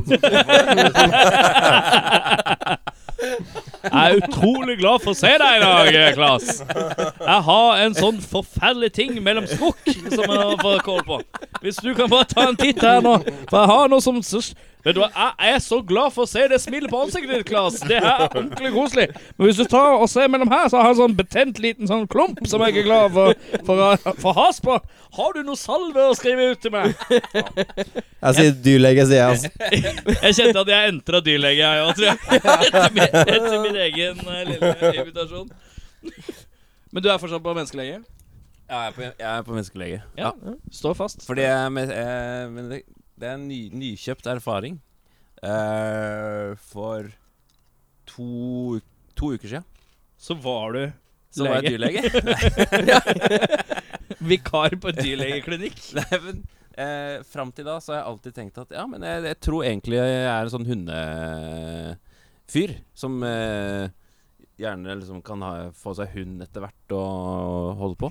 Jeg er utrolig glad for å se deg i dag, Klas. Jeg har en sånn forferdelig ting mellom skrukk som jeg får kål på. Hvis du kan bare ta en titt her nå, for jeg har noe som s- Vet du hva, jeg er så glad for å se det smilet på ansiktet ditt, Klas. Det her er ordentlig koselig. Men hvis du tar og ser mellom her, så har jeg en sånn betent liten sånn klump som jeg ikke er glad for, for, å- for å has på. Har du noe salve å skrive ut til meg?
Jeg sier dyrlege, sier jeg. Altså.
Jeg kjente at jeg entra dyrlege, jeg òg, tror jeg. Etter min, etter min egen eh, lille invitasjon. Men du er fortsatt på menneskelege?
Ja, jeg er på, jeg er på menneskelege.
Ja. Står fast.
Fordi jeg, men, eh, men det, det er en ny, nykjøpt erfaring. Eh, for to, u- to uker siden
Så var du
så var jeg dyrlege.
vikar på en dyrlegeklinikk.
Nei, men eh, Fram til da så har jeg alltid tenkt at ja, men jeg, jeg tror egentlig jeg er en sånn hundefyr som eh, gjerne liksom kan ha, få seg hund etter hvert og holde på.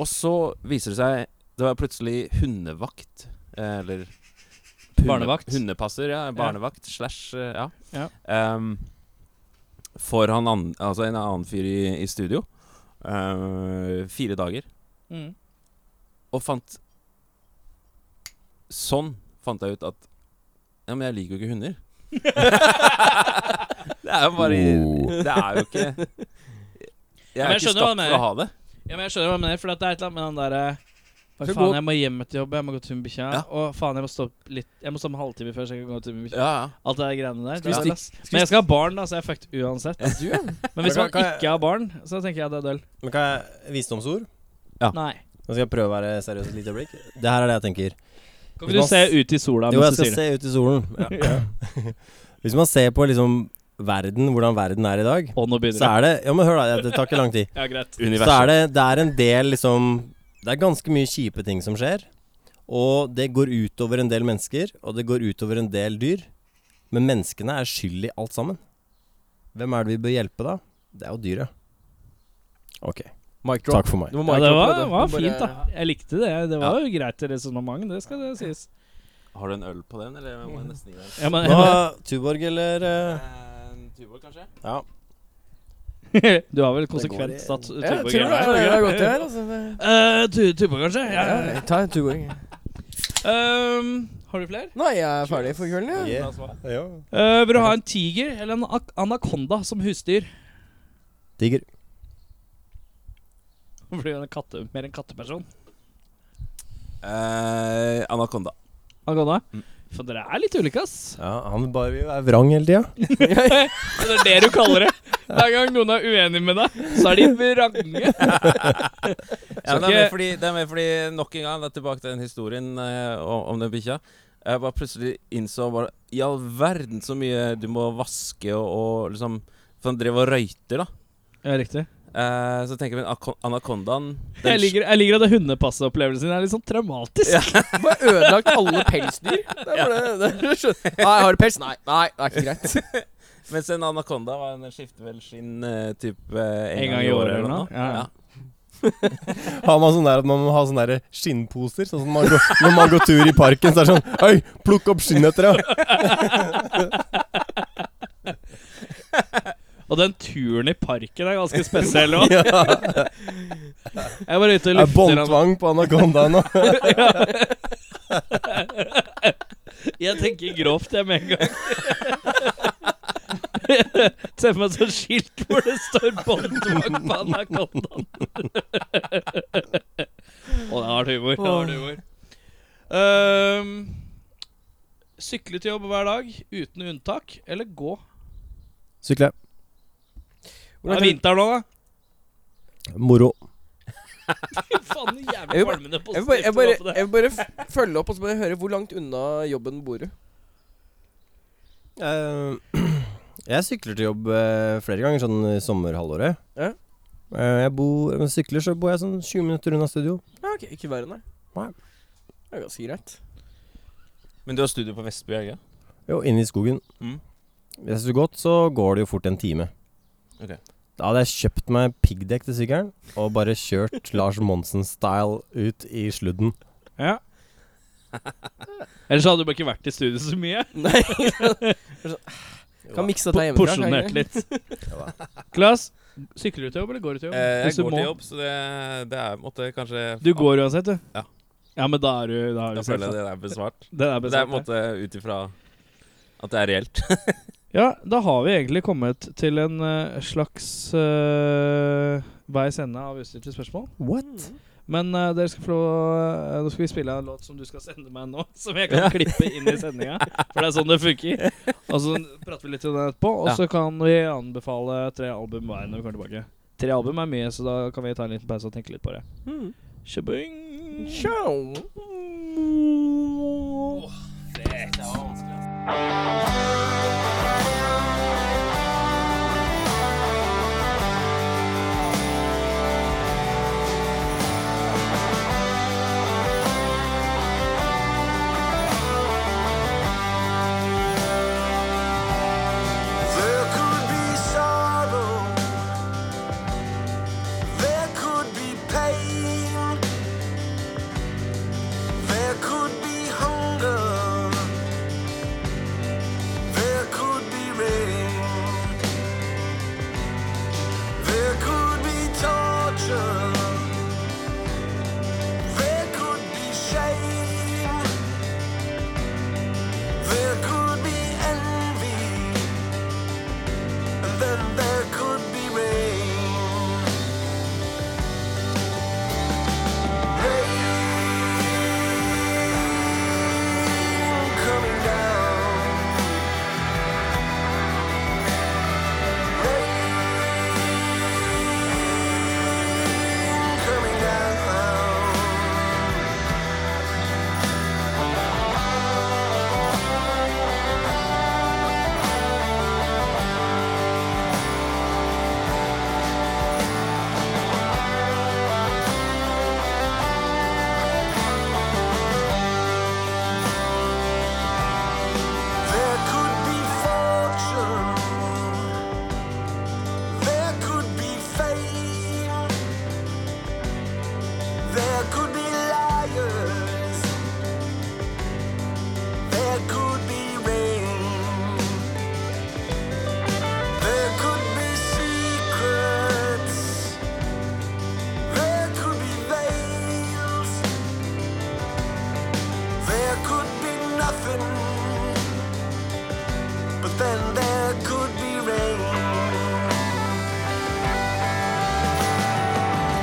Og så viser det seg Det var plutselig hundevakt. Eh, eller hunde-
Barnevakt.
Hundepasser, ja. Barnevakt slash eh, Ja.
Ja.
Ehm, for han an, altså en annen fyr i, i studio. Eh, fire dager.
Mm.
Og fant Sånn fant jeg ut at Ja, men jeg liker jo ikke hunder. det er jo bare Det er jo ikke Jeg
men
er
jeg
ikke
skjønner hva du
skapt for å ha det.
Ja, men jeg skjønner hva du mener, for at det er et eller annet med den derre
Så
Faen,
gå-
jeg må hjem etter jobb, jeg må gå tur med bikkja.
Ja.
Og faen, jeg må stå opp litt Jeg må stå opp en halvtime før så jeg kan gå tur med bikkja.
Ja, ja.
Alt det der greiene der.
vi
det er
stikke-
ass. Men jeg skal ha barn, da, så jeg er fucked uansett.
Du, ja.
Men hvis
Men
man
kan- kan jeg-
ikke har barn, så tenker jeg det er døll.
Men kan jeg visdomsord?
Nei.
Nå skal jeg prøve å være seriøs et lite øyeblikk. Det her er det jeg tenker.
Kan ikke du se ut i sola
Jo, jeg
mens du
skal
sier det?
se ut i solen. Ja. Hvis man ser på liksom verden, hvordan verden er i dag,
Og nå
så
begynner det.
er det Ja, men hør da, det tar ikke lang tid.
Ja, greit.
Så er det, det er en del liksom Det er ganske mye kjipe ting som skjer. Og det går utover en del mennesker, og det går utover en del dyr. Men menneskene er skyld i alt sammen. Hvem er det vi bør hjelpe, da? Det er jo dyret. Ok.
Mic drop.
Takk for meg.
Du må
Ja,
mic
det
droppe
var,
dette.
var
Du bare-
fint, da. Jeg likte det. Det var jo greit resonnement, det skal det sies.
Har du en øl på den, eller må jeg nesten gi deg
Ja, men,
Nå, Tuborg eller eh,
en? Tuborg, kanskje?
Ja.
du har vel konsekvent tatt
Ja, jeg
tubo
tror det er- det er godt det her, altså. Det-
Tubo, Eh, kanskje? Ja.
Ja, ta en toing.
Ehm, har du flere?
Nei, jeg er ferdig for kvelden, jeg.
Yeah. Ja.
Eh, vil du ha en tiger eller en ak- anakonda som husdyr?
Digger.
Blir jo en katte, mer en katteperson.
Eh, Anakonda.
Anakonda? For dere er litt ulike, ass.
Ja, han bare vil være vrang hele tida.
Det er det du kaller det. Hver gang noen er uenig med deg, så er de vrange.
Ja, det,
ikke-
er mer fordi, det er mer fordi nok en gang, det er tilbake til den historien eh, om, om den bikkja. Jeg bare plutselig innså bare, i all verden så mye du må vaske og, og liksom For han drev og røyter, da.
Ja, riktig.
Eh, så tenker jeg men ako- anakondaen den
Jeg liker, jeg liker at det hundepasseopplevelsen din er litt sånn traumatisk.
Du har ødelagt alle pelsdyr. Det er bare det. det skjønner- Nei, har du pels? Nei. Nei, det er ikke greit.
Mens en anakonda var en skifter vel skinn eh, typ, eh, en,
En gang i året eller noe?
Ja,
Ja, ja.
Har man sånn der at man må ha sånne der skinnposer? Sånn som man går, når man går tur i parken, så er det sånn Oi, plukk opp skinnet etter deg!
Og den turen i parken er ganske spesiell òg. Jeg var ute og
Det er
lufter den.
båndtvang på anakondaen nå.
Jeg tenker grovt, jeg, med en gang. Se for meg et sånt skilt hvor det står 'båndtvakt på anakondaen'. Å, det har vært humor. Det har vært humor. Ehm, sykle til jobb hver dag uten unntak, eller gå?
Sykle.
Det er vinter nå, da.
Moro.
Fy faen,
Jeg vil
jævlig
bare-
kvalmende
Jeg vil bare, jeg vil
positivt.
bare, jeg vil bare f- følge opp og så bare høre hvor langt unna jobben bor du.
Eh, jeg sykler til jobb eh, flere ganger sånn i sommerhalvåret.
Ja.
Eh, jeg bor, når jeg sykler, så bor jeg sånn 20 minutter unna studio.
Ja, ok, Ikke verre, nei.
Nei.
Det er ganske greit.
Men du har studio på Vestby, ikke
Jo, inne i skogen.
Mm.
Hvis det går godt, så går det jo fort en time.
Ok.
Da hadde jeg kjøpt meg piggdekk til sykkelen og bare kjørt Lars Monsen-style ut i sludden.
Ja. Ellers hadde du bare ikke vært i studio så mye.
Nei Kan mikse
Po-
dette hjemmefra. kan jeg
Porsjonert
ikke?
litt. Klas, sykler du til jobb, eller går du til
Eh,
jobb?
Eh, jeg
Hvis du
går
må.
til jobb, så det, det er på en måte kanskje
Du går uansett, du?
Ja.
Ja, men da er du Da har
Da
du
føler
selvsagt-
jeg det er besvart.
Det er
Det er på en
bestemt.
måte ut ifra at det er reelt.
Ja, da har vi egentlig kommet til en eh, slags uh, veis ende av utstyr til spørsmål.
What?
Men eh, dere skal få lov eh, Nå skal vi spille en låt som du skal sende meg nå, som jeg kan klippe inn i sendinga. For det er sånn det funker. Og så prater vi litt om det etterpå, og
Ja.
så kan vi anbefale tre album hver når vi kommer tilbake. Tre album er mye, så da kan vi ta en liten pause og tenke litt på det.
Mm.
Mm.
Shabing.
Ciao.
There could be sorrow. There could be pain. There could be hunger. There could be rain. There could be torture. There could be shame. There could be envy. And then there could be rain. Rain coming down. Rain coming down. There could be fortune. There could be fame. There could be liars. There could be rain. There could be secrets. There could be veils. There could be nothing. But then there could be rain.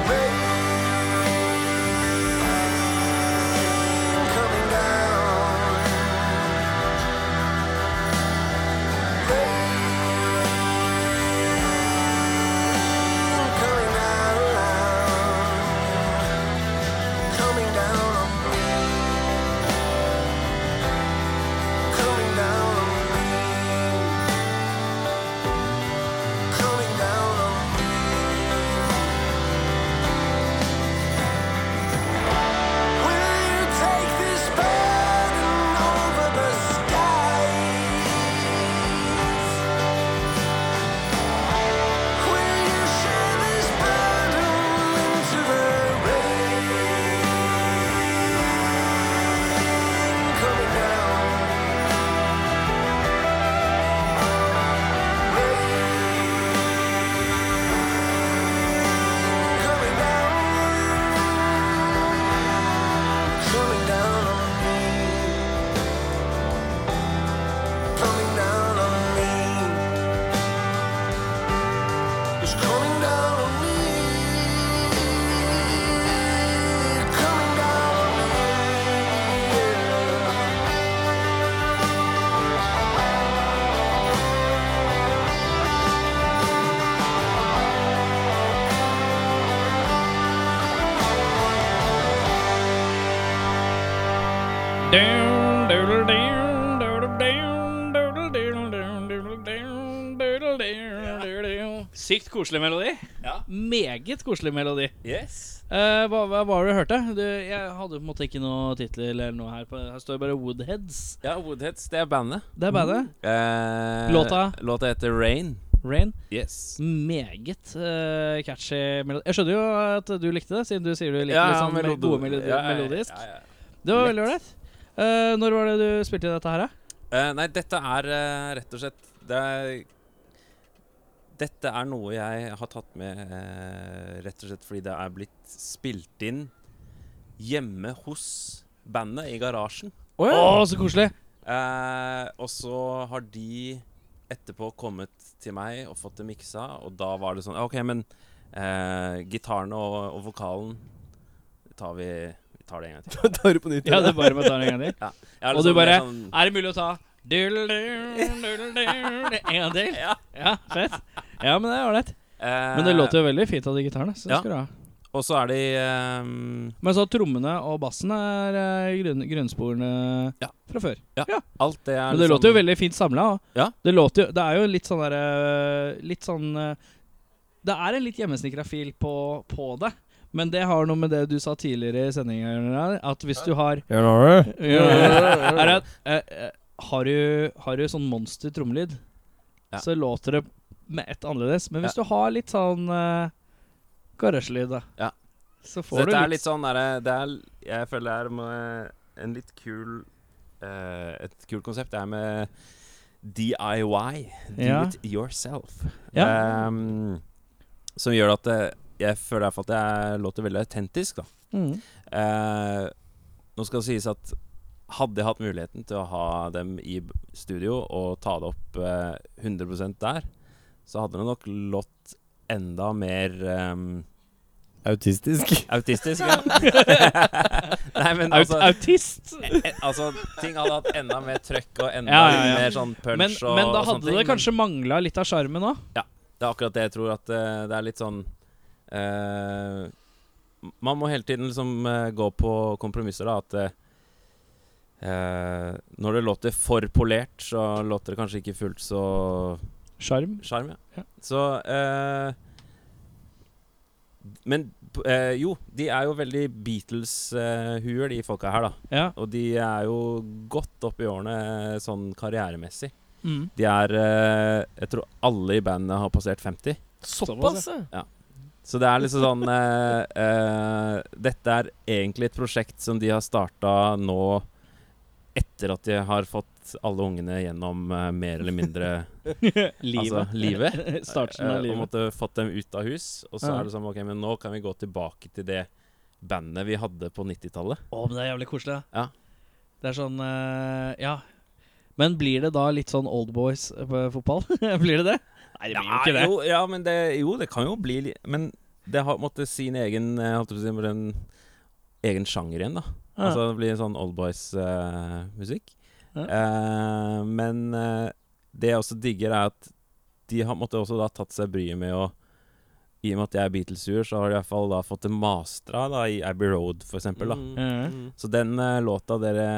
Rain coming down. Rain coming down. Coming down on me. Coming down on me. Coming down on me. Will you take this burden over the skies? Will you share this burden into the rain? Coming down. Coming down, coming down on me, coming down on me, it's coming down on me, coming down on me.
Down, doodle, down, doodle, down, doodle, down, Sykt koselig melodi.
Ja.
Meget koselig melodi.
Yes.
Eh, hva, hva var det du hørte? Du, jeg hadde på en måte ikke noe titler eller noe her. På, her står det bare Woodheads.
Ja, Woodheads, det er bandet.
Det er bandet.
Eh,
Låta?
Låta heter Rain.
Rain.
Yes.
Meget eh, catchy melodi. Jeg skjønner jo at du likte det, siden du sier du liker litt sånn
melodi-
med gode melodi
ja, ja,
melodisk.
ja, ja.
Det var veldig ålreit. Eh, når var det du spilte dette her, da?
Eh, nei, dette er eh, rett og slett det er, Dette er noe jeg har tatt med eh, rett og slett fordi det er blitt spilt inn hjemme hos bandet, i garasjen.
Å, så koselig!
Eh, og så har de etterpå kommet til meg og fått det miksa, og da var det sånn OK, men eh, gitaren og, og vokalen tar vi, vi tar det en gang til.
Tar du på nytt?
Ja, det er bare med å ta det en gang til.
Jeg er
Og du
liksom mer
bare,
sånn,
Er det mulig å ta dull-dull, dull-dull, En gang til? Ja. Fett. Ja, men det er ålreit.
eh,
Men det låter jo veldig fint av de gitarene. Så det
Ja.
skal du ha.
Og så er de ehm,
Men så trommene og bassen er eh, grunn, grunnsporene
Ja.
fra før.
Alt det er
Men det
liksom-
låter jo veldig fint samla.
Ja.
Det, låter jo- det er jo litt sånn derre Litt sånn eh, Det er en litt hjemmesnekra fil på, på det. Men det har noe med det du sa tidligere i sendinga, at hvis du har er at, eh, eh, har, du, har du sånn monster trommelyd,
Ja.
så låter det med ett annerledes. Men hvis du har litt sånn uh, garasjelyd, da,
Ja.
så
Så
får du
dette er
litt
litt sånn derre Det er Jeg føler det er med en litt kul eh, Et kult konsept. Det er med DIY. Do
Ja.
it yourself.
Ja.
Ehm, som gjør at det, jeg føler i hvert fall at det låter veldig autentisk, da.
mm.
Eh, nå skal det sies at hadde jeg hatt muligheten til å ha dem i b- studio og ta det opp eh, 100 der, så hadde det nok lått enda mer ehm,
Autistisk.
Autistisk, ja. Nei, men
Aut
altså,
Autist!
eh, altså Ting hadde hatt enda mer trøkk og enda
Ja, ja, ja.
litt mer sånn punch
Men,
og,
men da
og sånne
hadde
ting.
det kanskje mangla litt av sjarmen òg.
Det er akkurat det jeg tror at eh, det er litt sånn eh, Man må hele tiden liksom eh, gå på kompromisser, da. At eh, eh, når det låter for polert, så låter det kanskje ikke fullt så
Sjarm.
sjarm, ja.
Ja.
Så eh, Men eh, jo, de er jo veldig Beatles-huer, de folka her, da.
Ja.
Og de er jo godt opp i årene eh, sånn karrieremessig.
Mm.
De er eh, Jeg tror alle i bandet har passert 50.
Såpass,
ja.
Så det er liksom sånn eh, eh, Dette er egentlig et prosjekt som de har starta nå etter at de har fått alle ungene gjennom eh, mer eller mindre altså, livet.
Starten av
Eh, Og
livet.
måtte fått dem ut av hus. Og så
Ja.
er det sånn Ok, men nå kan vi gå tilbake til det bandet vi hadde på 90-tallet.
Å, men det er jævlig koselig. da.
Ja.
Det er sånn eh, Ja. Men blir det da litt sånn old boys på fotball? blir det det? Nei, det blir jo ikke det.
Jo, ja, men det, jo, det kan jo bli li- Men det har måtte sin egen eh, holdt jeg på å si, bare en egen sjanger igjen, da.
Ja.
Altså det blir en sånn oldboys-musikk.
Ja.
men eh, det jeg også digger, er at de har måtte også da tatt seg bryet med å I og med at jeg er Beatles-sur, så har de i hvert fall da fått det mastra da, i Abbey Road, for eksempel. Da.
Mm.
Ja.
Så den eh, låta dere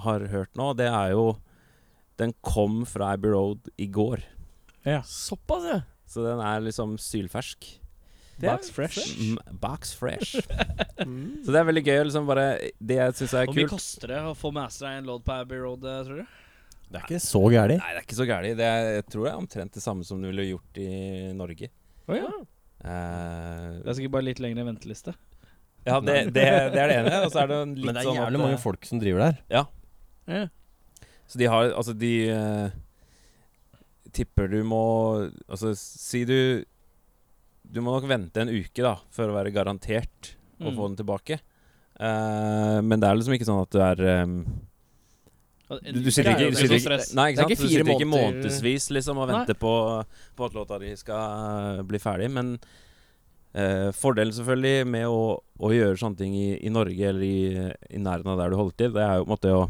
har hørt nå, det er jo Den kom fra Abbey Road i går.
Såpass, ja.
Så den er liksom sylfersk.
Det er
Box fresh.
M box fresh.
Mm.
Så det er veldig gøy. Liksom bare Det jeg syns er
Hvor mye
kult
koster det å få mastera en låt på Abbey Road, eh, tror du?
Det er ikke så gærent.
Nei, det er ikke så gærent. Det er, jeg tror det er omtrent det samme som du ville gjort i Norge.
Å ja.
Eh,
Det er sikkert bare litt lengre venteliste.
ja, det, det, det er det ene. Og så er det en litt
Men det er
sånn at,
jævlig mange
eh,
folk som driver der.
Ja.
Så de har Altså, de eh, tipper du må Altså, si du Du må nok vente en uke, da, for å være garantert å
Mm.
få den tilbake. Eh, men det er liksom ikke sånn at du er eh, Du, du sitter
uke er
ikke,
jo
du
ikke
sitter
noe
ikke, nei,
Det er
ikke sant?
ikke
du
fire
sitter ikke
måneder.
månedsvis liksom, og
Nei.
venter på, på at låta di skal eh, bli ferdig. Men eh, fordelen selvfølgelig med å, å gjøre sånne ting i, i Norge eller i, i nærheten av der du holder til, det er jo på en måte å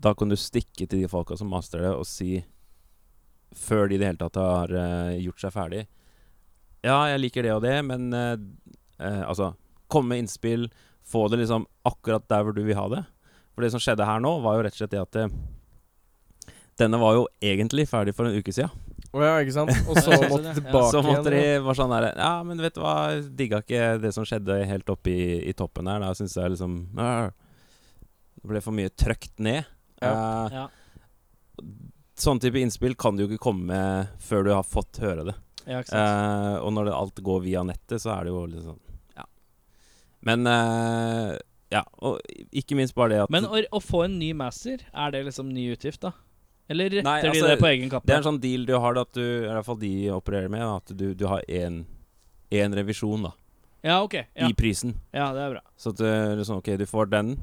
Da kan du stikke til de folka som master det, og si før de i det hele tatt har eh, gjort seg ferdig Ja, jeg liker det og det, men eh, eh, altså Komme med innspill, få det liksom akkurat der hvor du vil ha det. For det som skjedde her nå, var jo rett og slett det at eh, denne var jo egentlig ferdig for en uke siden.
Å ja, ikke sant? Og så
Ja, jeg
måtte
skjønner det. Ja.
tilbake
Så måtte de
igjen.
var sånn der Ja, men vet du hva, digga ikke det som skjedde helt oppe i, i toppen her. Da syns jeg liksom «Åh». Det ble for mye trøkt ned. Eh,
Ja.
Sånn type innspill kan du jo ikke komme med før du har fått høre det.
Ja, ikke sant?
Eh, og når det alt går via nettet, så er det jo litt sånn Ja. Men eh, Ja, og ikke minst bare det at
Men å, å få en ny master, er det liksom ny utgift, da? Eller retter
Nei, altså,
de det på egen kappe?
Det er en sånn deal du har, da, at du, i hvert fall de opererer med, da, at du, du har én revisjon da,
Ja, ok. Ja.
i prisen.
ja, det er bra.
Så at eh, liksom, OK, du får den,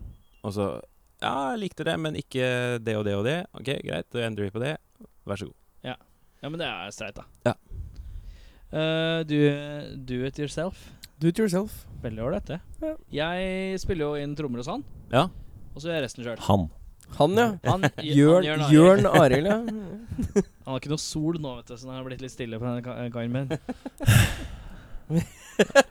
og så Ja, jeg likte det, men ikke det og det og det. OK, greit, da endrer vi på det. Vær så god.
Ja, men det er streit, da.
Ja.
Eh, du, do it yourself.
Do it yourself.
Veldig ålreit, det. Jeg spiller jo inn trommer hos han,
Ja.
og så gjør jeg resten sjøl.
Han.
Han, ja.
Han,
Jørn,
Arild.
Jørn Arild, ja.
Han har ikke noe sol nå, vet du, så han har blitt litt stille på denne ka- kaien min.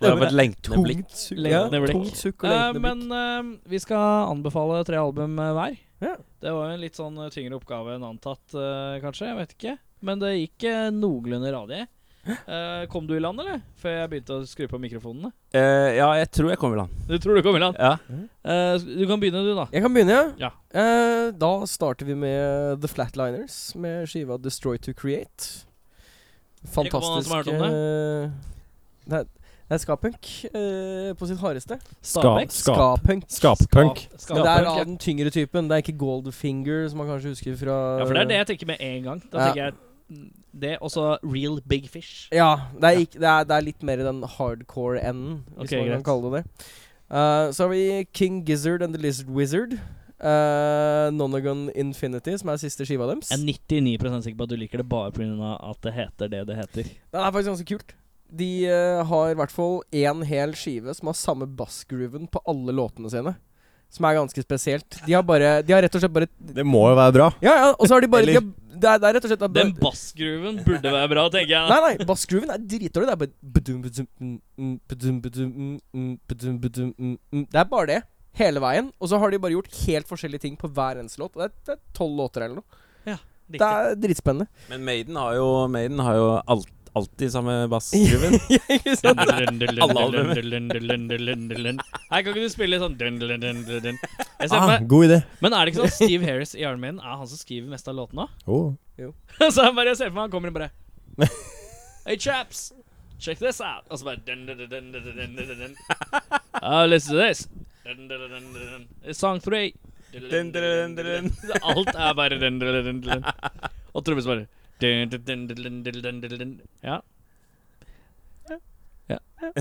Det var et lengtende blikk.
Tungt sukk. Ja,
Lengtende blikk.
tungt sukk og
Eh,
lengtende blikk.
men eh, vi skal anbefale tre album eh, hver.
Ja.
Det var jo en litt sånn eh, tyngre oppgave enn antatt, eh, kanskje. Jeg vet ikke. Men det gikk eh, noenlunde radig. Eh, kom du i land, eller? Før jeg begynte å skru på mikrofonene.
Eh, ja, jeg tror jeg kommer til han.
Du tror du kom i land?
Ja.
Eh, du kan begynne, du, da.
Jeg kan begynne,
Ja.
Eh, da starter vi med The Flatliners med skiva Destroy to Create.
Ikke på noen
Fantastisk
som har hørt om
eh, Det er, det er skapunk eh, på sitt hardeste.
Stabæk?
Skap.
Skapunk.
Skappunk.
Skap-
Men det er
skapunk,
da
ja.
den tyngre typen. Det er ikke Goldfinger, som man kanskje husker fra
ja, for det er det jeg tenker med en gang. Da
Ja.
tenker jeg mm, det, og så Real Big Fish.
Ja, det er, ikke, det er, det er litt mer i den hardcore-enden, hvis
Ok,
man
greit.
kan kalle det det. Eh, så har vi King Gizzard and The Lizard Wizard. Uh, Nonagon Infinity, som er siste skiva deres.
Jeg er 99 sikker på at du liker det bare pga. at det heter det det heter.
Den er faktisk ganske kult. De eh, har i hvert fall én hel skive som har samme bassgrooven på alle låtene sine. Som er ganske spesielt. De har bare De har rett og slett bare
Det må jo være bra.
Ja, ja, og så har de bare de
Eller-
har, det, er, det er rett og slett at-
Den bassgrooven burde være bra, tenker jeg.
Nei, nei, bassgrooven er dritdårlig. Det er bare badum, badum, mm, mm, badum, badum, mm, mm, badum, badum, mm, mm. Det er bare det. Hele veien. Og så har de bare gjort helt forskjellige ting på hver eneste låt. Og Det er- det er tolv låter eller noe. Det
Riktig.
er dritspennende.
Men Maiden har jo, Maiden har jo alt, alltid samme bassgruven.
Ikke sant?
Alle albumer.
Her kan ikke du spille sånn dun, dun, dun, dun, dun. Jeg ser for
Ah,
meg-
god idé.
Men er det ikke sånn at Steve Harris i Iron Maiden er han som skriver mest av låtene?
Oh.
så jeg bare jeg ser for meg han kommer inn bare Hey chaps, check this out. Og så bare dun, dun, dun, dun, dun, dun, dun, dun. Oh, listen to this. Dun, dun, dun, dun, dun, dun. It's song three.
Dun, dun, dun, dun,
Så Alt er bare dun, dun, dun, dun, dun. Og trommisen bare dun, dun, dun, dun, dun, dun, dun, dun. Ja.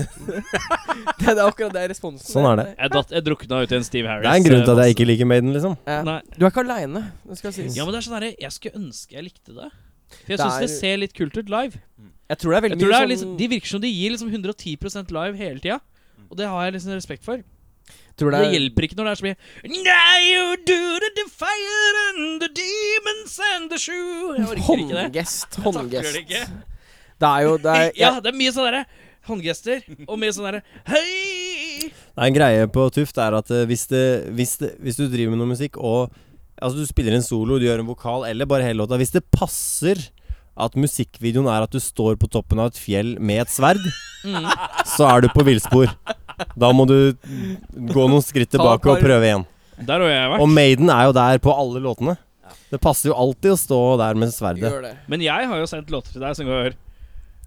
Det er akkurat det er responsen.
Sånn er det.
Jeg, datt, jeg drukna ut i en Steve Harris.
Det er en grunn til at
eh,
jeg ikke liker Maiden, liksom.
Ja.
Nei.
Du er ikke aleine, det skal sies.
Ja, men det er sånn herre Jeg skulle ønske jeg likte det. For
Det
jeg syns
er-
det ser litt kult ut live.
Jeg tror det er veldig
Jeg tror det er
mye
liksom,
sånn
De virker som de gir liksom 110 live hele tida. Og det har jeg liksom respekt for.
tror
Det hjelper ikke når det er så mye Now you do the defiant and the demons and the shoe Jeg orker ikke det.
Håndgest.
Jeg takler det
Håndgest.
ikke.
Det er jo det er,
Ja, det er mye sånn derre håndgester og mye sånn derre Hei!
Det er en greie på Tuft er at eh, hvis, det, hvis, det, hvis du driver med noe musikk og Altså, du spiller en solo, du gjør en vokal eller bare hele låta Hvis det passer at musikkvideoen er at du står på toppen av et fjell med et sverd, så er du på villspor. Da må du gå noen skritt tilbake og prøve igjen.
Der har jeg
Og Maiden er jo der på alle låtene. Det passer jo alltid å stå der med sverdet.
Gjør det.
Men jeg har jo sendt låter til deg som går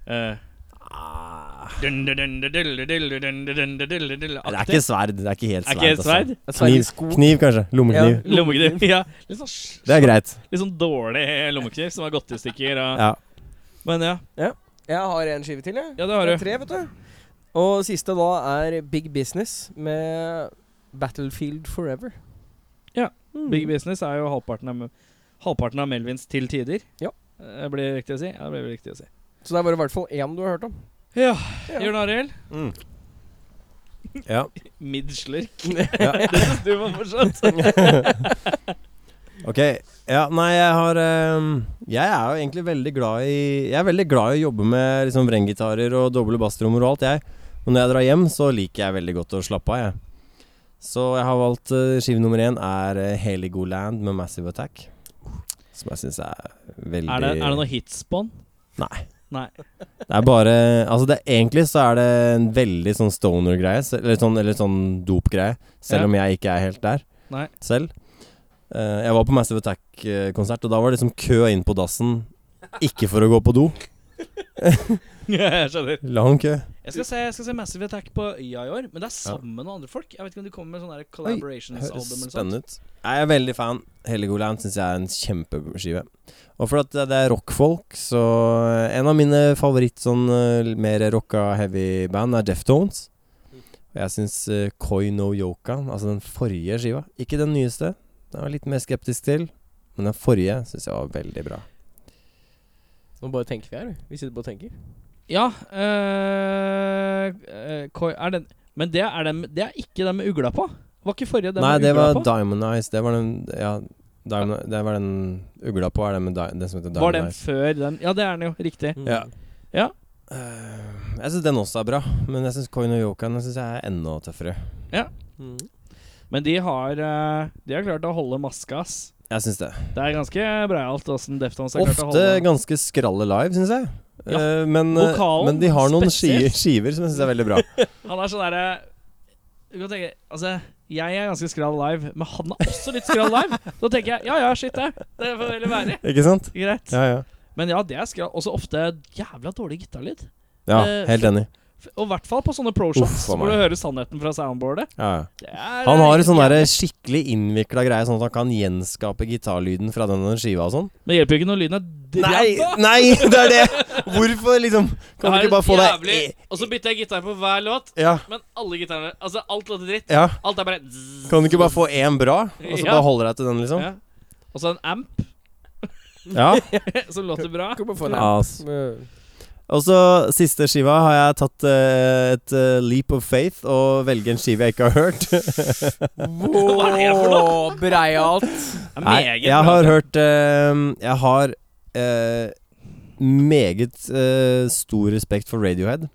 eh, dun, dun, dun, dun, dun, dun, dun, dun, dun, dun, dun, dun,
Ah. Det er
aktig.
ikke sverd. Det er ikke helt
Er
sverd.
ikke helt sverd?
Det
altså.
er
Kniv,
Sveriges sko.
kniv kanskje. Lommekniv.
Ja.
Lommekniv. Ja, litt sånn, sj-
Det er greit.
litt sånn dårlig lommekniv som har gått i stykker. Og,
Ja.
Men ja,
Jeg har en skive til, jeg.
ja, det har du.
Tre, vet du. Og siste da er Big Business med Battlefield Forever.
Ja,
Hmm.
Mm.
Big Business er jo halvparten av, halvparten av Melvins til tider.
Ja.
Eh, Blir det riktig å si? Ja, det blir vel riktig å si.
Så det er bare i hvert fall én du har hørt om.
Ja. Jørn Arild,
Mm. Ja.
midslurk.
ja.
Det syns du var fortsatt.
Ok, ja, nei, jeg har ehm, Jeg er jo egentlig veldig glad i Jeg er veldig glad i å jobbe med liksom vrenggitarer og doble basstrommer og alt, jeg. Men når jeg drar hjem, så liker jeg veldig godt å slappe av, jeg. Så jeg har valgt eh, skive nummer én er eh, Heligoland med Massive Attack. Som jeg syns er veldig
Er det, er det noe hits på den?
Det er bare Altså det, egentlig så er det en veldig sånn stoner-greie, se- eller sånn, eller sånn dop-greie, selv
Ja.
om jeg ikke er helt der
Nei.
selv. Eh, jeg var på Massive Attack-konsert, og da var det liksom kø inn på dassen. Ikke for å gå på do.
Jeg skjønner.
Lang kø.
Jeg skal, se, jeg skal se Massive Attack på Øya i år, men det er sammen med andre folk. Jeg vet ikke om de kommer med sånne der
Høres
collaborations-album eller sånt.
spennende ut. Jeg er veldig fan. Hellegoland syns jeg er en kjempeskive. Og for at eh, det det er rockfolk, så eh, En av mine favoritt sånn eh, mer rocka heavy band er Deftones. Og jeg syns uh, Koi no Yoka, altså den forrige skiva, ikke den nyeste, den var jeg litt mer skeptisk til, men den forrige syns jeg var veldig bra.
Nå bare tenker vi her, vi. Vi sitter bare og tenker.
Ja øh, øh, koi- er den, Men det er, den, det er ikke den med ugla på? Var ikke forrige den
Nei,
med
det
ugla
var
på?
Diamond Eyes. Det var den Ja, Diamond, det var den ugla på, er den, med di den som heter
Var
Diamond
den
Eyes.
før den? Ja, det er den jo. Riktig.
Ja.
Ja.
Eh, jeg syns den også er bra, men jeg syns Coin og Yokan jeg synes jeg er enda tøffere.
Mm. Men de har øh, De har klart å holde maska, ass.
Jeg synes det.
Det er ganske breialt åssen Deftones har klart å
Ofte
holde
ganske skralle live, syns jeg.
Ja.
Eh, men, eh,
Vokalen,
men de har noen skiver,
spesielt.
skiver som jeg syns er veldig bra.
Han er sånn derre Du kan tenke Altså, jeg er ganske skral live, men han er også litt skral live. Da tenker jeg ja ja, shit, det. Det får vel være.
Ikke sant?
Greit.
Ja, ja.
Men ja, det er skral. Også ofte jævla dårlig gitarlyd.
ja
Eh,
helt enig.
F- Og i hvert fall på sånne pro
Uff,
shots
for
hvor du
meg.
hører sannheten fra soundboardet.
Ja, ja.
Det er, eh,
Han har en sånn
derre
der skikkelig innvikla greie, sånn at han kan gjenskape gitarlyden fra denne skiva og sånn.
Det hjelper jo ikke når lyden er
Nei,
dræva.
nei, det er det! Hvorfor, liksom? Kan du
Det er
ikke bare få deg e-
jævlig- Og så bytter jeg gitar på hver låt,
Ja,
men alle gitarene Altså, alt låter dritt.
ja.
Alt er bare zzz.
Kan du ikke bare få én bra, og så
Ja.
bare holder deg til den, liksom?
Ja. Og så en amp eh,
Ja.
som låter bra.
Kan bare få en
Ass.
app.
Og så siste skiva har jeg tatt eh, et eh, leap of faith og velge en skive jeg ikke har hørt.
Hva er det for noe?
Breialt.
Det er
Nei,
meget bra.
jeg har hørt eh, Jeg har eh, meget eh, stor respekt for Radiohead.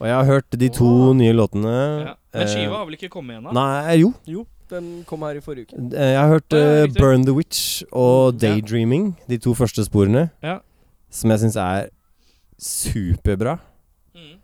Og jeg har hørt de to
Wow.
nye låtene.
Ja. Men skiva
eh,
har vel ikke kommet ennå?
Nei, jo.
Den kom her i forrige uke.
Eh, Jeg har hørt
Ja, ja,
eh,
riktig.
Burn the Witch og
Ja.
Daydreaming, de to første sporene,
Ja.
som jeg syns er superbra.
Mm.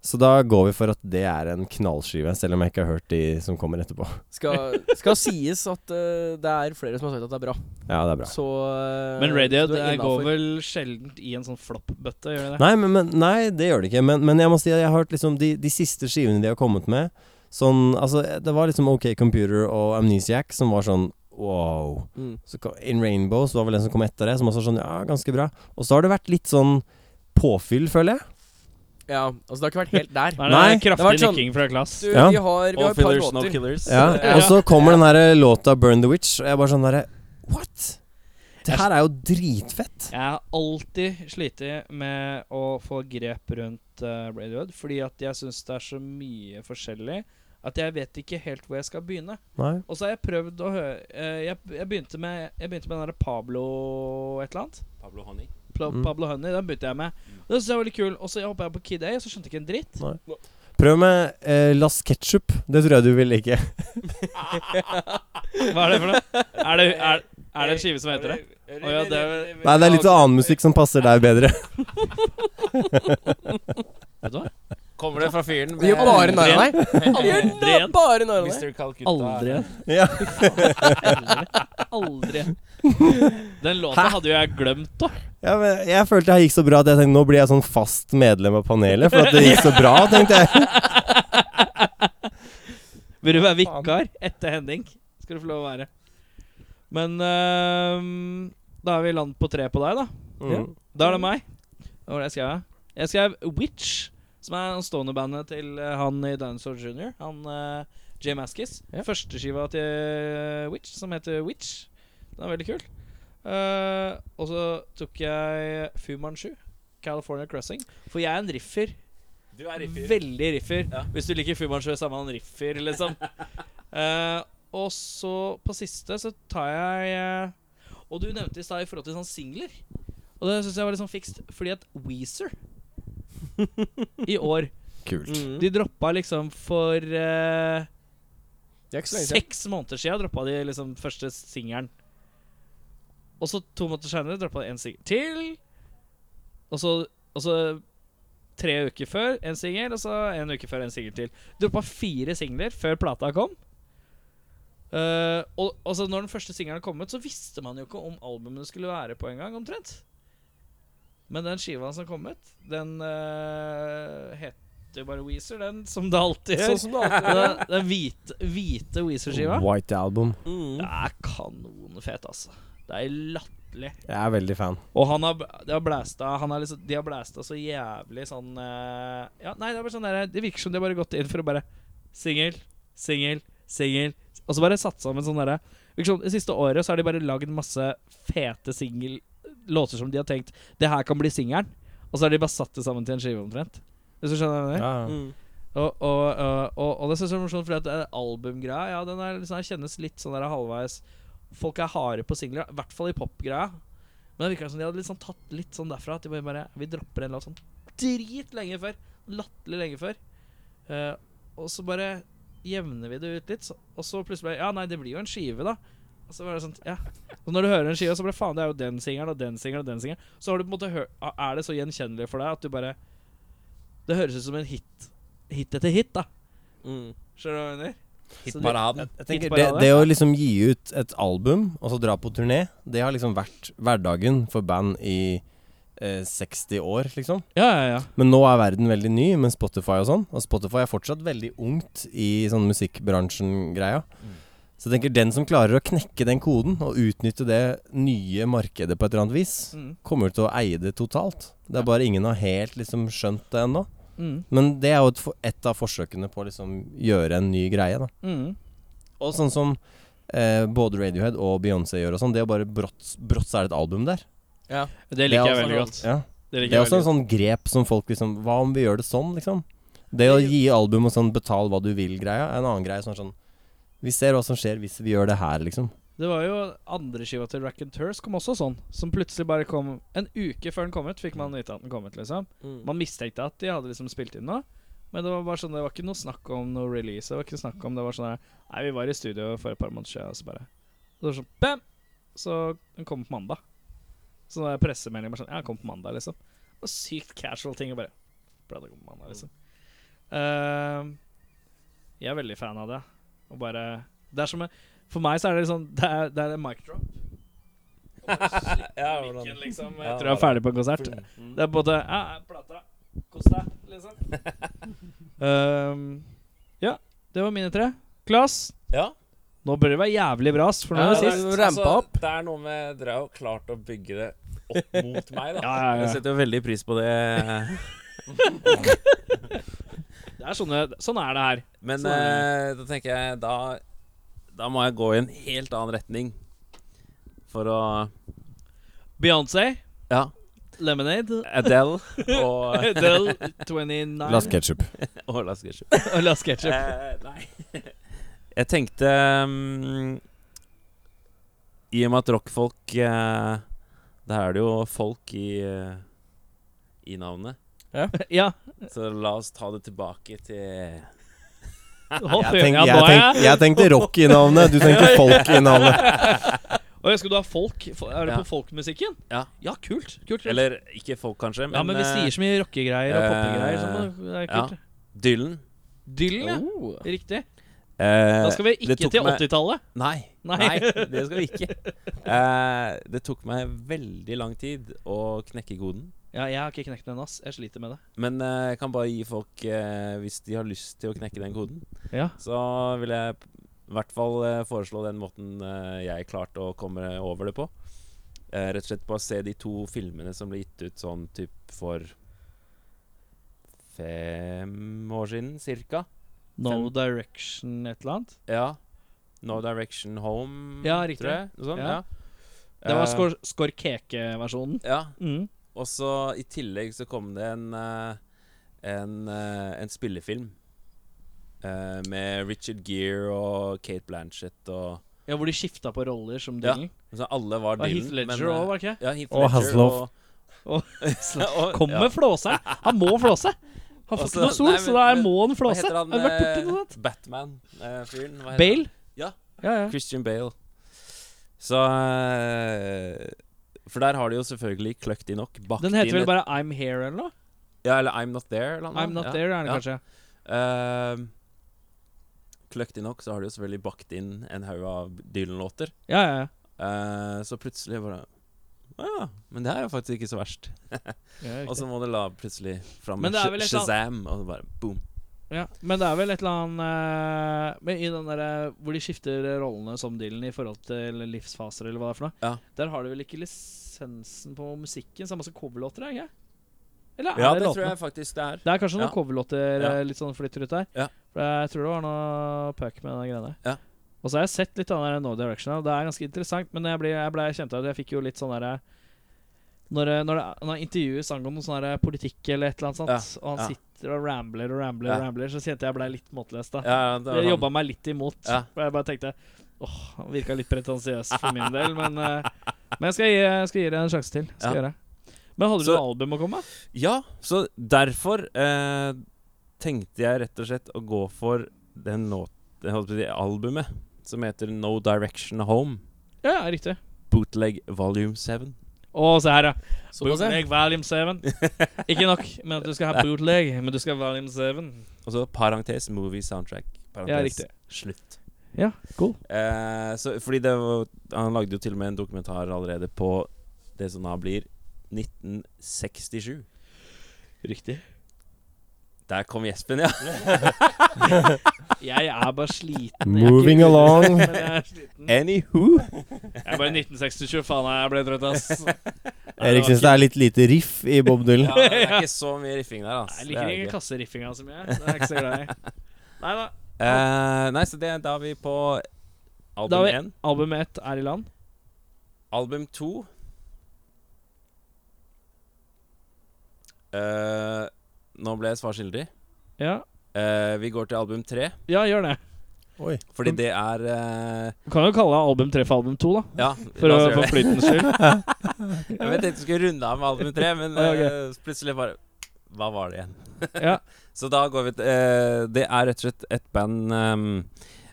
Så da går vi for at det er en knallskive, selv om jeg ikke har hørt de som kommer etterpå.
Skal, skal sies at eh, det er flere som har sagt at det er bra.
Ja, det er bra.
Så eh,
Men Radiohead
så du er
eh, går
innenfor.
vel sjelden i en sånn floppbøtte, gjør det det?
Nei, men, men, nei, det gjør det ikke. Men, men jeg må si at jeg har hørt liksom de, de siste skivene de har kommet med. Sånn, altså Det var liksom OK Computer og Amnesiac som var sånn wow.
Mm.
Så ko- In Rainbows var vel den som kom etter det, som også var sånn ja, ganske bra. Og så har det vært litt sånn påfyll, føler jeg.
Ja, altså det har ikke vært helt der.
Nei,
Nei,
det er
det var
kraftig
sånn-
nikking fra Klass.
Du,
Ja.
Vi har, vi har et par låter.
killers.
Ja,
Ja.
Og så kommer den her eh, låta 'Burn the Witch', og jeg er bare sånn derre What?! Det her er jo dritfett.
Jeg har alltid slitt med å få grep rundt eh, Radiohead, fordi at jeg syns det er så mye forskjellig at jeg vet ikke helt hvor jeg skal begynne.
Nei.
Og så har jeg prøvd å høre eh, jeg, jeg, begynte med, jeg begynte med den derre Pablo et eller annet.
Pablo Honey.
Pla-
Mm.
Pablo Honey, den begynte jeg med. Det syntes jeg var litt kul. Og så hoppa jeg på Kid A, og så skjønte jeg ikke en dritt.
Prøv med eh, Las Ketchup. Det tror jeg du vil like.
Hva er det for noe? Er det, er, er det en skive som heter det? Å ja, det er vel
Nei, det er litt annen musikk som passer deg bedre.
Vet du hva?
Kommer det fra fyren
Vi gjør bare narr av deg.
Aldri igjen.
Bare narr av deg.
Mr. Calcutta?
Aldri igjen.
Ja.
Aldri. Den låta hadde jo jeg glemt, da.
Ja, men jeg følte jeg gikk så bra at jeg tenkte nå blir jeg sånn fast medlem av panelet. For at det gikk så bra, tenkte jeg.
Vil du være vikar etter Henning? Skal du få lov å være. Men øhm, da er vi i land på tre på deg, da. Da er det meg. Hva var det jeg skrev? da? Jeg skrev Witch, som er en stående bandet til eh, han i Dinosaur Junior. Han eh, Jay Maskis.
Ja.
Førsteskiva til eh, Witch, som heter Witch. Den er veldig kul. Eh, og så tok jeg Fu Manchu, California Crossing. For jeg er en riffer.
Du er
Veldig riffer. Hvis du liker Fu Manchu, samme han riffer, liksom. Eh, og så på siste så tar jeg eh, Og du nevnte i stad i forhold til sånn singler. Og det syns jeg var litt sånn fikst, fordi at Weezer i år
Kult.
Mm.
De droppa liksom for eh,
Det er ikke så lenge siden.
seks måneder siden droppa de liksom første singelen. Og så to måneder seinere droppa de en singel til. Og så, og så tre uker før en singel, og så en uke før en singel til. Droppa fire singler før plata kom. Eh, og og så når den første singelen kom ut, så visste man jo ikke om albumene skulle være på engang, omtrent. Men den skiva som kom ut, den eh, heter jo bare Weezer, den, som det alltid gjør.
Sånn som det alltid er.
Den, den hvite, hvite Weezer-skiva.
White Album.
Det
Mm.
er kanonfett, altså. Det er latterlig.
Jeg er veldig fan.
Og han har, de, har blæsta, han har liksom, de har blæsta så jævlig sånn eh, Ja, nei, det er bare sånn der, Det virker som de har bare gått inn for å bare Singel, singel, singel. Og så bare satt sammen sånn derre virker som Det siste året så har de bare lagd masse fete singellåter som de har tenkt Det her kan bli singelen. Og så har de bare satt det sammen til en skive, omtrent. Hvis du skjønner hva jeg mener?
Mm.
Og, og, og, og, og det synes jeg er morsomt, fordi at eh, albumgreia Ja, den er, liksom, den kjennes litt sånn der halvveis Folk er harde på singler, i hvert fall i popgreia. Men det virker som de hadde liksom tatt litt sånn derfra at de bare, bare Vi dropper en låt sånn drit lenge før. Latterlig lenge før. Eh, og så bare jevner vi det ut litt, så, og så plutselig bare Ja, nei, det blir jo en skive, da. Og så var det sånn, ja Og når du hører en skive, så bare faen, det er jo den singelen og den singelen og den singelen. Så har du på en måte hør, er det så gjenkjennelig for deg at du bare Det høres ut som en hit hit etter hit, da.
Mm.
Skjønner du hva jeg mener?
Hitparaden.
Jeg tenker, det,
Hitparade.
det å liksom gi ut et album og så dra på turné, det har liksom vært hverdagen for band i eh, 60 år, liksom.
Ja, ja, ja.
Men nå er verden veldig ny med Spotify og sånn. Og Spotify er fortsatt veldig ungt i sånn musikkbransjen-greia. Så jeg tenker den som klarer å knekke den koden og utnytte det nye markedet på et eller annet vis,
Mm.
kommer til å eie det totalt. Det er bare ingen har helt liksom skjønt det ennå.
Mm.
Men det er jo et, for- et av forsøkene på å liksom gjøre en ny greie, da.
Mm.
Og sånn som eh, både Radiohead og Beyoncé gjør og sånn, det å bare brått, brått så er det et album der.
Det liker
Det er
jeg
også
veldig godt.
Ja.
Det
Det
liker
er
jeg
også
veldig
en sånn grep som folk liksom Hva om vi gjør det sånn, liksom? Det å gi album og sånn betal hva du vil-greia, er en annen greie. Sånn sånn Vi ser hva som skjer hvis vi gjør det her, liksom.
godt. Det var jo andre skiva til Raconteurs kom også sånn. Som plutselig bare kom En uke før den kom ut, fikk man vite at den kom ut, liksom.
Mm.
Man mistenkte at de hadde liksom spilt inn noe. Men det var bare sånn Det var ikke noe snakk om noe release. Det var ikke snakk om Det var sånn der Nei, vi var i studio for et par måneder siden, og så bare Det var sånn Bam! Så den kom på mandag. Så da er pressemeldingen bare sånn Ja, den kom på mandag, liksom. Og sykt casual ting. Og bare Plata kom på mandag, liksom. Ehm, jeg er veldig fan av det. Og bare Det er som en For meg så er det liksom Det er, det er en mic drop. ja, hvordan, liksom, jeg tror jeg er ferdig på en konsert. Det er både ja, ja, plata, kos deg, liksom. Ehm, ja, det var mine tre. Klas,
Ja.
nå bør det være jævlig bra, ass, for nå er det
det,
sist.
er-
altså,
rampa opp.
det er noe med Dere har jo klart å bygge det opp mot meg, da.
Ja, ja,
Jeg
ja.
setter jo veldig pris på det.
Det er sånne, sånn er det her.
Men
Sånn er
eh, da tenker jeg da, da må jeg gå i en helt annen retning for å
Beyoncé,
Ja.
Lemonade,
Adele og
Adele, 29
Last ketchup.
Og Lars Gershom.
og Last Ketchup.
Eh, nei. Jeg tenkte mm, I og med at rockfolk uh, Der er det jo folk i, eh, i navnet.
Ja.
Så la oss ta det tilbake til
Å,
Jeg,
fy,
tenk,
ja,
jeg,
nå er
tenk, jeg tenkte rock i navnet, du tenkte folk i navnet.
Oi, skal du ha folk? Fo- Er det
Ja.
på folkmusikken?
Ja.
ja kult. kult, kult.
Eller ikke folk, kanskje, men,
ja, men vi
eh,
sier så mye rockegreier og
eh,
poppegreier. Sånn, det er kult.
Dylan.
Dylan, ja.
Mm.
Riktig.
Eh,
Da skal vi
det
ikke
tok
til
meg-
80-tallet.
Nei,
Nei.
nei, det skal vi ikke. Eh, det tok meg veldig lang tid å knekke koden.
Ja, jeg har ikke knekt den ennå, ass. Jeg sliter med det.
Men eh, jeg kan bare gi folk, eh, hvis de har lyst til å knekke den koden,
Ja.
så vil jeg p- i hvert fall eh, foreslå den måten eh, jeg klarte å komme over det på. Eh, rett og slett bare se de to filmene som ble gitt ut sånn typ for fem år siden, cirka.
No
Fem.
Direction et eller annet.
Ja. No Direction Home,
Ja, riktig.
tror jeg. Noe sånt,
Ja.
ja.
Det var
Eh,
skor Skorkeke-versjonen.
Ja.
Mm.
Og så i tillegg så kom det en eh, En, eh, en spillefilm eh, med Richard Gere og Kate Blanchett og
Ja, hvor de skifta på roller som
Ja,
Dylan.
altså Alle var
Det var
Dylan.
Heath Ledger
men, eh,
òg, var det ikke?
Ja, Heath
Og
Ledger
Hasselhoff.
Og-
og-
Kom med
ja.
flåseren! Han må flåse! Han får
Også-
ikke noe sol,
nei,
så
men-
da er-
men-
må han
Hva
flåse.
heter han? eh,
Har du vært borti noe sånt?
Batman-fyren.
Bale?
Ja.
ja, ja.
Christian Bale. Så eh, For der har de jo selvfølgelig kløkt inn nok. Bakt
Den heter
inn
vel bare I'm Here eller noe?
et- Ja, eller I'm Not There. Eller noe.
I'm Not
ja.
There, er det kanskje.
Ehm, kløkt inn nok, så har de jo selvfølgelig bakt inn en haug av Dylan-låter.
Ja, ja, ja.
Eh, så plutselig bare Å ja, men det her er faktisk ikke så verst. og så må du la plutselig fram
Men
med
det er
Sh
vel et eller
Shazam, og bare boom.
Ja, men det er vel et eller annet eh, men I den der, hvor de skifter rollene som Dylan i forhold til livsfaser, eller hva det er for noe,
Ja.
der har de vel ikke lisensen på musikken? Så det er masse coverlåter, er det ikke? Eller er
Ja,
det,
det
låtene?
tror jeg faktisk det er.
Det er kanskje noen
Ja.
coverlåter
Ja.
eh, litt sånn flytter ut der.
Ja.
For jeg tror det var noe puck med den greia der.
Ja.
Og så har jeg sett litt av den der No Direction. og Det er ganske interessant, men jeg ble, jeg ble kjent av det. Jeg fikk jo litt sånn derre når, det- når, det- når jeg intervjuer sang om noe sånn der politikk eller et eller annet sånt,
Ja,
og han
ja.
sitter og rambler og rambler, og
Ja.
rambler så kjente jeg ble litt måteløs, da.
Ja, ja, det var
Det
sånn.
jobba meg litt imot.
Ja.
For jeg bare tenkte åh, han virka litt pretensiøs for min del, men, eh, men jeg skal gi, jeg skal gi det en sjanse til. Skal
Ja.
gjøre. Men hadde du
Så-
noe album å komme med?
Ja, så derfor eh, tenkte jeg rett og slett å gå for den låt, jeg holdt på å si, albumet som heter No Direction Home,
Ja, ja, riktig.
Bootleg Volume 7.
Å, se her, ja. Bootleg Valium 7. Ikke nok med at du skal ha bootleg, men du skal ha Valium 7.
Og så parentes movie soundtrack.
Ja,
Parentes
riktig.
slutt.
Ja, cool.
Eh, så, fordi det var, han lagde jo til og med en dokumentar allerede på det som da blir 1967.
Riktig.
Der kom gjespen, ja.
Jeg er bare sliten.
Moving along.
Men jeg er sliten.
Anywho.
Jeg er bare 1960, faen jeg ble trøtt, ass.
Erik syns det er litt lite riff i Bob Dylan.
Ja, det er ikke så mye riffing der, altså.
Jeg liker ikke kasseriffinga så mye. Det er jeg ikke så glad i. Nei da.
Eh, nei, så det, da er vi på
Da er
album
vi-
én.
Album 1 er i land.
Album to Eh, Nå ble jeg svar skyldig.
Ja,
Eh, vi går til album tre,
ja gjør det.
fordi det er eh,
Du kan jo kalle album 3 for album 2, da.
Ja,
For,
la
å,
oss gjøre
for
det.
flytens skyld.
Jeg vet jeg skulle runde av med album tre, men
Ja, ok.
eh, plutselig bare Hva var det igjen?
Ja.
Så da går vi til eh, Det er rett og slett et band eh,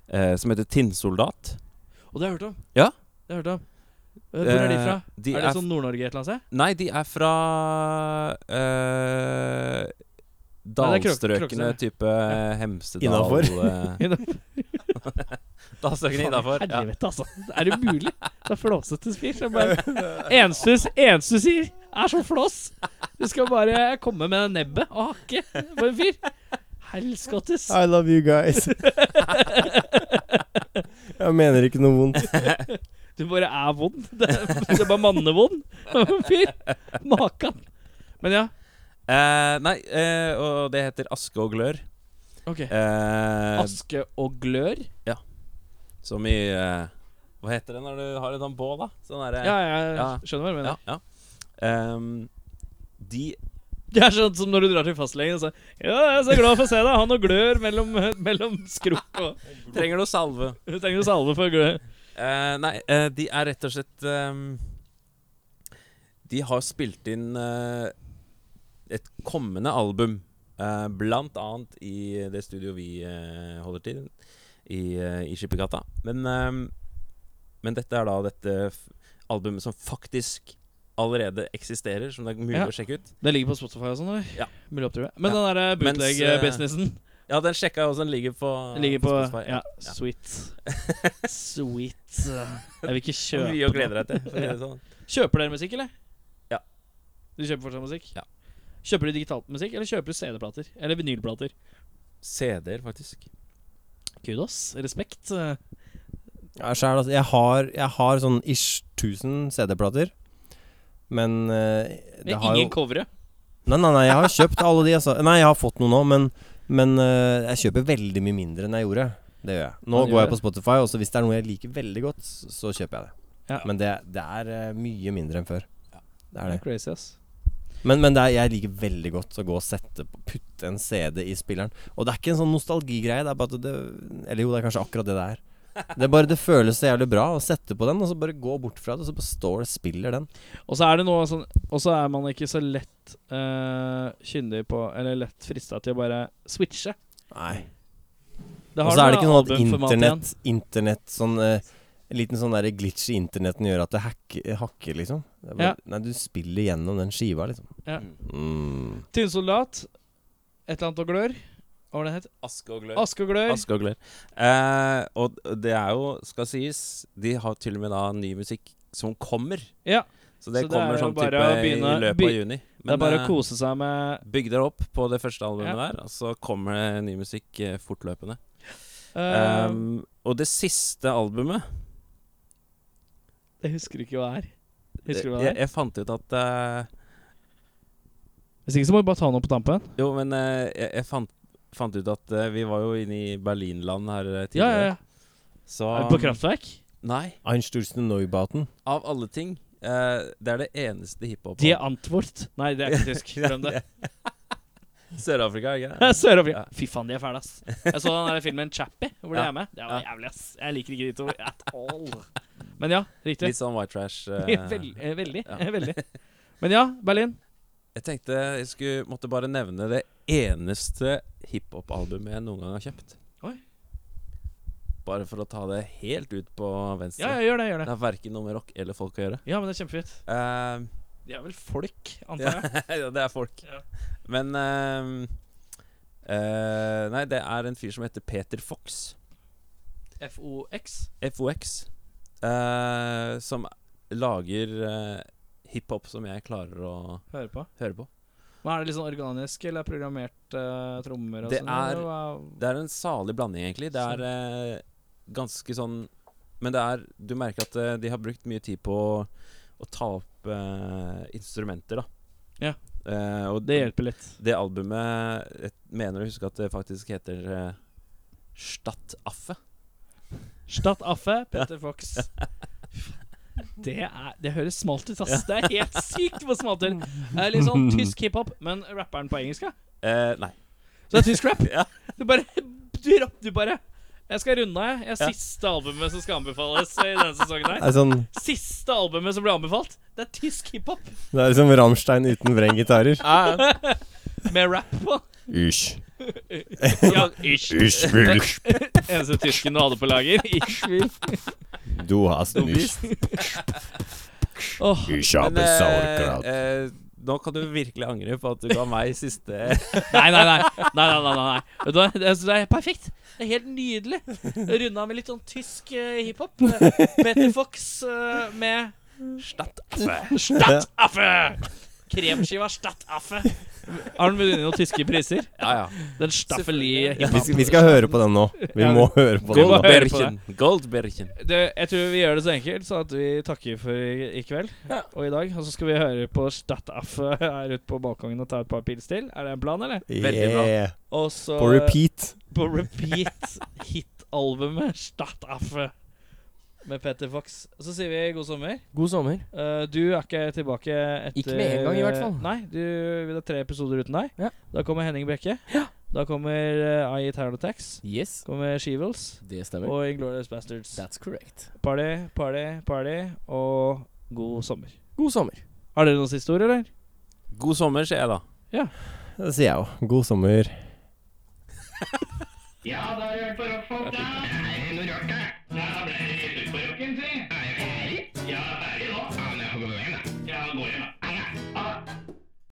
eh, som heter Tinnsoldat.
Og det har jeg hørt om.
Ja.
Det har jeg hørt om. Hvor er de
Eh,
fra?
de
er
er
det sånn Nord-Norge et eller annet sted?
Nei, de er fra eh,
Nei, det er Krok-
Dalstrøkene
Krokstad,
type Hemsedal
Innafor.
eh, Dalstrøkene innafor. Ja.
Helvete, altså. Er det mulig? Det er flåsete spir. som bare- Eneste eneste du sier, er så flås. Du skal bare komme med nebbet og hakke på en fyr. Helskottes.
I love you guys. Jeg mener ikke noe vondt.
Du bare er vond. Det er, du er bare mannevond på en fyr. Makan. Men ja.
Eh, nei, eh, og det heter Aske og glør.
Ok.
Eh,
Aske og glør.
som i eh, Hva heter det når du har en sånn bål, da? Sånn derre
Ja, jeg
Ja.
skjønner hva du mener.
ja, ja. Ehm, de
Det er sånn som når du drar til fastlegen og så Ja, jeg er så glad for å se deg. Han og glør mellom, mellom skrukk og
Trenger du salve?
Du trenger jo salve for glør.
Eh, nei, eh, de er rett og slett ehm, De har spilt inn eh, et kommende album, eh, blant annet i det studioet vi eh, holder til, i, uh, i Skippergata. Men, ehm, men dette er da dette f- albumet som faktisk allerede eksisterer, som det er mulig
Ja.
å sjekke ut.
Det ligger på Spotify og sånn, eller?
Ja.
Mulig å oppdrive. Men
Ja.
den der eh,
Mens, eh,
bootleg-businessen
Ja, den sjekka jeg også, den ligger på
ligger på
Spotify.
Ja,
Ja.
sweet. Sweet. Jeg vil ikke
Det er Mye å
kjøpe
glede deg til. For å si det sånn.
Kjøper dere musikk, eller?
Ja.
Du kjøper fortsatt musikk?
Ja.
Kjøper du digitalt musikk, eller kjøper du CD-plater? Eller vinylplater?
CD-er, faktisk.
Kudos. Respekt. Eh, Ja,
Ja, sjæl, altså. Jeg har, jeg har sånn ish 1000 CD-plater. Men eh, det har
ingen
jo
covere.
Nei, nei, nei, jeg har kjøpt alle de, altså. Nei, jeg har fått noen nå, men, men eh, jeg kjøper veldig mye mindre enn jeg gjorde. Det gjør jeg. Nå
Man gjør
går jeg
det.
på Spotify, og så hvis det er noe jeg liker veldig godt, s- så kjøper jeg det.
Ja.
Men det, det er eh, mye mindre enn før. Det er det.
Crazy, ass.
Men, men det er, jeg liker veldig godt å gå og sette på, putte en CD i spilleren. Og det er ikke en sånn nostalgigreie. Det er bare at det, eller jo, det er kanskje akkurat det det er. Det er bare det føles så jævlig bra å sette på den, og så bare gå bort fra det, og så bare står det og spiller den.
Og så er det noe sånn Og så er man ikke så lett eh, kyndig på Eller lett frista til å bare switche.
Nei.
Det
Og
har
så er
noe
det ikke sånn at
albumformat igjen.
internett, internett sånn eh, En liten sånn der glitch i internetten gjør at det hacker, hakker liksom. Det er bare,
Ja.
Nei, du spiller gjennom den skiva, liksom.
Ja.
Mm.
Tynnsoldat. Et eller annet og glør. Hva var det den het?
Aske og glør.
Aske og glør.
Aske og glør. Eh, og det er jo, skal sies, de har til og med da ny musikk som kommer.
Ja.
Så det
Så det
kommer
er jo
sånn
bare
type
å begynne-
i løpet
by-
av juni. Men
det er bare
eh,
å kose seg med
bygg dere opp på det første albumet
Ja.
der, og så kommer det ny musikk eh, fortløpende.
eh,
Um, og det siste albumet
Jeg husker ikke hva det er. Husker du hva det
Jeg,
er?
jeg fant ut at eh,
Hvis ikke så må vi bare ta noe på tampen.
Jo, men eh, jeg, jeg fant, fant ut at eh, vi var jo inne i Berlinland her eh,
Ja, ja,
tidligere. Um,
ja.
Så,
Er det På Kraftverk?
Nei.
Einstürzen Neubauten.
Av alle ting. eh, det er det eneste hiphop
Die Antwort. Nei, det er ikke tysk. Glem det.
Sør-Afrika, ikke
Ja,
det?
Sør-Afrika.
Ja.
Fy faen, de er fæle, ass. Jeg så den der filmen Chappie, hvor de
Ja.
er med. Det var jævlig, ass. Jeg liker ikke de to at all. Men ja, riktig.
Litt sånn white trash. eh.
Vel, eh, veldig.
Ja.
eh, veldig. Men ja, Berlin.
Jeg tenkte jeg skulle, måtte bare nevne det eneste hiphop-albumet jeg noen gang har kjøpt.
Oi.
Bare for å ta det helt ut på venstre.
Ja, ja, gjør det. gjør
Det
det
har verken noe med rock eller folk å gjøre.
Ja, men det er kjempefint.
Eh,
De er vel folk,
ja,
antar jeg.
ja, det er folk.
Ja.
Men eh, eh, Nei, det er en fyr som heter Peter Fox.
FOX.
FOX, eh, som lager eh, hiphop som jeg klarer å
Hører på.
høre på.
Men Er det litt sånn organisk, eller er det programmert eh, trommer og
Det
sånn?
er-
eller hva-
Det er en salig blanding, egentlig. Det er eh, ganske sånn Men det er Du merker at eh, de har brukt mye tid på å, å ta opp eh, instrumenter, da.
Ja.
Eh, og
Det hjelper litt.
Det albumet jeg mener å huske at det faktisk heter eh, Stadt Affe.
Stadt Affe, Petter Fox. Det, er, det høres smalt ut, ass. Det er helt sykt hvor smalt det er. Det er Litt sånn tysk hiphop, men rapperen på engelsk, ja.
Eh, nei.
Så det er tysk rap.
Ja.
Du bare Du, rapp- du bare Jeg skal runde av, jeg. Det er siste albumet som skal anbefales i denne sesongen her.
Det er sånn,
Siste albumet som blir anbefalt, det er tysk hiphop
det er liksom Rammstein uten vrengitarer.
med rap på.
Ish.
Ja, ish.
Ish will
Eneste tysken du hadde på lager. Ish, vil.
du hast nicht.
Åh,
Ich
Men
habe
eh,
sauerkraut.
eh, nå kan du virkelig angre på at du ga meg siste
Nei, nei, nei. nei, nei, nei, nei. Vet du hva? Det, er- det er perfekt. Det er helt nydelig. Runda med litt sånn tysk eh, hiphop. Peter Fox eh, med Stadtaffe. Stadtaffe! Kremskiva Stadtaffe. Har den vunnet noen tyske priser?
Ja, ja.
Den staffelige
Vi
hiphop.
skal, vi skal høre på den nå. Vi
Ja.
må høre på
Vi
den
må
nå.
høre på
Goldbergen. Goldbergen.
Det, jeg tror vi gjør det så enkelt, så at vi takker for i, i kveld og i dag. Og så skal vi høre på Stadtaffe her ute på balkongen og ta et par pils til. Er det en plan, eller?
Veldig bra.
Yeah.
Og så
På repeat.
på repeat hitalbumet Stadtaffe med Peter Fox. Så sier vi god sommer.
God sommer.
Eh, du er ikke tilbake etter
Ikke med en gang, i hvert fall.
Nei, du, det er tre episoder uten deg.
Ja.
Da kommer Henning Brekke. Da kommer uh, I Eternal Tax.
Yes.
Kommer Shevels.
Det stemmer.
Og Inglorious Bastards.
That's correct.
Party, party, party. Og god sommer.
God sommer.
Har dere noen siste ord, eller?
God sommer, sier jeg da.
Det sier jeg jo. God sommer.
Nei, nå rart det. Da ble det litt ut på rocken, si. Er jeg ferdig? Ja, ferdig nå. Ja, men jeg